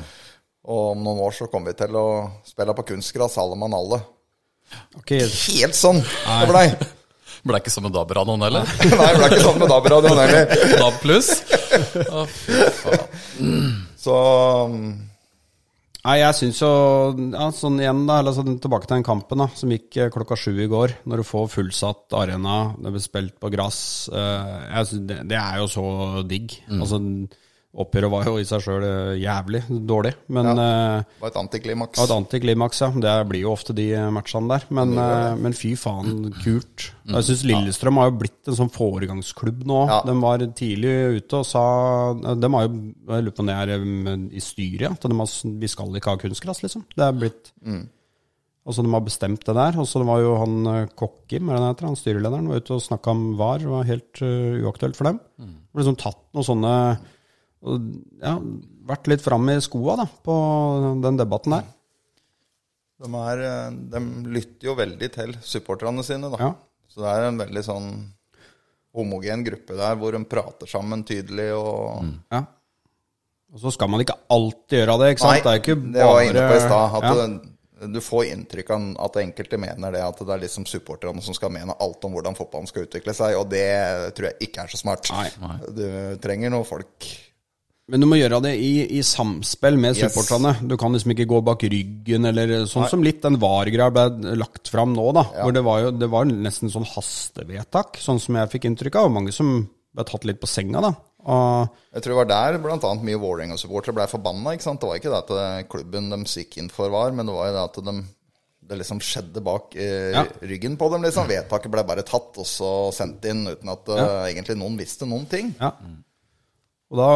Speaker 4: om noen år så kommer vi til å spille på kunstgress, alle mann alle.
Speaker 3: Ok,
Speaker 4: Helt sånn det blei!
Speaker 2: Ble ikke som en DAB-radioen heller.
Speaker 4: Nei, det ble ikke sånn med DAB-radioen heller.
Speaker 2: DAB pluss. Å, fy faen.
Speaker 4: Så mm,
Speaker 3: Nei, jeg syns jo ja, Sånn igjen, da. Eller sånn tilbake til den kampen da som gikk eh, klokka sju i går. Når du får fullsatt arena, det blir spilt på gress. eh, jeg synes det, det er jo så digg. Altså, oppgjøret var jo i seg sjøl jævlig dårlig, men eh,
Speaker 4: det var et antiklimaks.
Speaker 3: det var et antiklimaks, ja. Det blir jo ofte de matchene der. Men, eh, men fy faen,
Speaker 4: Mm.
Speaker 3: kult. Jeg syns Lillestrøm har jo blitt en sånn foregangsklubb nå.
Speaker 4: Ja.
Speaker 3: De var tidlig ute og sa eh, De har jo Jeg lurer på om det er eh, i styret, ja, at de har, s- vi skal ikke ha kunstgress, liksom. Det er blitt
Speaker 4: Mm.
Speaker 3: Altså, de har bestemt det der. Og så det var jo han eh, Kokkim, er det han heter, han styrelederen, var ute og snakka om VAR. Det var helt eh, uaktuelt for dem.
Speaker 4: Mm.
Speaker 3: Det ble liksom tatt noen sånne og, Ja, vært litt fram i skoa, da, på den debatten der.
Speaker 4: De, er, eh, de lytter jo veldig til supporterne sine, da.
Speaker 3: Ja.
Speaker 4: Så det er en veldig sånn homogen gruppe der, hvor de prater sammen tydelig og
Speaker 3: Ja. Og så skal man ikke alltid gjøre det, ikke sant? det er ikke bare
Speaker 4: det var jeg inne på i stad. At
Speaker 3: ja.
Speaker 4: det- du får inntrykk av at enkelte mener det, at det er liksom supporterne som skal mene alt om hvordan fotballen skal utvikle seg, og det tror jeg ikke er så smart.
Speaker 3: Nei.
Speaker 4: Du trenger noen folk
Speaker 3: Men du må gjøre det i, i samspill med
Speaker 4: Yes.
Speaker 3: supporterne. Du kan liksom ikke gå bak ryggen, eller sånn som litt den VAR-greia ble lagt fram nå, da. Hvor det var jo det var nesten sånn hastevedtak, sånn som jeg fikk inntrykk av. Og mange som ble tatt litt på senga, da. Og,
Speaker 4: Jeg tror det var der blant annet mye Vålerenga-supportere ble forbanna. ikke sant? Det var ikke det at eh, klubben de gikk inn for var, men det var jo det at de, det liksom skjedde bak eh,
Speaker 3: Ja.
Speaker 4: ryggen på dem. liksom. Vedtaket ble bare tatt og så sendt inn uten at eh, egentlig noen visste noen ting.
Speaker 3: ja. Og da,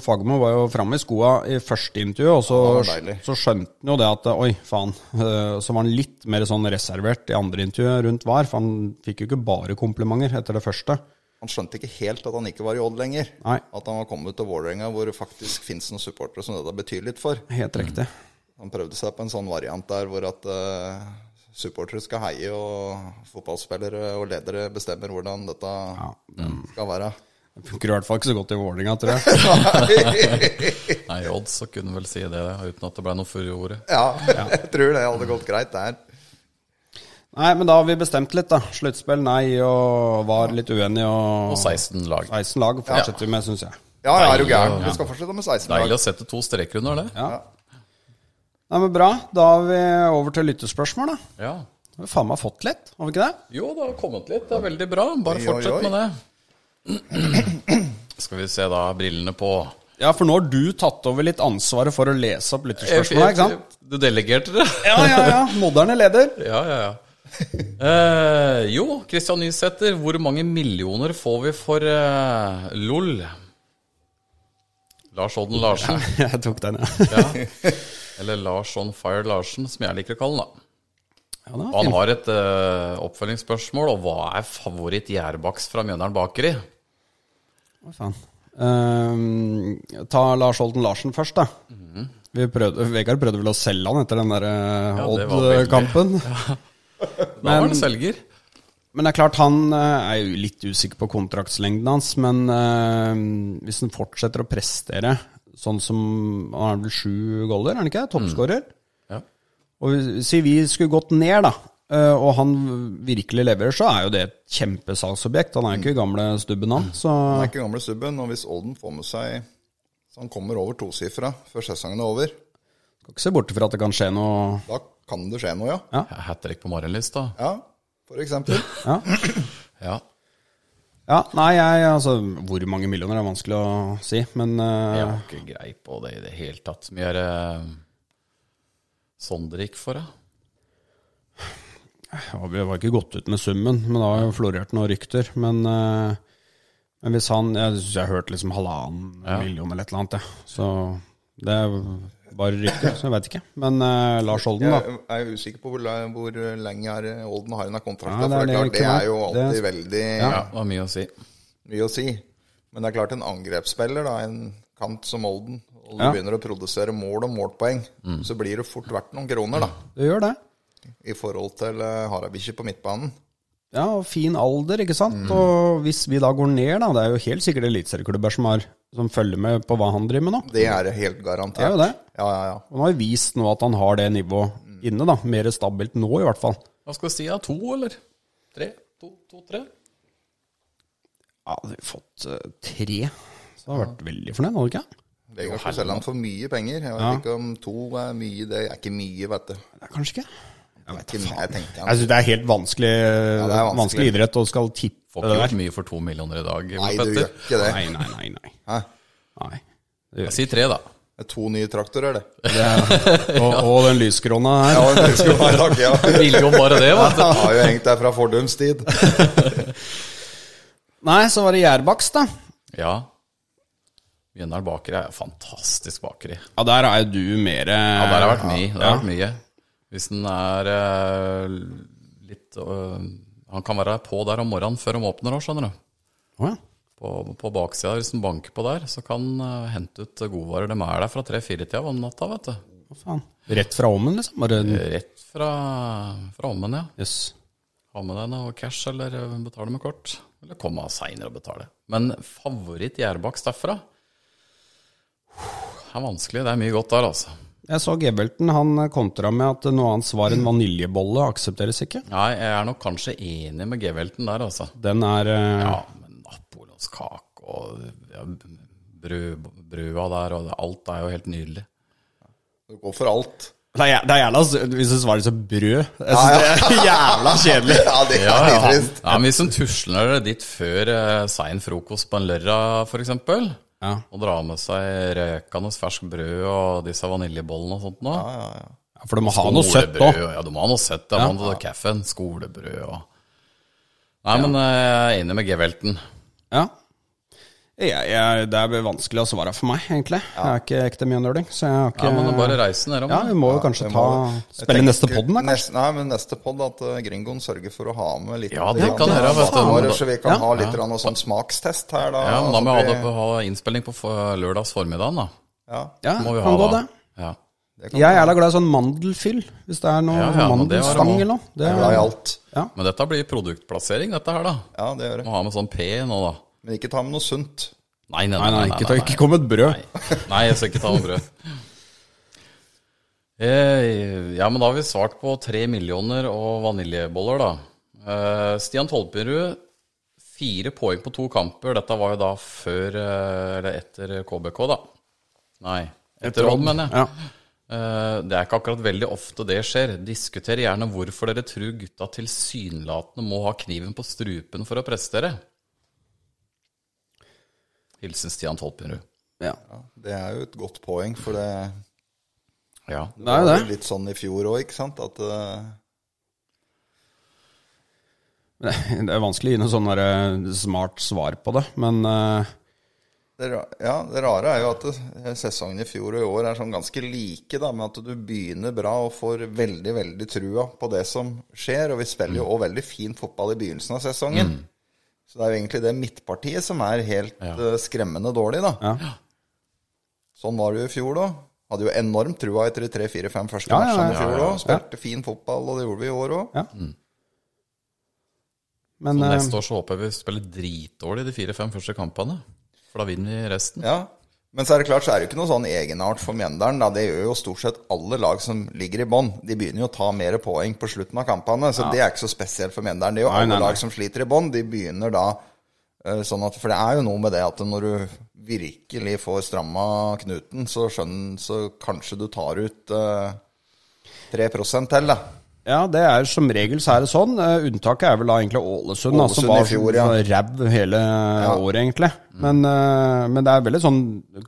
Speaker 3: Fagermo var jo framme i skoa i første intervju, og så,
Speaker 4: Ja, det var deilig.
Speaker 3: så skjønte han jo det at oi, faen. eh, Så var han litt mer sånn reservert i andre intervjuet rundt VAR, for han fikk jo ikke bare komplimenter etter det første.
Speaker 4: Han skjønte ikke helt at han ikke var i Odd lenger.
Speaker 3: Nei.
Speaker 4: At han var kommet til Vålerenga, hvor det faktisk fins noen supportere som dette betyr litt for.
Speaker 3: Helt riktig.
Speaker 4: Han prøvde seg på en sånn variant der hvor at eh, supportere skal heie, og fotballspillere og ledere bestemmer hvordan dette skal være.
Speaker 3: Det funker i hvert fall ikke så godt i Vålerenga, tror jeg.
Speaker 2: Nei, i odds så kunne du vel si det, uten at det ble noe furore.
Speaker 4: Ja, jeg tror det hadde gått greit der.
Speaker 3: Nei, men da har vi bestemt litt, da. Sluttspill nei, og var litt uenige, og,
Speaker 2: Og 16 lag.
Speaker 3: 16 lag fortsetter vi med, syns jeg.
Speaker 4: Ja, ja, er du
Speaker 2: Deilig,
Speaker 4: gæren?
Speaker 2: ja.
Speaker 4: Vi skal fortsette med
Speaker 2: Deilig
Speaker 4: 16
Speaker 2: altså.
Speaker 4: lag.
Speaker 2: å sette to streker under det.
Speaker 3: Ja. Nei, men Bra. Da er vi over til lyttespørsmål, da.
Speaker 2: Ja.
Speaker 3: Vi har faen meg fått litt, har vi ikke det?
Speaker 2: Jo, det har kommet litt. Det er veldig bra. Bare
Speaker 4: Oi, oi,
Speaker 2: fortsett
Speaker 4: oi.
Speaker 2: med det. Skal vi se, da. Brillene på.
Speaker 3: Ja, for nå har du tatt over litt ansvaret for å lese opp lyttespørsmål, ikke sant?
Speaker 2: Du delegerte det?
Speaker 3: Ja, ja, ja. Moderne leder.
Speaker 2: Ja, ja, ja. Eh, jo, Kristian Nysæter, hvor mange millioner får vi for eh, LOL? Lars Odden Larsen,
Speaker 3: Jeg tok den, ja.
Speaker 2: eller Lars On Fire Larsen, som jeg liker å kalle han. da.
Speaker 3: ja det var
Speaker 2: Han
Speaker 3: fint.
Speaker 2: har et eh, oppfølgingsspørsmål, og hva er favoritt gjærbakst fra Mjøndalen Bakeri?
Speaker 3: Hva faen. Ehm, ta Lars Holten Larsen først, da. Vi prøvde, Vegard prøvde vel å selge han etter den der eh,
Speaker 2: Ja, det var veldig-
Speaker 3: Odd-kampen.
Speaker 2: Da var han selger.
Speaker 3: Men det er klart, han eh, er jo litt usikker på kontraktslengden hans. Men eh, hvis han fortsetter å prestere sånn som Han er vel sju goller, er han ikke? Toppskårer.
Speaker 2: Ja.
Speaker 3: Og vi- si vi skulle gått ned, da, eh, og han virkelig leverer, så er jo det et kjempesalgsobjekt. Han er jo ikke gamle stubben, han.
Speaker 4: Han
Speaker 3: Så
Speaker 4: er ikke gamle subben, og hvis Olden får med seg Så han kommer over tosifra før sesongen er over,
Speaker 3: skal ikke se bort fra at det kan skje noe
Speaker 4: da kan det skje noe, ja.
Speaker 2: Hat trick på Marienlyst, da.
Speaker 4: Ja, for eksempel.
Speaker 3: Ja.
Speaker 2: Ja.
Speaker 3: Ja, nei, jeg, altså, hvor mange millioner er vanskelig å si, men eh,
Speaker 2: Jeg har ikke grei på det i det hele tatt. Som gjør eh, Sondre gikk for, da.
Speaker 3: ja, Vi var ikke gått ut med summen, men det har jo florert noen rykter. Men, eh, men hvis han Jeg synes jeg hørte liksom halvannen million eller et eller annet, jeg. Så det er bare rykter, så jeg veit ikke. Men eh, Lars Holden, da.
Speaker 4: Jeg er jo usikker på hvor, la- hvor lenge er Olden har hun av kontrakta.
Speaker 3: Ja, det er
Speaker 4: for det er klart,
Speaker 3: det,
Speaker 4: det
Speaker 3: ikke sant?
Speaker 4: er jo alltid
Speaker 3: Det-
Speaker 4: veldig
Speaker 2: Ja, det var mye å si.
Speaker 4: mye å si. Men det er klart, en angrepsspiller, da, en kant som Olden, og du
Speaker 3: Ja.
Speaker 4: begynner å produsere mål og målpoeng, så blir det fort verdt noen kroner, da,
Speaker 3: Det gjør det.
Speaker 4: i forhold til eh, Harabici på midtbanen.
Speaker 3: Ja, og fin alder, ikke sant. Og hvis vi da går ned, da Det er jo helt sikkert eliteserieklubber som, har- som følger med på hva han driver med nå.
Speaker 4: Det er helt garantert.
Speaker 3: Det er jo det.
Speaker 4: Ja, ja, ja.
Speaker 3: Og han har jo vist nå at han har det nivået inne, da. Mer stabilt nå, i hvert fall.
Speaker 2: Hva skal vi si, da? To, eller? Tre? To, to tre?
Speaker 3: Ja, hadde vi fått eh, tre, så hadde jeg vært veldig fornøyd, hadde du ikke?
Speaker 4: Det går ikke å selge han for mye penger. Jeg vet ikke om to er mye. Det er ikke mye, vet du.
Speaker 3: Det er kanskje ikke. Jeg vet
Speaker 4: Ikke- Jeg tenkte
Speaker 3: Jeg
Speaker 4: han.
Speaker 3: synes det er helt vanskelig,
Speaker 4: det er
Speaker 3: vanskelig.
Speaker 4: vanskelig.
Speaker 3: idrett å skal tippe
Speaker 2: Får ikke
Speaker 3: det
Speaker 2: gjort
Speaker 3: der.
Speaker 2: mye for to millioner i dag.
Speaker 4: Nei, du
Speaker 2: Petter.
Speaker 4: gjør ikke det.
Speaker 3: Nei, nei, nei. nei.
Speaker 4: Hæ?
Speaker 3: nei. Det gjør
Speaker 2: Si tre, da.
Speaker 4: Det er to nye traktorer, det.
Speaker 3: jeg. Og, og den lyskrona her.
Speaker 4: Ja, det skulle være takk, ja.
Speaker 2: Ville jo bare det, vet du.
Speaker 4: Jeg har jo hengt der fra fordums tid.
Speaker 3: Nei, så var det Gjerbakst, da.
Speaker 2: Ja. Mjøndalen Bakeri er fantastisk bakeri.
Speaker 3: Ja, der er jo du mer
Speaker 2: Ja, der har vært mye. Det har vært mye. Hvis den er eh, litt eh, Han kan være på der om morgenen før de åpner òg, skjønner du.
Speaker 3: Å, ja.
Speaker 2: På, på baksida, hvis den banker på der, så kan han hente ut godvarer. De er der fra tre-fire-tida om natta, vet du.
Speaker 3: Hva faen. Rett fra ommen, liksom? Bare
Speaker 2: Rett fra, fra ommen, ja.
Speaker 3: Jøss.
Speaker 2: Ha med deg noe cash, eller eh, betale med kort. Eller komme av seinere og betale. Men favoritt Gjerbaks derfra Det er vanskelig. Det er mye godt der, altså.
Speaker 3: Jeg så Gebelten, han kontra med at noe annet svar enn vaniljebolle aksepteres ikke.
Speaker 2: Nei, jeg er nok kanskje enig med G-velten der, altså.
Speaker 3: Den er eh,
Speaker 2: Ja, men napoleonskake og ja, brød, brøda der, og alt er jo helt nydelig.
Speaker 4: Du går for alt.
Speaker 3: Det er, jæ- det er jævla Hvis du svarer som brød Jeg synes det er jævla kjedelig.
Speaker 4: Ja, det er litt trist.
Speaker 2: Ja, men Hvis en tusler dit før eh, sein frokost på en lørdag, f.eks.,
Speaker 3: Ja.
Speaker 2: og drar med seg røkende ferskt brød og disse vaniljebollene og sånt nå
Speaker 4: Ja, ja, ja.
Speaker 3: For du må ha noe søtt òg.
Speaker 2: Skolebrød, Ja, du må ha noe søtt. Ja,
Speaker 3: Ja.
Speaker 2: Man, ja. Kaffen, skolebrød og Nei, men eh, jeg er enig med G-velten.
Speaker 3: Ja. Jeg, jeg, det er vanskelig å svare for meg, egentlig. Jeg er ikke ekte mjøndøling, så jeg har ikke
Speaker 2: Ja, men bare reise nedom.
Speaker 3: Ja, vi må jo kanskje
Speaker 4: det
Speaker 3: ta
Speaker 4: må-
Speaker 3: Spille neste podden, da, kanskje.
Speaker 4: Neste, nei, men neste podd at eh, gringoen sørger for å ha med litt
Speaker 2: Ja, det
Speaker 4: grann
Speaker 2: kan dere, vet du.
Speaker 4: matvarer, Så vi kan
Speaker 3: Ja.
Speaker 4: ha litt grann noe sånn smakstest her, da.
Speaker 2: Ja, men da må
Speaker 4: Så
Speaker 2: vi ha,
Speaker 4: blir-
Speaker 2: det, ha innspilling på for- lørdags formiddagen, da.
Speaker 4: Ja,
Speaker 3: Ja,
Speaker 2: Må vi
Speaker 3: kan
Speaker 2: ha
Speaker 3: gå
Speaker 2: da.
Speaker 3: det.
Speaker 2: Ja.
Speaker 4: det kan
Speaker 3: Jeg er da glad i sånn mandelfyll, hvis det er noe
Speaker 2: Ja, ja, men det var det
Speaker 3: mandelstang
Speaker 2: må-
Speaker 3: eller noe. Det
Speaker 4: jeg er glad i alt.
Speaker 2: Men dette blir produktplassering, dette her, da.
Speaker 4: Ja, det gjør
Speaker 2: Må
Speaker 4: jeg.
Speaker 2: ha med sånn P nå, da.
Speaker 4: Men ikke ta med noe sunt.
Speaker 2: Nei, nei,
Speaker 3: Nei,
Speaker 2: nei.
Speaker 3: nei,
Speaker 2: nei,
Speaker 3: ikke, ta,
Speaker 2: nei,
Speaker 3: ikke kom med et brød.
Speaker 2: nei. nei jeg skal ikke ta med brød. Eh, Ja, men da har vi svart på tre millioner og vaniljeboller, da. Eh, Stian Tolperud, fire poeng på to kamper. Dette var jo da før eh, Eller etter KBK, da. Nei, etter Odd, mener jeg.
Speaker 3: Ja.
Speaker 2: Eh, Det er ikke akkurat veldig ofte det skjer. Diskuter gjerne hvorfor dere tror gutta tilsynelatende må ha kniven på strupen for å prestere. Hilsen Stian Tolpenrud.
Speaker 3: Ja.
Speaker 4: Ja, det er jo et godt poeng, for det,
Speaker 2: Ja.
Speaker 3: Det er jo
Speaker 4: var
Speaker 3: det.
Speaker 4: jo litt sånn i fjor òg, ikke sant? At eh,
Speaker 3: Det er vanskelig å gi noe sånn der, eh, smart svar på det, men eh,
Speaker 4: det, ra- ja, det rare er jo at det- sesongen i fjor og i år er sånn ganske like, da, med at du begynner bra og får veldig, veldig trua på det som skjer. Og vi spiller jo
Speaker 3: Mm.
Speaker 4: òg veldig fin fotball i begynnelsen av sesongen. Så det er jo egentlig det midtpartiet som er helt eh, skremmende dårlig, da.
Speaker 3: Ja.
Speaker 4: Sånn var det jo i fjor, da. Hadde jo enormt trua etter de tre-fire-fem første
Speaker 3: Ja, ja,
Speaker 4: matchene i
Speaker 3: ja,
Speaker 4: fjor
Speaker 3: ja, ja.
Speaker 4: òg. Spilte fin fotball, og det gjorde vi i år òg.
Speaker 3: ja. Men eh,
Speaker 2: Mm. Neste år så håper jeg vi spiller dritdårlig de fire-fem første kampene. For da vinner vi resten.
Speaker 4: Ja. Men så er det klart så er det jo ikke noe sånn egenart for Mjøndalen. Da. Det gjør jo stort sett alle lag som ligger i bånn. De begynner jo å ta mer poeng på slutten av kampene, så det er ikke så spesielt for Mjøndalen. Det er jo
Speaker 3: Nei,
Speaker 4: alle
Speaker 3: nei, nei.
Speaker 4: lag som sliter i bånn. De begynner da eh, sånn at For det er jo noe med det at når du virkelig får stramma knuten, så skjønner Så kanskje du tar ut eh, 3 til, da.
Speaker 3: ja, det er som regel så er det sånn. Eh, unntaket er vel da egentlig Ålesund, da, som
Speaker 4: Ålesund i
Speaker 3: var
Speaker 4: fjor, ja.
Speaker 3: ræv hele året, egentlig.
Speaker 2: Mm.
Speaker 3: Men, eh, men det er veldig sånn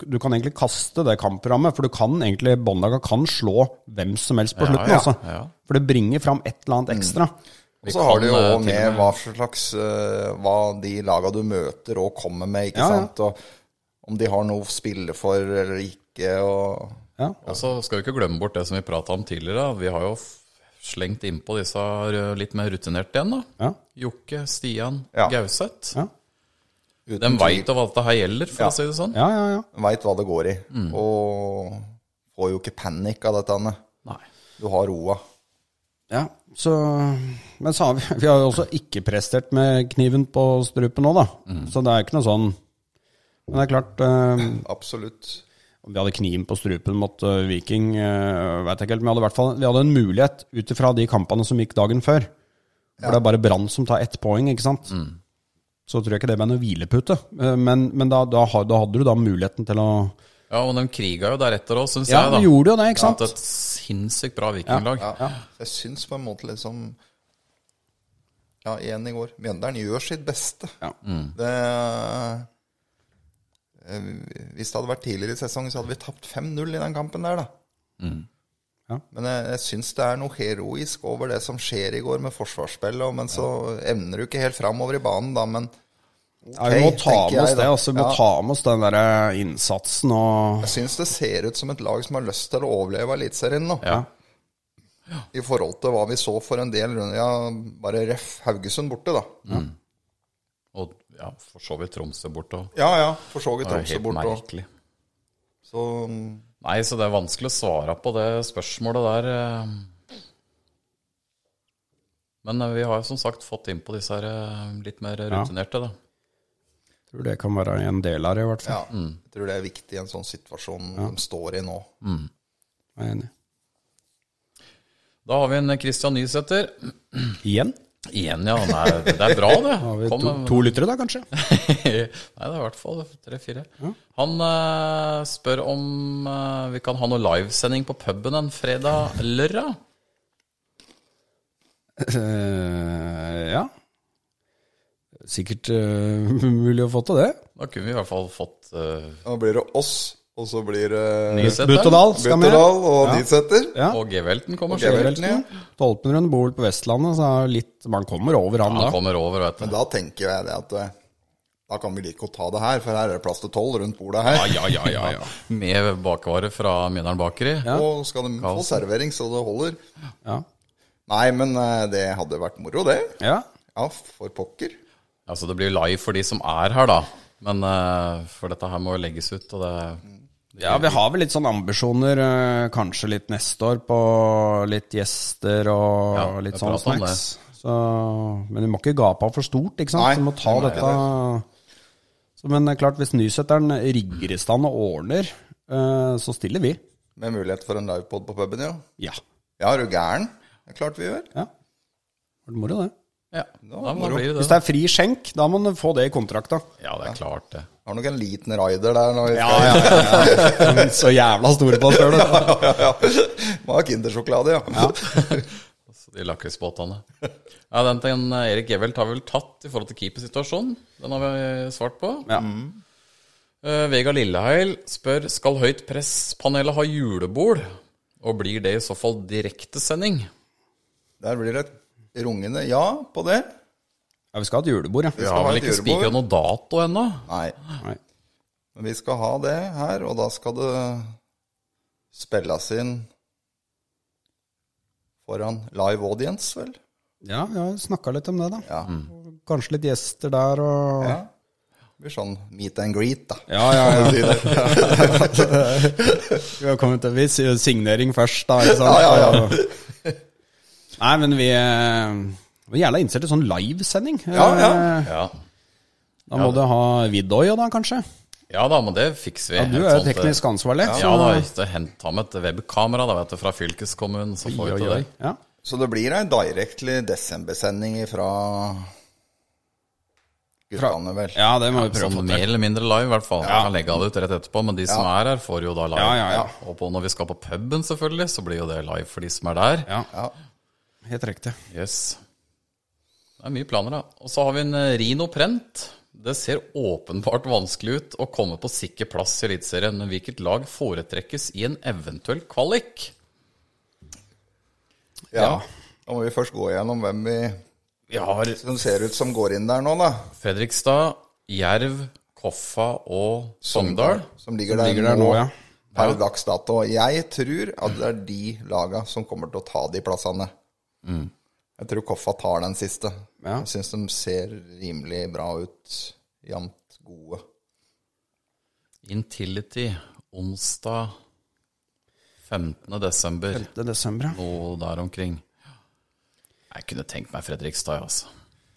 Speaker 3: Du kan egentlig kaste det kamprammet, for du kan egentlig Båndlaga kan slå hvem som helst på
Speaker 2: Ja,
Speaker 3: slutten,
Speaker 2: ja,
Speaker 3: altså.
Speaker 2: ja. Mm.
Speaker 3: For det bringer fram et eller annet ekstra.
Speaker 4: Og så
Speaker 2: Vi
Speaker 4: har det jo
Speaker 2: kan, eh, til og
Speaker 4: også med
Speaker 2: med-
Speaker 4: hva slags eh, Hva de laga du møter og kommer med, ikke
Speaker 3: Ja, ja.
Speaker 4: sant. Og om de har noe å spille for eller ikke. Og
Speaker 3: Ja.
Speaker 2: Og så skal vi ikke glemme bort det som vi prata om tidligere. da. Vi har jo f- slengt innpå disse rø- litt mer rutinerte igjen, da.
Speaker 3: Ja.
Speaker 2: Jokke, Stian,
Speaker 4: Ja.
Speaker 2: Gauseth.
Speaker 3: Ja.
Speaker 4: uten
Speaker 2: De
Speaker 4: tvil.
Speaker 2: veit hva dette her gjelder, for
Speaker 4: Ja.
Speaker 2: å si det sånn.
Speaker 3: Ja, ja, ja.
Speaker 4: veit hva det går i.
Speaker 2: Mm.
Speaker 4: Og får jo ikke panikk av dette. Anne.
Speaker 2: Nei.
Speaker 4: Du har roa.
Speaker 3: ja. Så, men så har vi, vi har jo også ikke prestert med kniven på strupen nå, da.
Speaker 2: Mm.
Speaker 3: Så det er ikke noe sånn Men det er klart eh,
Speaker 4: Absolutt.
Speaker 3: Om vi hadde kniven på strupen mot eh, Viking, uh, vet jeg ikke helt. Men vi hadde, i hvert fall, vi hadde en mulighet ut ifra de kampene som gikk dagen før. For det er bare Brann som tar ett poeng, ikke sant.
Speaker 2: Mm.
Speaker 3: Så tror jeg ikke det ble noe hvilepute. Eh, men men da, da, ha- da hadde du da muligheten til å
Speaker 2: Ja, og de kriga jo deretter òg, syns
Speaker 3: Ja,
Speaker 2: jeg.
Speaker 3: du
Speaker 2: da.
Speaker 3: gjorde jo det, ikke sant?
Speaker 2: Det er et sinnssykt bra vikinglag.
Speaker 4: Ja. Jeg syns på en måte liksom Ja, igjen i går. Mjøndalen gjør sitt beste.
Speaker 3: Ja.
Speaker 2: Mm.
Speaker 4: Det eh, Hvis det hadde vært tidligere i sesongen, så hadde vi tapt 5-0 i den kampen der, da.
Speaker 2: Mm.
Speaker 3: Ja.
Speaker 4: Men jeg, jeg syns det er noe heroisk over det som skjer i går med forsvarsspillet. og- Men så evner du ikke helt framover i banen, da. Men
Speaker 3: Ja, vi må
Speaker 4: ok,
Speaker 3: ta
Speaker 4: tenker
Speaker 3: med oss
Speaker 4: jeg
Speaker 3: det.
Speaker 4: da.
Speaker 3: Altså, vi må
Speaker 4: Ja.
Speaker 3: ta med oss den der eh, innsatsen og
Speaker 4: Jeg syns det ser ut som et lag som har lyst til å overleve Eliteserien nå.
Speaker 2: Ja.
Speaker 4: I forhold til hva vi så for en del runder. Ja, bare ref Haugesund borte, da.
Speaker 2: Og ja, for så vidt Tromsø bort òg.
Speaker 4: Ja ja, for så vidt
Speaker 2: Det er jo
Speaker 4: Tromsø
Speaker 2: helt
Speaker 4: borte òg.
Speaker 2: merkelig.
Speaker 4: Så mm,
Speaker 2: Nei, så det er vanskelig å svare på det spørsmålet der. eh. Men eh, vi har jo som sagt fått innpå disse her eh, litt mer rutinerte, da.
Speaker 3: Tror det kan være en del av det, i hvert fall.
Speaker 4: ja, Mm. jeg tror det er viktig i en sånn situasjon de står i nå.
Speaker 3: Jeg er enig.
Speaker 2: Da har vi en eh, Christian Nysæter.
Speaker 3: Igjen?
Speaker 2: Igjen, ja. Nei, det er bra, det.
Speaker 3: Har vi
Speaker 2: Kom,
Speaker 3: to,
Speaker 2: eh,
Speaker 3: to lyttere da, kanskje?
Speaker 2: Nei, det er i hvert fall tre-fire. Han eh, spør om eh, vi kan ha noe livesending på puben en fredag lørra.
Speaker 3: Eh, ja. Sikkert eh, mulig å få til det.
Speaker 2: Da kunne vi i hvert fall fått eh,
Speaker 4: Da blir det oss, og så blir det
Speaker 2: Nysæter.
Speaker 3: Butterdal skal med.
Speaker 4: og Nidsetter.
Speaker 3: Ja.
Speaker 2: Og Gevelten kommer.
Speaker 4: Og Gevelten.
Speaker 2: selv.
Speaker 3: Velten, ja. Stolpenrund bor vel på Vestlandet, så er litt, man kommer over han
Speaker 2: Han
Speaker 3: da.
Speaker 2: kommer over, vet
Speaker 4: Men
Speaker 2: du.
Speaker 4: da tenker jeg det at eh, da kan vi like godt ta det her, for her er det plass til tolv rundt bordet her.
Speaker 2: Ja, ja, ja, ja. Med bakvare fra Mjøndalen Bakeri.
Speaker 4: Og skal de få servering så det holder.
Speaker 3: Ja.
Speaker 4: Nei, men eh, det hadde vært moro, det.
Speaker 3: ja.
Speaker 4: Ja, for pokker.
Speaker 2: Altså, det blir live for de som er her, da. Men eh, for dette her må jo legges ut, og det
Speaker 3: Ja, vi har vel litt sånn ambisjoner, eh, kanskje litt neste år, på litt gjester og
Speaker 2: Ja,
Speaker 3: litt
Speaker 2: jeg
Speaker 3: sånn
Speaker 2: prater om
Speaker 3: snacks. Så, men vi må ikke gape av for stort, ikke sant?
Speaker 4: Nei,
Speaker 3: vi må ta
Speaker 4: det må
Speaker 3: dette så, Men det er klart, hvis nysetteren rigger i stand og ordner, eh, så stiller vi.
Speaker 4: Med mulighet for en livepod på puben, ja.
Speaker 3: Ja.
Speaker 4: Ja, er du gæren? Det er klart vi gjør.
Speaker 3: ja. Var det moro, det?
Speaker 2: Ja, da må det bli
Speaker 3: Hvis
Speaker 2: det.
Speaker 3: det er fri skjenk, da må man få det i kontrakta.
Speaker 2: Ja, det er klart, det.
Speaker 4: Har nok en liten rider der når vi
Speaker 3: Ja,
Speaker 4: skal
Speaker 3: ja, ja. Så jævla store på det sjøl, du.
Speaker 4: Må ha Kindersjokolade, ja.
Speaker 2: Så Altså, De lakrisbåtene. Ja, den til en eh, Erik Gevelt har vi vel tatt i forhold til keepersituasjonen. Den har vi svart på.
Speaker 3: Ja.
Speaker 2: Eh, Vegard Lilleheil spør skal høyt presspanelet ha julebord, og blir det i så fall direktesending?
Speaker 4: Der blir det et rungende ja på det.
Speaker 3: Ja, vi skal ha et julebord, ja.
Speaker 4: Vi
Speaker 2: Vi
Speaker 4: skal
Speaker 2: har
Speaker 4: ha
Speaker 2: vel
Speaker 4: et
Speaker 2: ikke
Speaker 4: julebord.
Speaker 2: spikra noe dato ennå?
Speaker 4: Nei,
Speaker 3: Nei.
Speaker 4: men vi skal ha det her, og da skal det spilles inn foran live audience, vel?
Speaker 3: Ja, vi har snakka litt om det, da.
Speaker 4: Ja.
Speaker 3: Kanskje litt gjester der og
Speaker 4: ja. Det blir sånn meet and greet, da.
Speaker 3: Ja, ja, ja. Vi har kommet til vi sier signering først, da. Ikke sant? Nei, men vi eh, vi er gjerne innstilt til sånn livesending.
Speaker 4: Ja, ja.
Speaker 3: Eh,
Speaker 2: Ja.
Speaker 3: Da må du ha Vidoi, da, kanskje?
Speaker 2: ja da, men det fikser vi.
Speaker 3: Ja, du
Speaker 2: Et
Speaker 3: er jo
Speaker 2: sånt, eh,
Speaker 3: teknisk ansvarlig.
Speaker 2: Ja da, så hent- ta med et webkamera da, vet du, fra fylkeskommunen, så får
Speaker 3: Oi,
Speaker 2: vi
Speaker 3: oi,
Speaker 2: til det.
Speaker 3: oi. Ja.
Speaker 4: Så det blir ei directly desembersending fra guttene, vel?
Speaker 3: ja, det må vi prøve å
Speaker 2: Sånn
Speaker 3: få
Speaker 2: mer
Speaker 3: til.
Speaker 2: eller mindre live, i hvert fall. Jeg kan legge av det ut rett etterpå, men de som er her, får jo da live.
Speaker 3: Ja, ja, ja.
Speaker 2: Og på, når vi skal på puben, selvfølgelig, så blir jo det live for de som er der.
Speaker 3: Ja,
Speaker 4: Ja.
Speaker 3: helt riktig.
Speaker 2: Yes. Det er mye planer, da. Og så har vi en eh, Rino Prent. Det ser åpenbart vanskelig ut å komme på sikker plass i Eliteserien, men hvilket lag foretrekkes i en eventuell kvalik?
Speaker 4: Ja. Da må vi først gå gjennom hvem vi
Speaker 2: Vi har
Speaker 4: som ser ut som går inn der nå, da.
Speaker 2: Fredrikstad, Jerv, Koffa og Sogndal.
Speaker 4: Som ligger der,
Speaker 3: Ligger der nå, ja.
Speaker 4: Per dags dato. Jeg tror at det er de laga som kommer til å ta de plassene. Jeg tror Koffa tar den siste.
Speaker 3: Mm. Ja.
Speaker 4: Jeg syns de ser rimelig bra ut. Jevnt gode.
Speaker 2: Intility, onsdag 15. desember,
Speaker 3: 5. desember, ja.
Speaker 2: noe der omkring. Jeg kunne tenkt meg Fredrikstad, altså.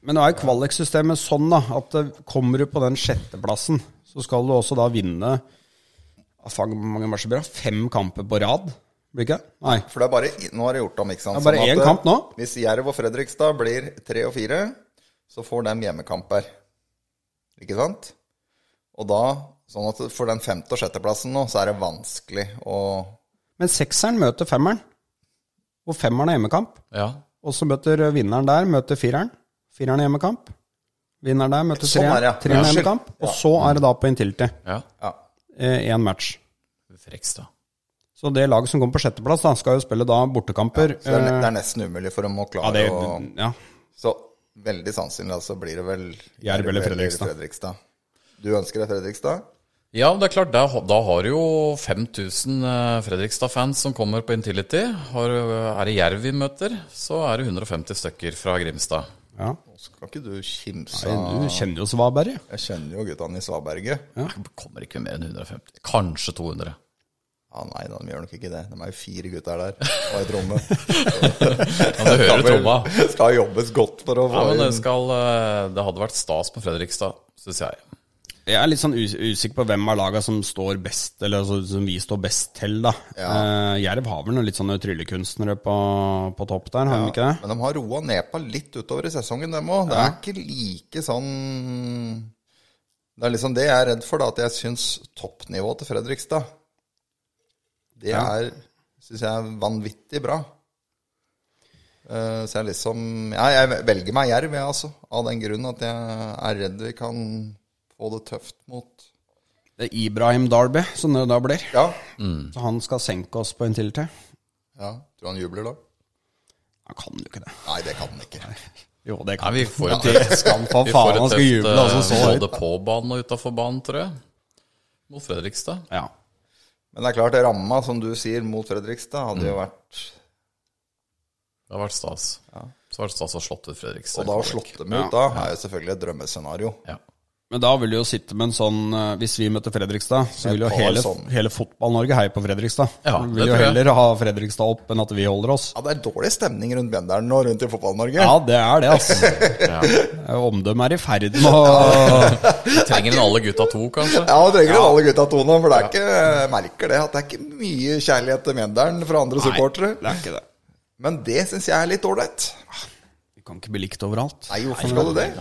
Speaker 3: Men nå er kvaliksystemet sånn da, at eh, kommer du på den sjetteplassen, så skal du også da vinne ah, fang, hvor mange matcher blir det? fem kamper på rad. Blir det ikke? det? Nei.
Speaker 4: For det er bare Nå er det gjort om, ikke sant?
Speaker 3: Det er bare
Speaker 4: Sånn at,
Speaker 3: én kamp nå.
Speaker 4: Hvis Jerv og Fredrikstad blir tre og fire, så får de hjemmekamper. Ikke sant? Og da Sånn at for den femte- og sjetteplassen nå, så er det vanskelig å
Speaker 3: Men sekseren møter femmeren, og femmeren er hjemmekamp.
Speaker 2: Ja,
Speaker 3: Og så møter vinneren der, møter fireren. Fireren er hjemmekamp. Vinneren der møter
Speaker 4: Sånn
Speaker 3: treeren.
Speaker 4: er det, ja.
Speaker 3: Treeren
Speaker 4: Ja,
Speaker 3: er
Speaker 4: skyld.
Speaker 3: hjemmekamp. Og så er det da på inntility.
Speaker 2: ja.
Speaker 4: Ja.
Speaker 3: Én match.
Speaker 2: Frekstad.
Speaker 3: Så det laget som kommer på sjetteplass, da, skal jo spille da bortekamper.
Speaker 4: Så det er,
Speaker 3: eh,
Speaker 4: det er nesten umulig for dem å
Speaker 3: ja,
Speaker 4: klare
Speaker 3: det,
Speaker 4: å
Speaker 3: ja.
Speaker 4: Så veldig sannsynlig altså blir det vel
Speaker 3: Jerv eller Fredrikstad.
Speaker 4: Fredrikstad. Du ønsker deg Fredrikstad?
Speaker 2: Ja, men det er klart, da, da har du jo 5000 eh, Fredrikstad-fans som kommer på Intility. Har, eh, er det Jerv vi møter, så er det 150 stykker fra Grimstad.
Speaker 3: ja.
Speaker 4: Skal ikke du kimse
Speaker 3: Nei,
Speaker 4: av
Speaker 3: Du kjenner jo Svaberg.
Speaker 4: Jeg kjenner jo guttene i Svaberget. Ja.
Speaker 2: Det kommer ikke mer enn 150. Kanskje 200.
Speaker 4: Ah, Nei da, de gjør nok ikke det. De er jo fire gutter der, og ei tromme.
Speaker 2: Ja, du hører tromma.
Speaker 4: skal jobbes godt for å
Speaker 2: Ja,
Speaker 4: få
Speaker 2: men det,
Speaker 4: inn
Speaker 2: skal, eh, det hadde vært stas på Fredrikstad, syns jeg.
Speaker 3: Jeg er litt sånn us usikker på hvem av laga som står best, eller altså, som vi står best til, da. Eh, Jerv har vel noen litt sånne tryllekunstnere på, på topp der, har de ikke det?
Speaker 4: Men de har roa nepa litt utover i sesongen, dem òg. Det er ikke like sånn Det er liksom det jeg er redd for, da, at jeg syns toppnivået til Fredrikstad Det er syns jeg er vanvittig bra. Eh, så jeg liksom ja, Jeg velger meg jerv, jeg, altså. Av den grunn at jeg er redd vi kan få det tøft mot
Speaker 3: Det er Ibrahim Darby, som det da blir.
Speaker 4: Ja.
Speaker 3: Så han skal senke oss på inntility.
Speaker 4: ja. Tror du han jubler da?
Speaker 3: Han kan jo ikke det.
Speaker 4: Nei, det kan han ikke.
Speaker 3: Jo, det
Speaker 2: Nei,
Speaker 3: kan
Speaker 2: vi får et tøft,
Speaker 3: Skal han for
Speaker 2: vi får
Speaker 3: faen, han skal
Speaker 2: et tøft
Speaker 3: juble altså,
Speaker 2: eh,
Speaker 3: så høyt.
Speaker 2: både på banen og utafor banen, tror jeg. Mot Fredrikstad.
Speaker 3: Ja.
Speaker 4: Men det er klart, ramma, som du sier, mot Fredrikstad hadde
Speaker 3: Mm.
Speaker 4: jo vært
Speaker 2: Det har vært stas. Så har det vært stas å ha slått ut Fredrikstad.
Speaker 4: Og da å slått dem ut, da er jo selvfølgelig et drømmescenario.
Speaker 2: Ja.
Speaker 3: Men da vil du jo sitte med en sånn eh, Hvis vi møter Fredrikstad, så vil jo
Speaker 4: Et par
Speaker 3: hele,
Speaker 4: sånn.
Speaker 3: hele Fotball-Norge heie på Fredrikstad.
Speaker 2: Ja,
Speaker 3: Vi
Speaker 2: det
Speaker 3: vil jo
Speaker 2: tror jeg.
Speaker 3: heller ha Fredrikstad opp enn at vi holder oss.
Speaker 4: Ja, det er dårlig stemning rundt Benderen nå, rundt i Fotball-Norge.
Speaker 3: Ja, det er det, altså.
Speaker 2: Ja.
Speaker 3: Eh, Omdømmet er i ferd med å
Speaker 2: Vi trenger en alle gutta to, kanskje.
Speaker 4: Ja, det trenger ja. alle gutta to nå, for det er ikke, jeg merker det at det er ikke mye kjærlighet til Mjøndalen fra andre supportere.
Speaker 3: Det er ikke det.
Speaker 4: Men det syns jeg er litt ålreit.
Speaker 3: Vi kan ikke bli likt overalt.
Speaker 4: Nei, hvorfor skal du det?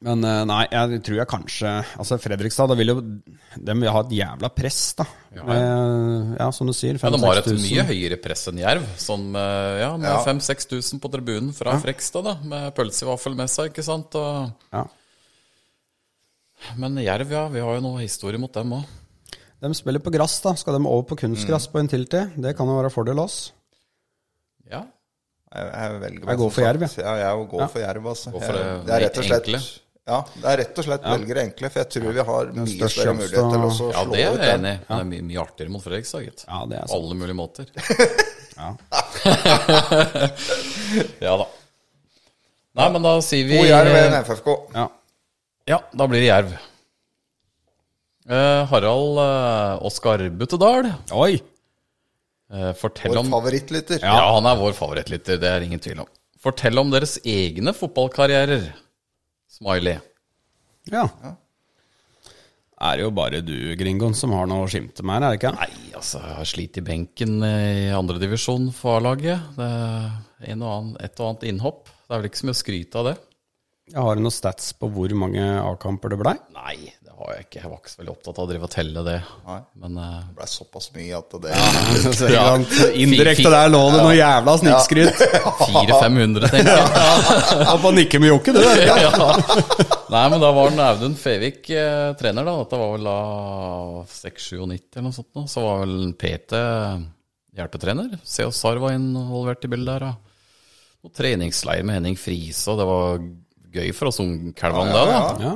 Speaker 3: Men eh, nei, jeg tror jeg kanskje Altså, Fredrikstad, da vil jo De vil ha et jævla press, da. Ja, ja som du sier.
Speaker 2: Ja, de har et
Speaker 3: 5000-6000.
Speaker 2: mye høyere press enn Jerv. Sånn, eh, ja, med
Speaker 4: Ja.
Speaker 2: 5000-6000 på tribunen fra Frekstad, da, med pølse i vaffel med seg, ikke sant. Og,
Speaker 3: Ja.
Speaker 2: men Jerv, ja, vi har jo noe historie mot dem òg.
Speaker 3: De spiller på gress, da. Skal de over på kunstgress
Speaker 2: Mm.
Speaker 3: på Intility? Det kan jo være fordel oss.
Speaker 2: Ja.
Speaker 4: Jeg, jeg velger
Speaker 3: Jeg går for
Speaker 4: som
Speaker 3: Jerv,
Speaker 4: sagt. Ja, jeg går for Jerv, altså.
Speaker 2: Går for
Speaker 4: Jeg-
Speaker 2: det
Speaker 4: det er rett og slett
Speaker 2: enkle.
Speaker 4: Ja, det er rett og slett velger det enkle, for jeg tror vi har mye
Speaker 3: størst
Speaker 4: større
Speaker 3: sjanse
Speaker 4: mulighet til å
Speaker 3: til å-
Speaker 4: slå
Speaker 2: ja, det er
Speaker 4: ut
Speaker 2: jeg
Speaker 4: den.
Speaker 2: enig i. Men Det er mye, mye artigere mot Fredrikstad, gitt.
Speaker 3: Ja, det er
Speaker 2: På
Speaker 3: sant.
Speaker 2: alle mulige
Speaker 3: Ja.
Speaker 2: måter. ja da. Nei, men da sier vi
Speaker 4: To Jerv og en FFK.
Speaker 3: Ja.
Speaker 2: Ja, da blir det Jerv. Eh, Harald eh, Oskar Buttedal,
Speaker 3: Oi!
Speaker 2: eh, fortell
Speaker 4: Vår
Speaker 2: om
Speaker 4: favorittlytter.
Speaker 2: Ja, han er vår favorittlytter, det er ingen tvil om. Fortell om deres egne fotballkarrierer. Smiley.
Speaker 3: Ja. Er det jo bare du, Gringoen, som har noe å skimte med her, er det ikke?
Speaker 2: Nei, altså, jeg har slitt i benken eh, i andredivisjon for A-laget. Det er en og annen, et og annet innhopp. Det er vel ikke så mye å skryte av det.
Speaker 3: Jeg har noen stats på hvor mange A-kamper det blei.
Speaker 2: Nei, det har jeg ikke. Jeg var ikke så veldig opptatt av å drive og telle det.
Speaker 4: Nei.
Speaker 2: Men eh,
Speaker 4: Det ble såpass mye at det
Speaker 2: Ja.
Speaker 3: Indirekte der lå det noe jævla snikskryt.
Speaker 2: 400-500, tenker jeg.
Speaker 3: Han bare nikker med jokke, du.
Speaker 2: ja. Nei, men da var den Audun Fevik eh, trener, da. Dette var vel da 6-97 eller noe sånt. nå. Så var vel PT hjelpetrener. CO Sar var involvert i bildet der. Da. Og treningsleir med Henning Friise, og det var gøy for oss ungkalvene, det. da.
Speaker 3: Ja.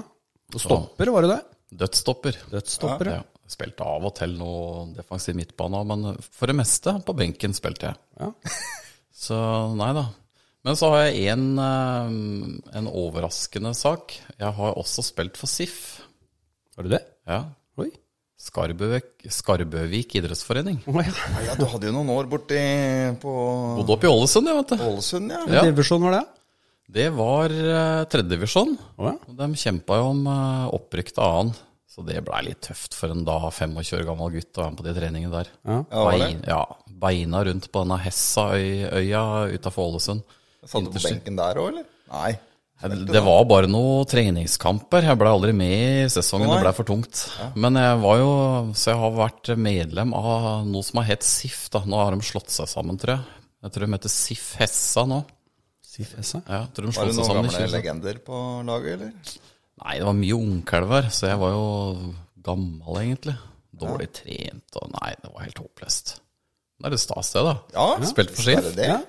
Speaker 3: Og stopper, var det det?
Speaker 2: Dødsstopper.
Speaker 3: Dødsstopper, ja.
Speaker 2: Ja. Spilte av og til noe defensiv midtbane, også, men for det meste på benken spilte jeg.
Speaker 3: Ja.
Speaker 2: Så nei da. Men så har jeg en, eh, en overraskende sak. Jeg har også spilt for SIF.
Speaker 3: Var det det?
Speaker 2: Ja.
Speaker 3: Oi.
Speaker 2: Skarbøvik, Skarbøvik idrettsforening.
Speaker 3: Å, ja.
Speaker 4: Ja, du hadde jo noen år borti på
Speaker 2: Bodde oppe i Ålesund, jeg, vet du.
Speaker 4: Ålesund, ja.
Speaker 2: Ja.
Speaker 3: Divisjon var det?
Speaker 2: Det var eh, tredjedivisjon.
Speaker 3: Å, ja.
Speaker 2: De kjempa jo om eh, opprykk til annen. Så det blei litt tøft for en da 25 år gammel gutt å være med på de treningene der.
Speaker 3: Ja.
Speaker 4: Ja, var det?
Speaker 2: Bein, ja, beina rundt på denne Hessaøya utafor Ålesund.
Speaker 4: Satt du på benken der òg, eller? Nei.
Speaker 2: Det var bare noen treningskamper. Jeg ble aldri med i sesongen, det ble for tungt. Men jeg var jo Så jeg har vært medlem av noe som har hett SIF, da. Nå har de slått seg sammen, tror jeg. Jeg tror de heter SIF Hessa nå.
Speaker 3: Sif Essa.
Speaker 2: Ja, jeg tror de
Speaker 4: Var
Speaker 2: slått
Speaker 4: det
Speaker 2: seg sammen i
Speaker 4: noen gamle
Speaker 2: 20.
Speaker 4: legender på laget, eller?
Speaker 2: Nei, det var mye ungkalver, så jeg var jo gammel, egentlig. Dårlig trent og Nei, det var helt håpløst. Men det er det stas, det, da.
Speaker 4: Ja,
Speaker 2: Spilt for
Speaker 4: er
Speaker 2: SIF.
Speaker 4: det det?
Speaker 3: Ja.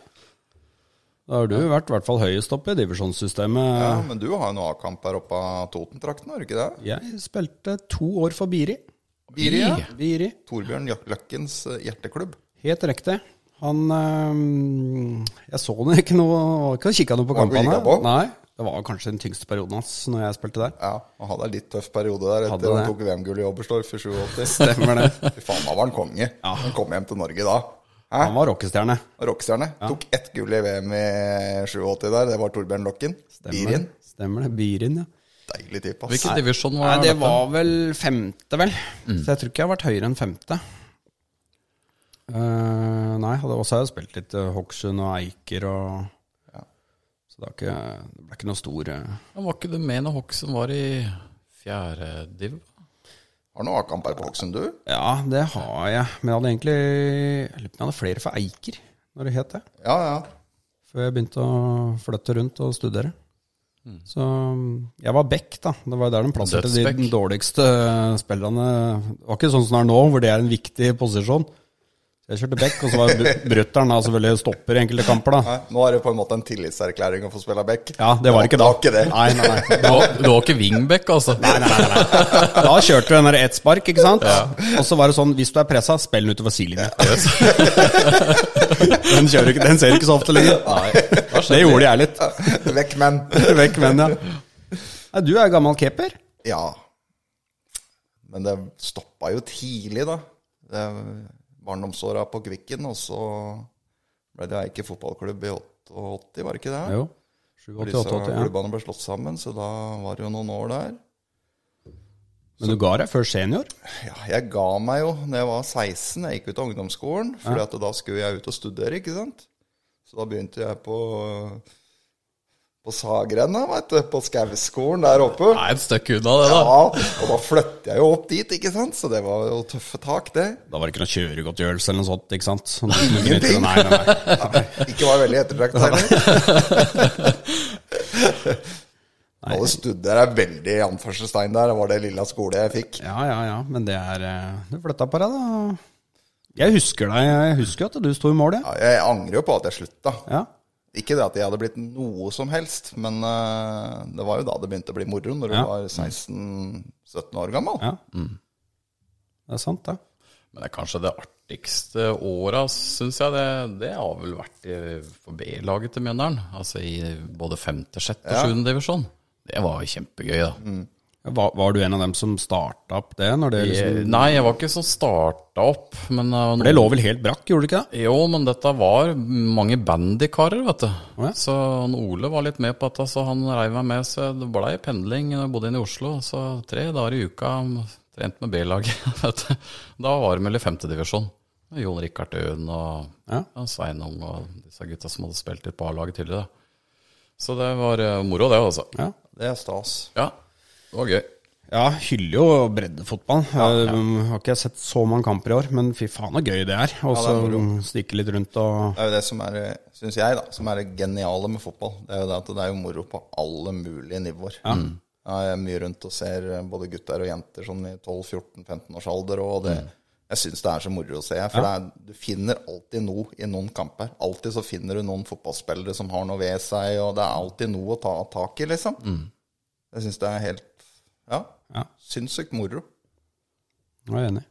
Speaker 3: Da har du vært i hvert fall høyest oppe i divisjonssystemet.
Speaker 4: Ja, men du har jo noen A-kamp her oppe av Toten-trakten, har du ikke det?
Speaker 3: Jeg spilte to år for Biri.
Speaker 4: Biri, ja.
Speaker 3: Biri.
Speaker 4: Torbjørn Jøk- Løkkens eh, hjerteklubb.
Speaker 3: Helt riktig. Han øhm, Jeg så han ikke noe var Ikke kikka noe på
Speaker 4: Var du
Speaker 3: kampene.
Speaker 4: kikket på?
Speaker 3: Nei, Det var kanskje den tyngste perioden hans når jeg spilte der.
Speaker 4: Ja, han hadde en litt tøff periode der
Speaker 3: Hadde
Speaker 4: etter han
Speaker 3: det.
Speaker 4: tok VM-gull i Oberstdorf i 87.
Speaker 3: Stemmer det.
Speaker 4: Fy faen, da var han konge. Han kom hjem til Norge da. Hæ?
Speaker 3: Han var rockestjerne.
Speaker 4: Rockestjerne. Tok ett gull i VM i 87 der, det var Torbjørn Løkken. Birin.
Speaker 3: Stemmer det. Byrin, ja.
Speaker 4: Deilig type, ass.
Speaker 2: Hvilken divisjon
Speaker 3: Nei,
Speaker 2: var
Speaker 3: det
Speaker 2: dette?
Speaker 3: var vel femte, vel. Så jeg tror ikke jeg har vært høyere enn femte. Eh, nei, hadde også har jeg spilt litt eh, Hokksund og Eiker og Så det, har ikke, det ble ikke noe stor eh,
Speaker 2: Ja, Var ikke du med når Hokksund var i fjerde div?
Speaker 4: Har du noen A-kamp her på Hokksund, du?
Speaker 3: Ja, det har jeg. Men jeg hadde egentlig Jeg lurer på om jeg hadde flere for Eiker, når det het det.
Speaker 4: Ja, ja.
Speaker 3: Før jeg begynte å flytte rundt og studere. Så mm, jeg var back, da. Det var jo der de plasserte de
Speaker 2: Dødsback.
Speaker 3: dårligste eh, spillerne. Det var ikke sånn som det er nå, hvor det er en viktig posisjon. Så Jeg kjørte back, og så var br- brutter'n da selvfølgelig stopper i enkelte kamper, da.
Speaker 4: Nei, nå er det på en måte en tillitserklæring å få spille back.
Speaker 3: Ja, det var ikke da.
Speaker 4: Det var ikke det.
Speaker 3: Nei, nei, nei.
Speaker 2: Du var, du var ikke wingback, altså? Nei, nei, nei.
Speaker 3: Da kjørte du den der ett spark, ikke sant? Og så var det sånn, hvis du er pressa, spill den utover sidelinja. den, kjører ikke, den ser ikke så ofte lenger. Det gjorde jeg litt.
Speaker 4: Vekk, men.
Speaker 3: Vekk menn, ja. Nei, du er gammel keeper.
Speaker 4: Ja. Men det stoppa jo tidlig, da. Det Barndomsåra på Kvikken, og så ble det Eike fotballklubb i 88, var det ikke det?
Speaker 3: Jo. 87,
Speaker 4: Hvor disse
Speaker 3: 88, ja.
Speaker 4: klubbene ble slått sammen, så da var det jo noen år der.
Speaker 3: Men du ga deg før senior?
Speaker 4: Ja, jeg ga meg jo når jeg var 16. Jeg gikk ut av ungdomsskolen, for da skulle jeg ut og studere, ikke sant? Så da begynte jeg på på Sagrenna, vet du, på Skauskolen der oppe.
Speaker 2: Det er et stykke unna, det, da.
Speaker 4: Ja, og da flytter jeg jo opp dit, ikke sant? Så det var jo tøffe tak, det.
Speaker 3: Da var det ikke noe kjøregodtgjørelse eller noe sånt, ikke sant? Sånn, Ingenting! Nei, nei, nei.
Speaker 4: Ikke var veldig ettertraktet heller. Alle studier er veldig i anførselstegn der, var det lilla skole jeg fikk.
Speaker 3: Ja, ja, ja, men det er eh, Du flytta på deg, da. Jeg husker deg, jeg husker at du sto i mål, ja.
Speaker 4: Ja, jeg angrer jo på at jeg slutta.
Speaker 3: ja.
Speaker 4: Ikke det at jeg hadde blitt noe som helst, men eh, det var jo da det begynte å bli moro, når du
Speaker 3: Ja.
Speaker 4: var 16-17 år gammel.
Speaker 3: Ja. Det er sant, det.
Speaker 2: Men det er kanskje det artigste åra, syns jeg. Det, det har vel vært i for B-laget til Mjøndalen. Altså i både femte, sjette og sjuende divisjon. Det var jo kjempegøy, da.
Speaker 3: Mm. Var, var du en av dem som starta opp det? Når det, liksom,
Speaker 2: Jeg, nei, jeg var ikke som starta opp, men uh,
Speaker 3: for det lå vel helt brakk, gjorde det ikke det?
Speaker 2: Jo, men dette var mange bandykarer, vet du.
Speaker 3: ja.
Speaker 2: Så han Ole var litt med på dette, så han reiv meg med. Så det blei pendling. Jeg bodde inne i Oslo, så tre dager i uka trent med B-laget. vet du. Da var det vel i femtedivisjon. Jon Rikard Øen og
Speaker 3: Ja.
Speaker 2: ja. Sveinung og disse gutta som hadde spilt litt på A-laget tidligere. Så det var eh, moro, det, altså.
Speaker 3: Ja.
Speaker 4: Det er stas.
Speaker 2: Ja, det var gøy.
Speaker 3: Ja, hyller jo breddefotball. Jeg har ikke sett så mange kamper i år, men fy faen så gøy det er. Og så stikke litt rundt og
Speaker 4: Det er jo det som er, synes jeg, da, som er det geniale med fotball. Det er jo det at det er jo moro på alle mulige nivåer. Mm. Ja, jeg er mye rundt og ser eh, både gutter og jenter sånn i 12-14-15 års alder, og
Speaker 3: Mm.
Speaker 4: det, jeg syns det er så moro å se. For det er, du finner alltid noe i noen kamper. Alltid så finner du noen fotballspillere som har noe ved seg, og det er alltid noe å ta tak i, liksom. Jeg syns det er helt Ja,
Speaker 3: Mm. Ja.
Speaker 4: sinnssykt moro.
Speaker 3: Jeg er enig.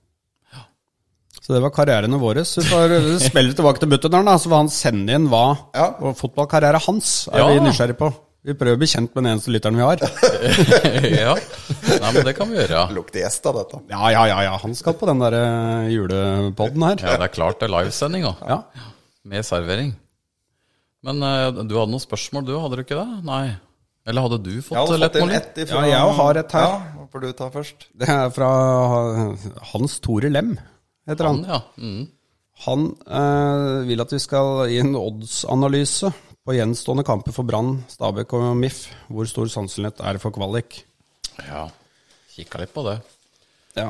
Speaker 3: Så det var karrierene våre. Så vi får spille tilbake til Buttedalen, da. Så får han sende inn hva
Speaker 4: Ja.
Speaker 3: og fotballkarriere hans er
Speaker 2: Ja.
Speaker 3: vi nysgjerrig på. Vi prøver å bli kjent med den eneste lytteren vi har.
Speaker 2: ja. Nei, men det kan vi gjøre.
Speaker 4: Det lukter gjest av dette.
Speaker 3: Ja, ja, ja, ja. han skal på den der eh, julepodden her.
Speaker 2: Ja, det er klart det er livesending, da.
Speaker 3: Ja.
Speaker 2: Med servering. Men eh, du hadde noen spørsmål du, hadde du ikke det? Nei. Eller hadde du fått
Speaker 4: Jeg hadde fått
Speaker 2: lett
Speaker 4: inn
Speaker 2: måling?
Speaker 4: ett
Speaker 3: Ja, jeg også har et her.
Speaker 4: Ja, hva får du ta først?
Speaker 3: Det er fra eh, Hans Tore Lem, heter han.
Speaker 2: Han, ja. Mm.
Speaker 3: Han eh, vil at vi skal gi en oddsanalyse på gjenstående kamper for Brann, Stabæk og MIF. Hvor stor sannsynlighet er det for kvalik?
Speaker 2: ja. Kikka litt på det.
Speaker 3: Ja.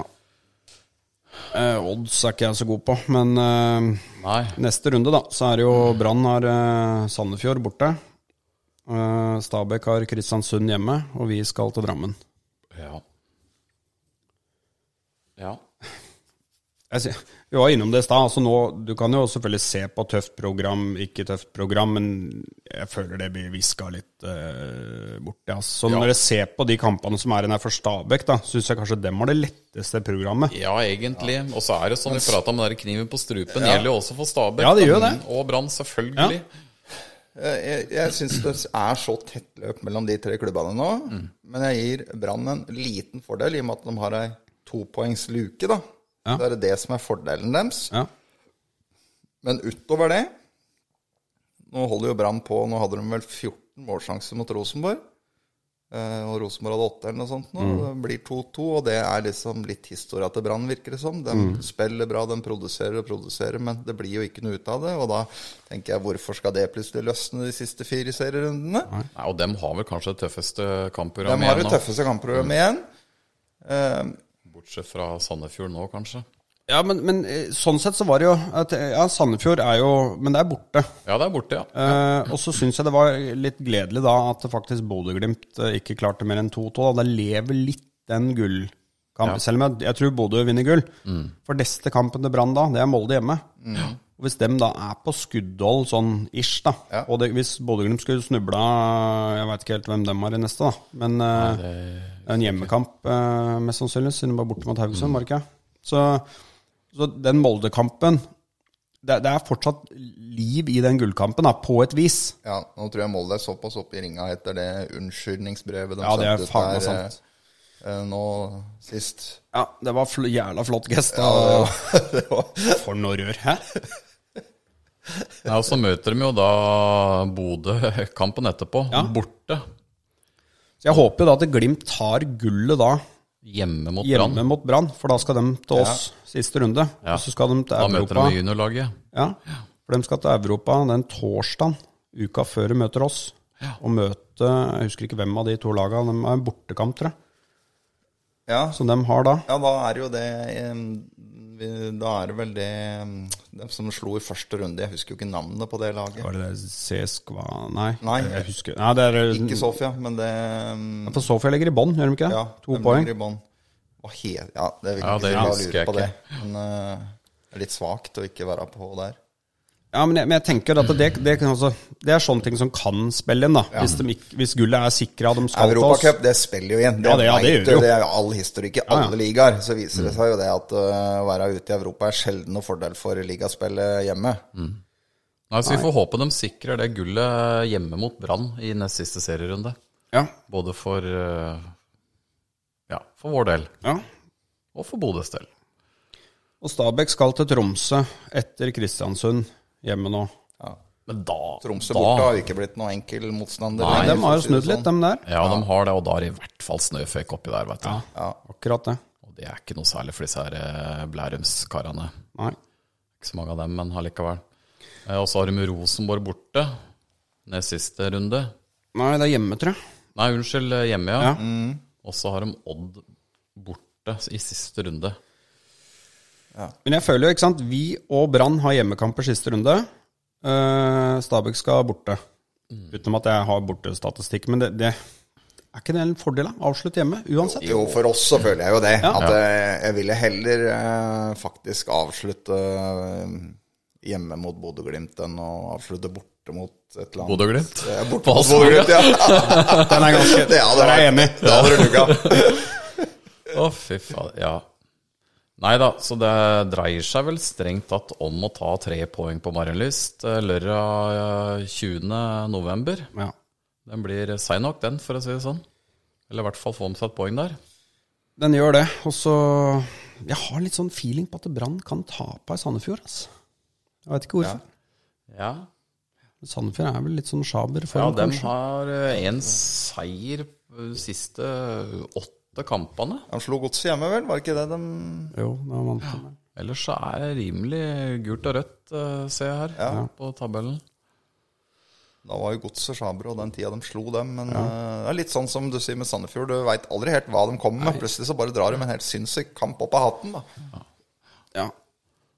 Speaker 3: Eh, odds er ikke jeg så god på, men eh,
Speaker 2: Nei.
Speaker 3: neste runde, da, så er det jo Brann har eh, Sandefjord borte. Eh, Stabæk har Kristiansund hjemme, og vi skal til Drammen.
Speaker 2: Ja. Ja.
Speaker 3: Jeg sier- Vi var innom det i stad. Altså nå- du kan jo selvfølgelig se på tøft program, ikke tøft program, men jeg føler det blir viska litt eh, bort. Ja. Så når jeg ser på de kampene som er igjen her for Stabæk, da, syns jeg kanskje dem har det letteste programmet.
Speaker 2: Ja, egentlig. Og så er det sånn vi prata om den der kniven på strupen. Gjelder jo også for Stabæk.
Speaker 3: Ja, det gjør
Speaker 2: da.
Speaker 3: det.
Speaker 2: Og Brann, selvfølgelig.
Speaker 4: Jeg, Eh, jeg- jeg syns det er så tett løp mellom de tre klubbene nå. Men jeg gir Brann en liten fordel, i og med at de har ei topoengsluke, da.
Speaker 3: Ja.
Speaker 4: Så er det det som er fordelen deres.
Speaker 3: Ja.
Speaker 4: Men utover det Nå holder jo Brann på Nå hadde de vel 14 målsjanser mot Rosenborg. eh, Og Rosenborg hadde åtte eller noe sånt. nå,
Speaker 3: Mm.
Speaker 4: og Det blir 2-2, og det er liksom litt historia til Brann, virker det som. De
Speaker 3: Mm.
Speaker 4: spiller bra, de produserer og produserer, men det blir jo ikke noe ut av det. Og da tenker jeg, hvorfor skal det plutselig løsne de siste fire serierundene?
Speaker 2: Nei, og dem har vel kanskje det tøffeste
Speaker 4: De
Speaker 2: kampprogrammet
Speaker 4: har
Speaker 2: igjen
Speaker 4: det
Speaker 2: nå.
Speaker 4: tøffeste kampprogrammet igjen. Eh,
Speaker 2: Bortsett fra Sandefjord nå, kanskje.
Speaker 3: Ja, men, men eh, sånn sett så var det jo at, Ja, Sandefjord er jo Men det er borte.
Speaker 2: Ja, det er borte, ja.
Speaker 3: Eh, og så syns jeg det var litt gledelig da at faktisk Bodø-Glimt eh, ikke klarte mer enn 2-2. da. Det lever litt den gullkampen, selv om jeg, jeg tror Bodø vinner gull. For neste kampen til Brann da, det er Molde hjemme. Og Hvis dem da er på skuddhold sånn ish, da, og det, hvis Bodø-Glimt skulle snubla Jeg veit ikke helt hvem dem har i neste, da, men eh, det er en hjemmekamp eh, mest sannsynlig, siden de var borte mot Haugesund, var det ikke? Så, så den Molde-kampen det, det er fortsatt liv i den gullkampen, da, på et vis.
Speaker 4: ja, nå tror jeg Molde er såpass oppe i ringa etter det unnskyldningsbrevet de
Speaker 3: Ja, det er
Speaker 4: sendte ut
Speaker 3: faen meg
Speaker 4: der, eh,
Speaker 3: sant.
Speaker 4: eh, nå sist.
Speaker 3: Ja, det var fl jævla flott gest. Da.
Speaker 4: det var
Speaker 3: For noe rør, hæ?
Speaker 2: Nei, og så møter de jo da Bodø kampen etterpå.
Speaker 3: Ja.
Speaker 2: Borte.
Speaker 3: Så jeg håper jo da at Glimt tar gullet da
Speaker 2: Hjemme mot
Speaker 3: hjemme
Speaker 2: Brann.
Speaker 3: mot Brann, for da skal de til oss siste runde.
Speaker 2: Ja.
Speaker 3: Og så skal de til
Speaker 2: Da møter
Speaker 3: Europa.
Speaker 2: de juniorlaget.
Speaker 3: Ja, for de skal til Europa den torsdagen, uka før de møter oss. Og møte Jeg husker ikke hvem av de to lagene. De er en bortekamp, tror jeg.
Speaker 4: Ja,
Speaker 3: Som de har da.
Speaker 4: Ja, da er jo det em, vi- Da er det vel det em, De som slo i første runde Jeg husker jo ikke navnet på det laget.
Speaker 3: Var det det CSKA Nei,
Speaker 4: Nei.
Speaker 3: jeg husker Nei, det er
Speaker 4: Ikke Sofia, men det em,
Speaker 3: For Sofia ligger i bånn, gjør de ikke det?
Speaker 4: Ja,
Speaker 3: to
Speaker 4: de
Speaker 3: poeng.
Speaker 4: ligger i bånn. Hva he- Ja, det er
Speaker 2: Ja,
Speaker 4: viktig
Speaker 2: det
Speaker 4: ja, å
Speaker 2: husker
Speaker 4: lure
Speaker 2: jeg
Speaker 4: på det.
Speaker 2: ikke.
Speaker 4: Men eh, det er litt svakt å ikke være på der.
Speaker 3: Ja, men jeg, men jeg tenker at det, det, kan altså, det er sånne ting som kan spille inn, da. Hvis, de ikke, hvis gullet er sikra, de skal til oss.
Speaker 4: Europacup, det spiller jo igjen. Det,
Speaker 3: Ja, det- ja, det gjør det
Speaker 4: vet
Speaker 3: jo. Mm.
Speaker 4: du, det er jo all historikk i alle ligaer. Så viser det seg jo det at eh, å være ute i Europa er sjelden noe fordel for ligaspillet hjemme.
Speaker 3: Mm.
Speaker 2: Nei, så vi får håpe de sikrer det gullet eh, hjemme mot Brann i nest siste serierunde.
Speaker 3: Ja,
Speaker 2: Både for eh, Ja, for vår del.
Speaker 3: ja.
Speaker 2: Og for Bodøs del.
Speaker 3: Og Stabæk skal til Tromsø etter Kristiansund hjemme nå.
Speaker 2: Men da
Speaker 4: Tromsø
Speaker 2: da,
Speaker 4: borte har jo ikke blitt noen enkel motstander.
Speaker 2: Nei,
Speaker 4: lenger,
Speaker 3: De har
Speaker 4: for å
Speaker 3: jo
Speaker 4: si det
Speaker 3: snudd litt,
Speaker 4: sånn.
Speaker 3: dem der.
Speaker 2: Ja, de har det, og da er det i hvert fall snøføyk oppi der, vet du.
Speaker 3: Akkurat det.
Speaker 2: Og det er ikke noe særlig for disse her eh, Blærumskarene.
Speaker 3: Nei.
Speaker 2: Ikke så mange av dem, men allikevel. Eh, Og så har de Rosenborg borte, ned siste runde.
Speaker 3: Nei, det er hjemme, tror jeg.
Speaker 2: Nei, unnskyld, eh, hjemme, ja. Mm.
Speaker 3: Ja.
Speaker 2: Og så har de Odd borte i siste runde.
Speaker 3: Men jeg føler jo, ikke sant, vi og Brann har hjemmekamper siste runde. Eh, Stabæk skal borte. Utenom at jeg har bortestatistikk. Men det, det er ikke det en fordel, da? Avslutt hjemme, uansett.
Speaker 4: Jo, for oss så føler jeg jo det. At eh, jeg ville heller eh, faktisk avslutte eh, hjemme mot Bodø-Glimt enn å avslutte borte mot et eller annet
Speaker 2: Bodø-Glimt?
Speaker 4: Eh,
Speaker 2: På
Speaker 4: Borte mot Bodø-Glimt, ja.
Speaker 3: Den er ganske
Speaker 4: Det hadde
Speaker 3: Der er jeg
Speaker 4: vært-
Speaker 3: enig.
Speaker 4: Det hadde du lukka.
Speaker 2: Å, fy faen. Ja. Nei da, så det dreier seg vel strengt tatt om å ta tre poeng på Marienlyst eh, lørdag eh, 20. november.
Speaker 3: Ja.
Speaker 2: Den blir sein nok, den, for å si det sånn. Eller i hvert fall få med seg et poeng der.
Speaker 3: Den gjør det. Og så Jeg har litt sånn feeling på at Brann kan tape i Sandefjord, altså. Jeg veit ikke hvorfor.
Speaker 2: Ja,
Speaker 3: Sandefjord er vel litt sånn sjaber
Speaker 2: ja
Speaker 3: foran,
Speaker 2: de
Speaker 3: kanskje.
Speaker 2: har én seier eh, siste åtte kampene.
Speaker 4: De slo godset hjemme, vel? Var det ikke det de
Speaker 3: Jo, da vant de.
Speaker 2: Ellers så er det rimelig gult og rødt, eh, ser jeg her på tabellen.
Speaker 4: Da var jo godset Sjabro den tida de slo dem. Men eh, det er litt sånn som du sier med Sandefjord. Du veit aldri helt hva de kommer med. Plutselig så bare drar de en helt sinnssyk kamp opp av hatten, da.
Speaker 3: Ja.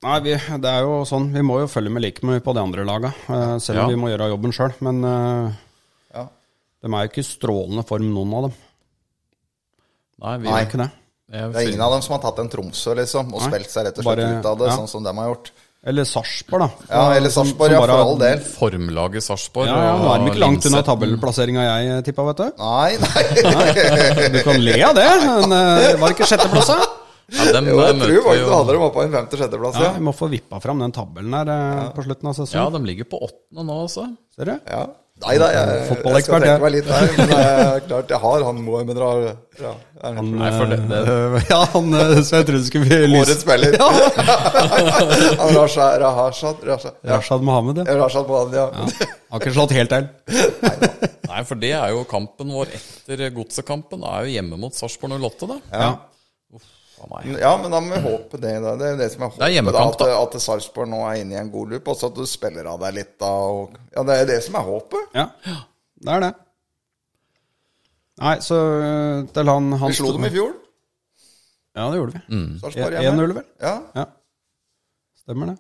Speaker 3: Nei, vi, det er jo sånn. Vi må jo følge med like mye på de andre laga, eh, selv om
Speaker 2: Ja.
Speaker 3: vi må gjøre jobben sjøl. Men eh,
Speaker 4: Ja.
Speaker 3: de er jo ikke i strålende form, noen av dem.
Speaker 2: Nei, vi,
Speaker 3: Det er ikke det.
Speaker 2: jeg
Speaker 4: Det er
Speaker 2: fin-
Speaker 4: ingen av dem som har tatt en Tromsø, liksom, og
Speaker 3: Nei.
Speaker 4: spilt seg rett og slett
Speaker 3: Bare-
Speaker 4: ut av det,
Speaker 3: ja.
Speaker 4: sånn som de har gjort.
Speaker 3: Eller Sarpsborg, da.
Speaker 4: Ja, eller
Speaker 3: Som-
Speaker 4: Sarpsborg,
Speaker 3: som
Speaker 4: ja,
Speaker 3: bare-
Speaker 4: for all del.
Speaker 2: Formlaget Sarpsborg
Speaker 3: Ja, ja, Nå er de ikke langt unna
Speaker 2: Linseth.
Speaker 3: tabellplasseringa jeg tippa, vet du.
Speaker 4: Nei, nei.
Speaker 3: Du kan le av det, men eh, var det ikke sjetteplass, da?
Speaker 2: Ja, dem eh,
Speaker 4: jo, jeg
Speaker 2: møter
Speaker 4: tror
Speaker 2: vi
Speaker 4: faktisk
Speaker 2: jo
Speaker 4: du hadde dem oppe på en femte-sjetteplass,
Speaker 3: Ja,
Speaker 4: ja.
Speaker 3: vi må få vippa fram den tabellen her eh, på slutten av
Speaker 2: Ja,
Speaker 3: sesongen.
Speaker 2: de ligger på åttende nå altså. også.
Speaker 3: Ser du?
Speaker 4: ja. Nei da, jeg, jeg
Speaker 3: Fotballekspert,
Speaker 4: skal
Speaker 3: ja.
Speaker 4: trekke meg litt der. Men det er klart, jeg har han Mohammed Ra... Ja, er han-
Speaker 2: Nei, for det, det,
Speaker 3: Eh, ja, han eh, som jeg trodde skulle bli
Speaker 4: Årets spiller. Han Rasha, Rahasha, Rasha, ja.
Speaker 3: Rashad Mohammed, ja.
Speaker 4: Rashad Mohammed, ja.
Speaker 3: Har ikke slått helt til.
Speaker 2: nei, for det er jo kampen vår etter godsekampen. Er jo hjemme mot Sarpsborg 08, da.
Speaker 3: Ja.
Speaker 2: Å, nei.
Speaker 4: Ja, men da må vi håpe det. Da. Det er jo det som er håpet.
Speaker 2: Det er hjemmekamp,
Speaker 4: da. At, at Sarpsborg nå er inne i en god loop, og så at du spiller av deg litt da. Og, ja, det er det som er håpet.
Speaker 3: Ja, det er det. Nei, så øh, til han, han
Speaker 4: Vi slo dem i fjor.
Speaker 3: Ja, det gjorde vi.
Speaker 2: Mm.
Speaker 4: Sarpsborg
Speaker 3: 1-0,
Speaker 4: hjemme.
Speaker 3: E- vel?
Speaker 4: Ja.
Speaker 3: Ja. Stemmer det.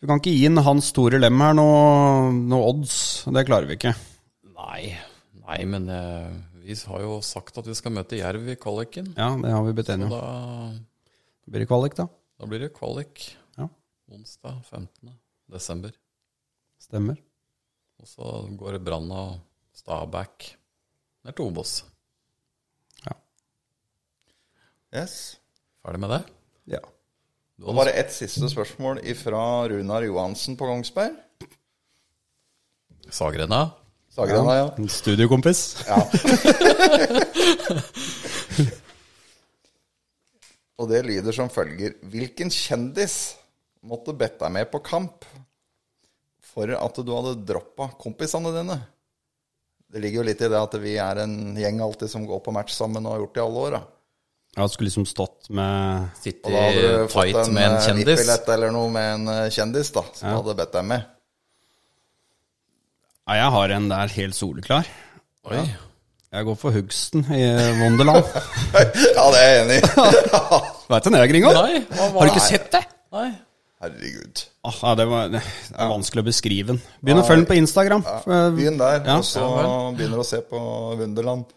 Speaker 3: Vi kan ikke gi inn hans store lem her noe, noe odds. Det klarer vi ikke.
Speaker 2: nei, nei, men eh, vi har jo sagt at vi skal møte Jerv i kvaliken.
Speaker 3: Ja, det har vi blitt enige om.
Speaker 2: Da,
Speaker 3: Det Blir det kvalik, da?
Speaker 2: da blir det kvalik
Speaker 3: Ja,
Speaker 2: onsdag 15. desember.
Speaker 3: stemmer.
Speaker 2: Og så går det Brann og Stabæk ned til Obos.
Speaker 3: Ja.
Speaker 4: Yes.
Speaker 2: Ferdig med det?
Speaker 3: ja.
Speaker 2: Du
Speaker 4: Og
Speaker 2: hadde,
Speaker 4: bare ett siste spørsmål fra Runar Johansen på Kongsberg.
Speaker 2: Sagrena?
Speaker 4: Sagrena, ja.
Speaker 3: En Studiokompis.
Speaker 4: Og det lyder som følger Hvilken kjendis måtte bedt deg med på kamp for at du hadde droppa kompisene dine? Det ligger jo litt i det at vi er en gjeng alltid som går på match sammen og har gjort det i alle år. Da.
Speaker 3: Jeg skulle liksom stått med
Speaker 2: Sitte
Speaker 4: Og da hadde du fått
Speaker 2: tight
Speaker 4: en,
Speaker 2: med en
Speaker 4: eh,
Speaker 2: kjendis?
Speaker 4: VIP-billett eller noe med en eh, kjendis da, som du hadde bedt deg med.
Speaker 3: Nei, jeg har en der helt soleklar.
Speaker 2: Oi.
Speaker 3: Jeg går for Hugsten i Wonderland.
Speaker 4: Ja, det er jeg enig i.
Speaker 3: Veit du hva det er, Gringo?
Speaker 2: Nei, hva var
Speaker 3: Har du ikke sett det?
Speaker 2: Nei.
Speaker 4: Herregud.
Speaker 3: Ah, ja, det, var, det er vanskelig å beskrive den. Begynn å følge den på Instagram. eh,
Speaker 4: Begynn der,
Speaker 3: Ja.
Speaker 4: og så begynner du å se på Wunderland.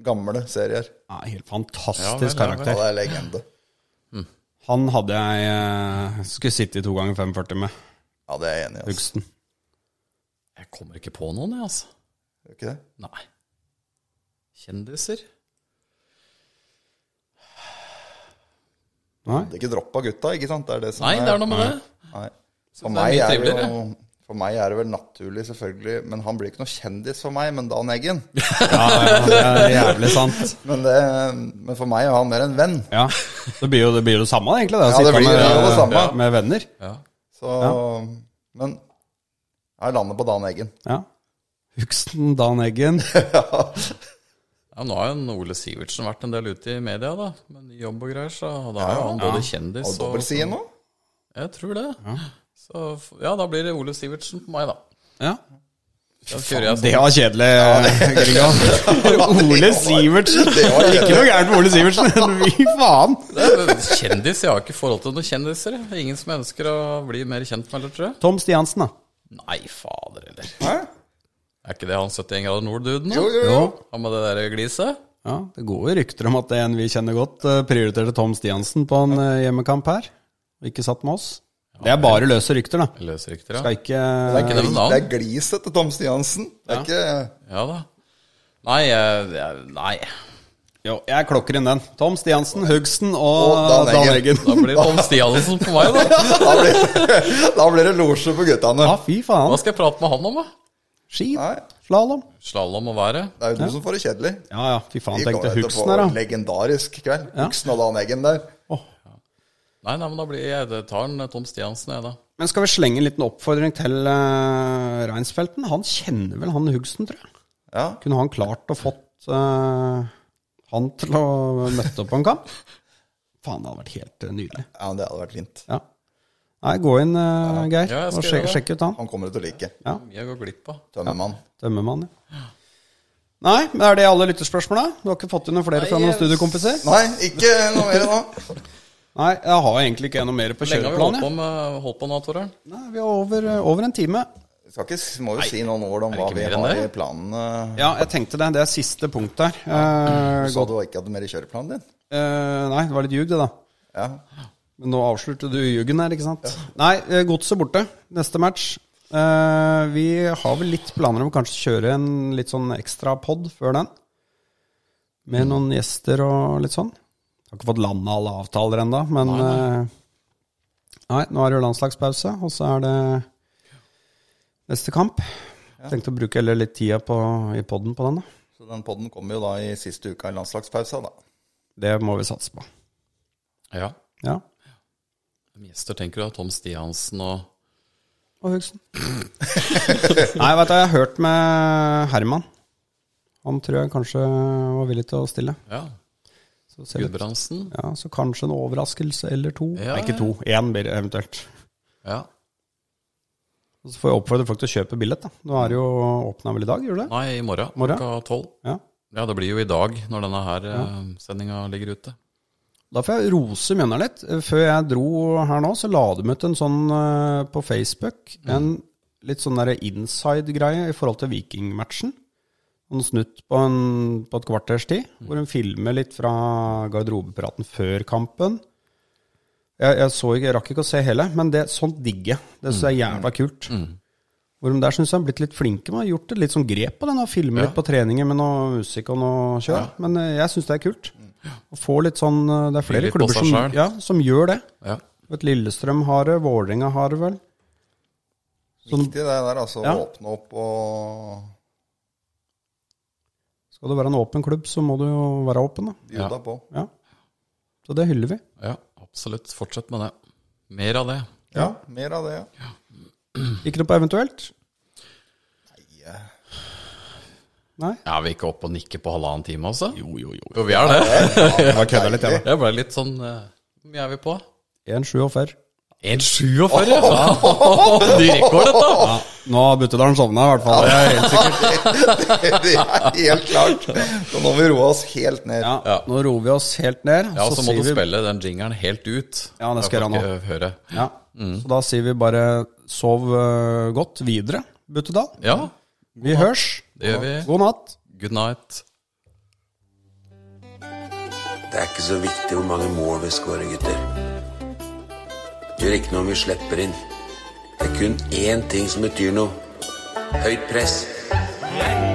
Speaker 4: Gamle serier.
Speaker 3: Ja, helt
Speaker 2: Ja,
Speaker 3: fantastisk
Speaker 2: vel, ja, vel.
Speaker 4: Ja,
Speaker 3: karakter.
Speaker 4: det er legende.
Speaker 3: Han hadde jeg eh, skulle sitte i to ganger 45 med.
Speaker 4: Ja, det er jeg enig i. Altså.
Speaker 3: Hugsten.
Speaker 2: Jeg kommer ikke på noen, jeg, altså.
Speaker 4: Er det Ikke det?
Speaker 2: Nei. Kjendiser?
Speaker 3: Nei?
Speaker 4: Det er ikke droppa gutta, ikke sant? Det er det som
Speaker 2: Nei, det er noe med det.
Speaker 4: Nei. For
Speaker 2: det er
Speaker 4: meg,
Speaker 2: mye
Speaker 4: er det jo,
Speaker 2: triveligere.
Speaker 4: for meg er det vel naturlig, selvfølgelig. Men han blir ikke noe kjendis for meg, men Dan Eggen.
Speaker 3: Ja, ja, det er jævlig sant.
Speaker 4: Men, det, men for meg er han mer en venn.
Speaker 3: Ja, Det blir jo det, blir jo det samme, egentlig. Det, å
Speaker 4: Ja, det
Speaker 3: sitte
Speaker 4: blir
Speaker 3: med,
Speaker 4: jo det samme.
Speaker 3: ja, med venner.
Speaker 2: Ja.
Speaker 4: Så, Men jeg lander på Dan Eggen.
Speaker 3: Ja. Hugsten, Dan Eggen.
Speaker 2: ja, nå har jo en Ole Sivertsen vært en del ute i media, da. Med ny jobb og greier, så da er jo han både kjendis
Speaker 4: Og dobbeltside nå?
Speaker 2: Jeg altså. tror det. Så f- ja, da blir det Ole Sivertsen på meg, da.
Speaker 3: Ja.
Speaker 2: Faen,
Speaker 3: Det var kjedelig, Gringa. Ole Sivertsen. Ikke noe gærent med Ole Sivertsen, men fy faen.
Speaker 2: Kjendis? Jeg har ikke forhold til noen kjendiser. jeg. Ingen som ønsker å bli mer kjent med, eller, tror jeg.
Speaker 3: Tom Stiansen, da.
Speaker 2: Nei, fader heller.
Speaker 4: Hæ?
Speaker 2: Er ikke det han 71 grader nord-duden?
Speaker 4: Jo,
Speaker 2: da?
Speaker 4: jo, jo.
Speaker 3: Jo.
Speaker 2: Han med det der gliset?
Speaker 3: Ja, Det går jo rykter om at en vi kjenner godt, eh, prioriterte Tom Stiansen på en eh, hjemmekamp her. Og ikke satt med oss. Det er bare løse rykter, da.
Speaker 2: Løser ikke dere?
Speaker 3: Skal ikke
Speaker 4: Det er,
Speaker 2: ikke nevne
Speaker 4: gli,
Speaker 2: navn.
Speaker 4: det er gliset til Tom Stiansen. Det er ikke
Speaker 2: Ja da. Nei, jeg, jeg, nei.
Speaker 3: Jo, jeg klokker inn den. Tom Stiansen, Hugsen
Speaker 4: Og
Speaker 3: og
Speaker 4: Dan
Speaker 3: Dan
Speaker 4: Eggen.
Speaker 3: Eggen.
Speaker 2: Da blir det Tom Stiansen på meg, da.
Speaker 4: Da blir, da blir det losje for guttene.
Speaker 3: Ja, fy
Speaker 2: Hva
Speaker 3: faen.
Speaker 2: skal jeg prate med han om, da?
Speaker 3: Ski,
Speaker 4: Nei,
Speaker 3: slalåm.
Speaker 2: Slalåm og været?
Speaker 4: det er jo du som får det kjedelig.
Speaker 3: Ja ja, fy faen,
Speaker 4: Vi
Speaker 3: tenkte
Speaker 4: kommer til å
Speaker 3: Hugsen
Speaker 4: få
Speaker 3: her,
Speaker 4: en
Speaker 3: da.
Speaker 4: legendarisk kveld.
Speaker 3: Ja.
Speaker 4: Hugsen og Dan Eggen der.
Speaker 3: Åh.
Speaker 2: Nei, nei, men da blir jeg, det tar en Tom Stiansen, jeg, da.
Speaker 3: Men skal vi slenge en liten oppfordring til uh, Reinsfelten? Han kjenner vel han Hugsen, tror jeg.
Speaker 4: Ja.
Speaker 3: Kunne han klart å fått eh, han til å møtte opp på en kamp? Faen, det hadde vært helt eh, nydelig.
Speaker 4: ja, men det hadde vært fint.
Speaker 3: Ja. Nei, gå inn, eh, Geir,
Speaker 2: Ja, jeg skal
Speaker 3: og sjek,
Speaker 2: gjøre det.
Speaker 3: sjekk ut han.
Speaker 4: Han kommer til å like.
Speaker 2: Jeg går glipp av.
Speaker 4: Tømmermann.
Speaker 3: Tømmermann, ja. Nei, men er det alle lytterspørsmåla? Du har ikke fått inn noen flere fra
Speaker 2: Nei,
Speaker 3: noen
Speaker 2: jeg-
Speaker 3: studiekompiser?
Speaker 4: Nei, ikke noe mer nå.
Speaker 3: Nei, jeg har egentlig ikke noe mer på
Speaker 2: Hvor lenge har vi holdt
Speaker 3: kjøreplanen.
Speaker 2: på
Speaker 3: jeg.
Speaker 2: med holdt på nå, Torøren?
Speaker 3: Nei, vi er over, eh, over en time.
Speaker 4: Vi skal ikke, s- må jo si noen ord om
Speaker 2: det
Speaker 4: hva
Speaker 2: ikke
Speaker 4: vi
Speaker 2: mer enn
Speaker 4: har i
Speaker 2: det?
Speaker 4: planene.
Speaker 3: Ja, jeg tenkte det. Det er siste punkt der. Eh,
Speaker 4: Du sa du ikke hadde mer i kjøreplanen din.
Speaker 3: eh, nei, det var litt ljug, det, da.
Speaker 4: Ja.
Speaker 3: Men nå avslørte du juggen her, ikke sant? Nei, eh, godset borte. Neste match. Eh, vi har vel litt planer om å kanskje kjøre en litt sånn ekstra pod før den. Med noen gjester og litt sånn. Har ikke fått landa alle avtaler ennå, men nei, nei. nei, nå er det jo landslagspause, og så er det neste kamp. Tenkte å bruke heller litt tida på, i poden på den, da.
Speaker 4: Så den podden kommer jo da i siste uka i landslagspausa, da.
Speaker 3: Det må vi satse på.
Speaker 2: Ja.
Speaker 3: Ja.
Speaker 2: Hvem Gjester, tenker du? da? Tom Stiansen og
Speaker 3: Og Hugsen. Nei, vet du, jeg har hørt med Herman. Han tror jeg kanskje var villig til å stille.
Speaker 2: ja,
Speaker 3: Så, ser vi-
Speaker 2: Gudbrandsen?
Speaker 3: ja, så kanskje en overraskelse eller to.
Speaker 2: Ja,
Speaker 3: Nei, ikke to. Én blir det eventuelt.
Speaker 2: Ja.
Speaker 3: Og så får jeg oppfordre folk til å kjøpe billett. da. Nå er det jo åpna vel i dag, gjør det det?
Speaker 2: Nei, i morgen
Speaker 3: Morgen?
Speaker 2: klokka tolv.
Speaker 3: Ja.
Speaker 2: Ja, det blir jo i dag når denne her eh, sendinga ligger ute.
Speaker 3: Da får jeg rose Mjøndalen litt. Før jeg dro her nå, så la de ut en sånn eh, på Facebook. En litt sånn derre inside-greie i forhold til Viking-matchen. en snutt på, en, på et kvarters tid, hvor hun filmer litt fra garderobepraten før kampen. Jeg, jeg, så ikke, jeg rakk ikke å se hele, men det, sånt digger jeg. Det synes jeg er jævla kult.
Speaker 2: Mm.
Speaker 3: Hvor de der synes jeg har blitt litt flinke med å ha gjort et litt sånn grep på den, og filme litt på treninger med noe musikk og noe kjør. Men eh, jeg synes det er kult. Å få litt sånn, eh, det er
Speaker 2: Fylle Mm.
Speaker 3: flere
Speaker 2: litt på
Speaker 3: klubber
Speaker 2: seg
Speaker 3: som,
Speaker 2: selv.
Speaker 3: ja, som gjør det.
Speaker 2: Ja.
Speaker 3: Vet, Lillestrøm har det, Vålerenga har det vel.
Speaker 4: Viktig det der, altså.
Speaker 3: Ja.
Speaker 4: Å åpne opp og
Speaker 3: Skal det være en åpen klubb, så må du jo være åpen da.
Speaker 4: bjuda
Speaker 2: Ja.
Speaker 4: på.
Speaker 3: Ja. Så det hyller vi.
Speaker 2: ja, absolutt. Fortsett med det. Mer av det.
Speaker 4: Ja, mer av det, ja.
Speaker 3: Ikke noe på eventuelt? Nei.
Speaker 2: Er vi ikke oppe og nikker på halvannen time, altså? Jo,
Speaker 3: jo, jo.
Speaker 2: vi er det.
Speaker 4: Jeg bare
Speaker 3: kødda litt, jeg, da.
Speaker 2: Jeg ble litt sånn eh, Hvor mye er vi på?
Speaker 3: 1,47.
Speaker 2: 1,47! De rekord, dette!
Speaker 3: Ja, nå har Buttedalen sovna, i hvert fall. Det er helt sikkert.
Speaker 4: Det er helt klart. Så nå må vi roe oss helt ned.
Speaker 3: Ja, nå roer vi oss helt ned.
Speaker 2: Ja, så må
Speaker 3: sier
Speaker 2: du
Speaker 3: vi-
Speaker 2: spille den jingeren helt ut.
Speaker 3: Ja, det skal jeg
Speaker 2: får
Speaker 3: gjøre
Speaker 2: ikke Høre.
Speaker 3: Ja.
Speaker 2: Mm.
Speaker 3: Så da sier vi bare sov øh, godt videre, Buttedal.
Speaker 2: Ja,
Speaker 3: Vi hørs.
Speaker 2: det gjør vi.
Speaker 3: God natt.
Speaker 2: Good night.
Speaker 1: Det er ikke så viktig hvor mange mål vi skårer, gutter. Det gjør ikke noe om vi slipper inn. Det er kun én ting som betyr noe. Høyt press.
Speaker 5: Lenge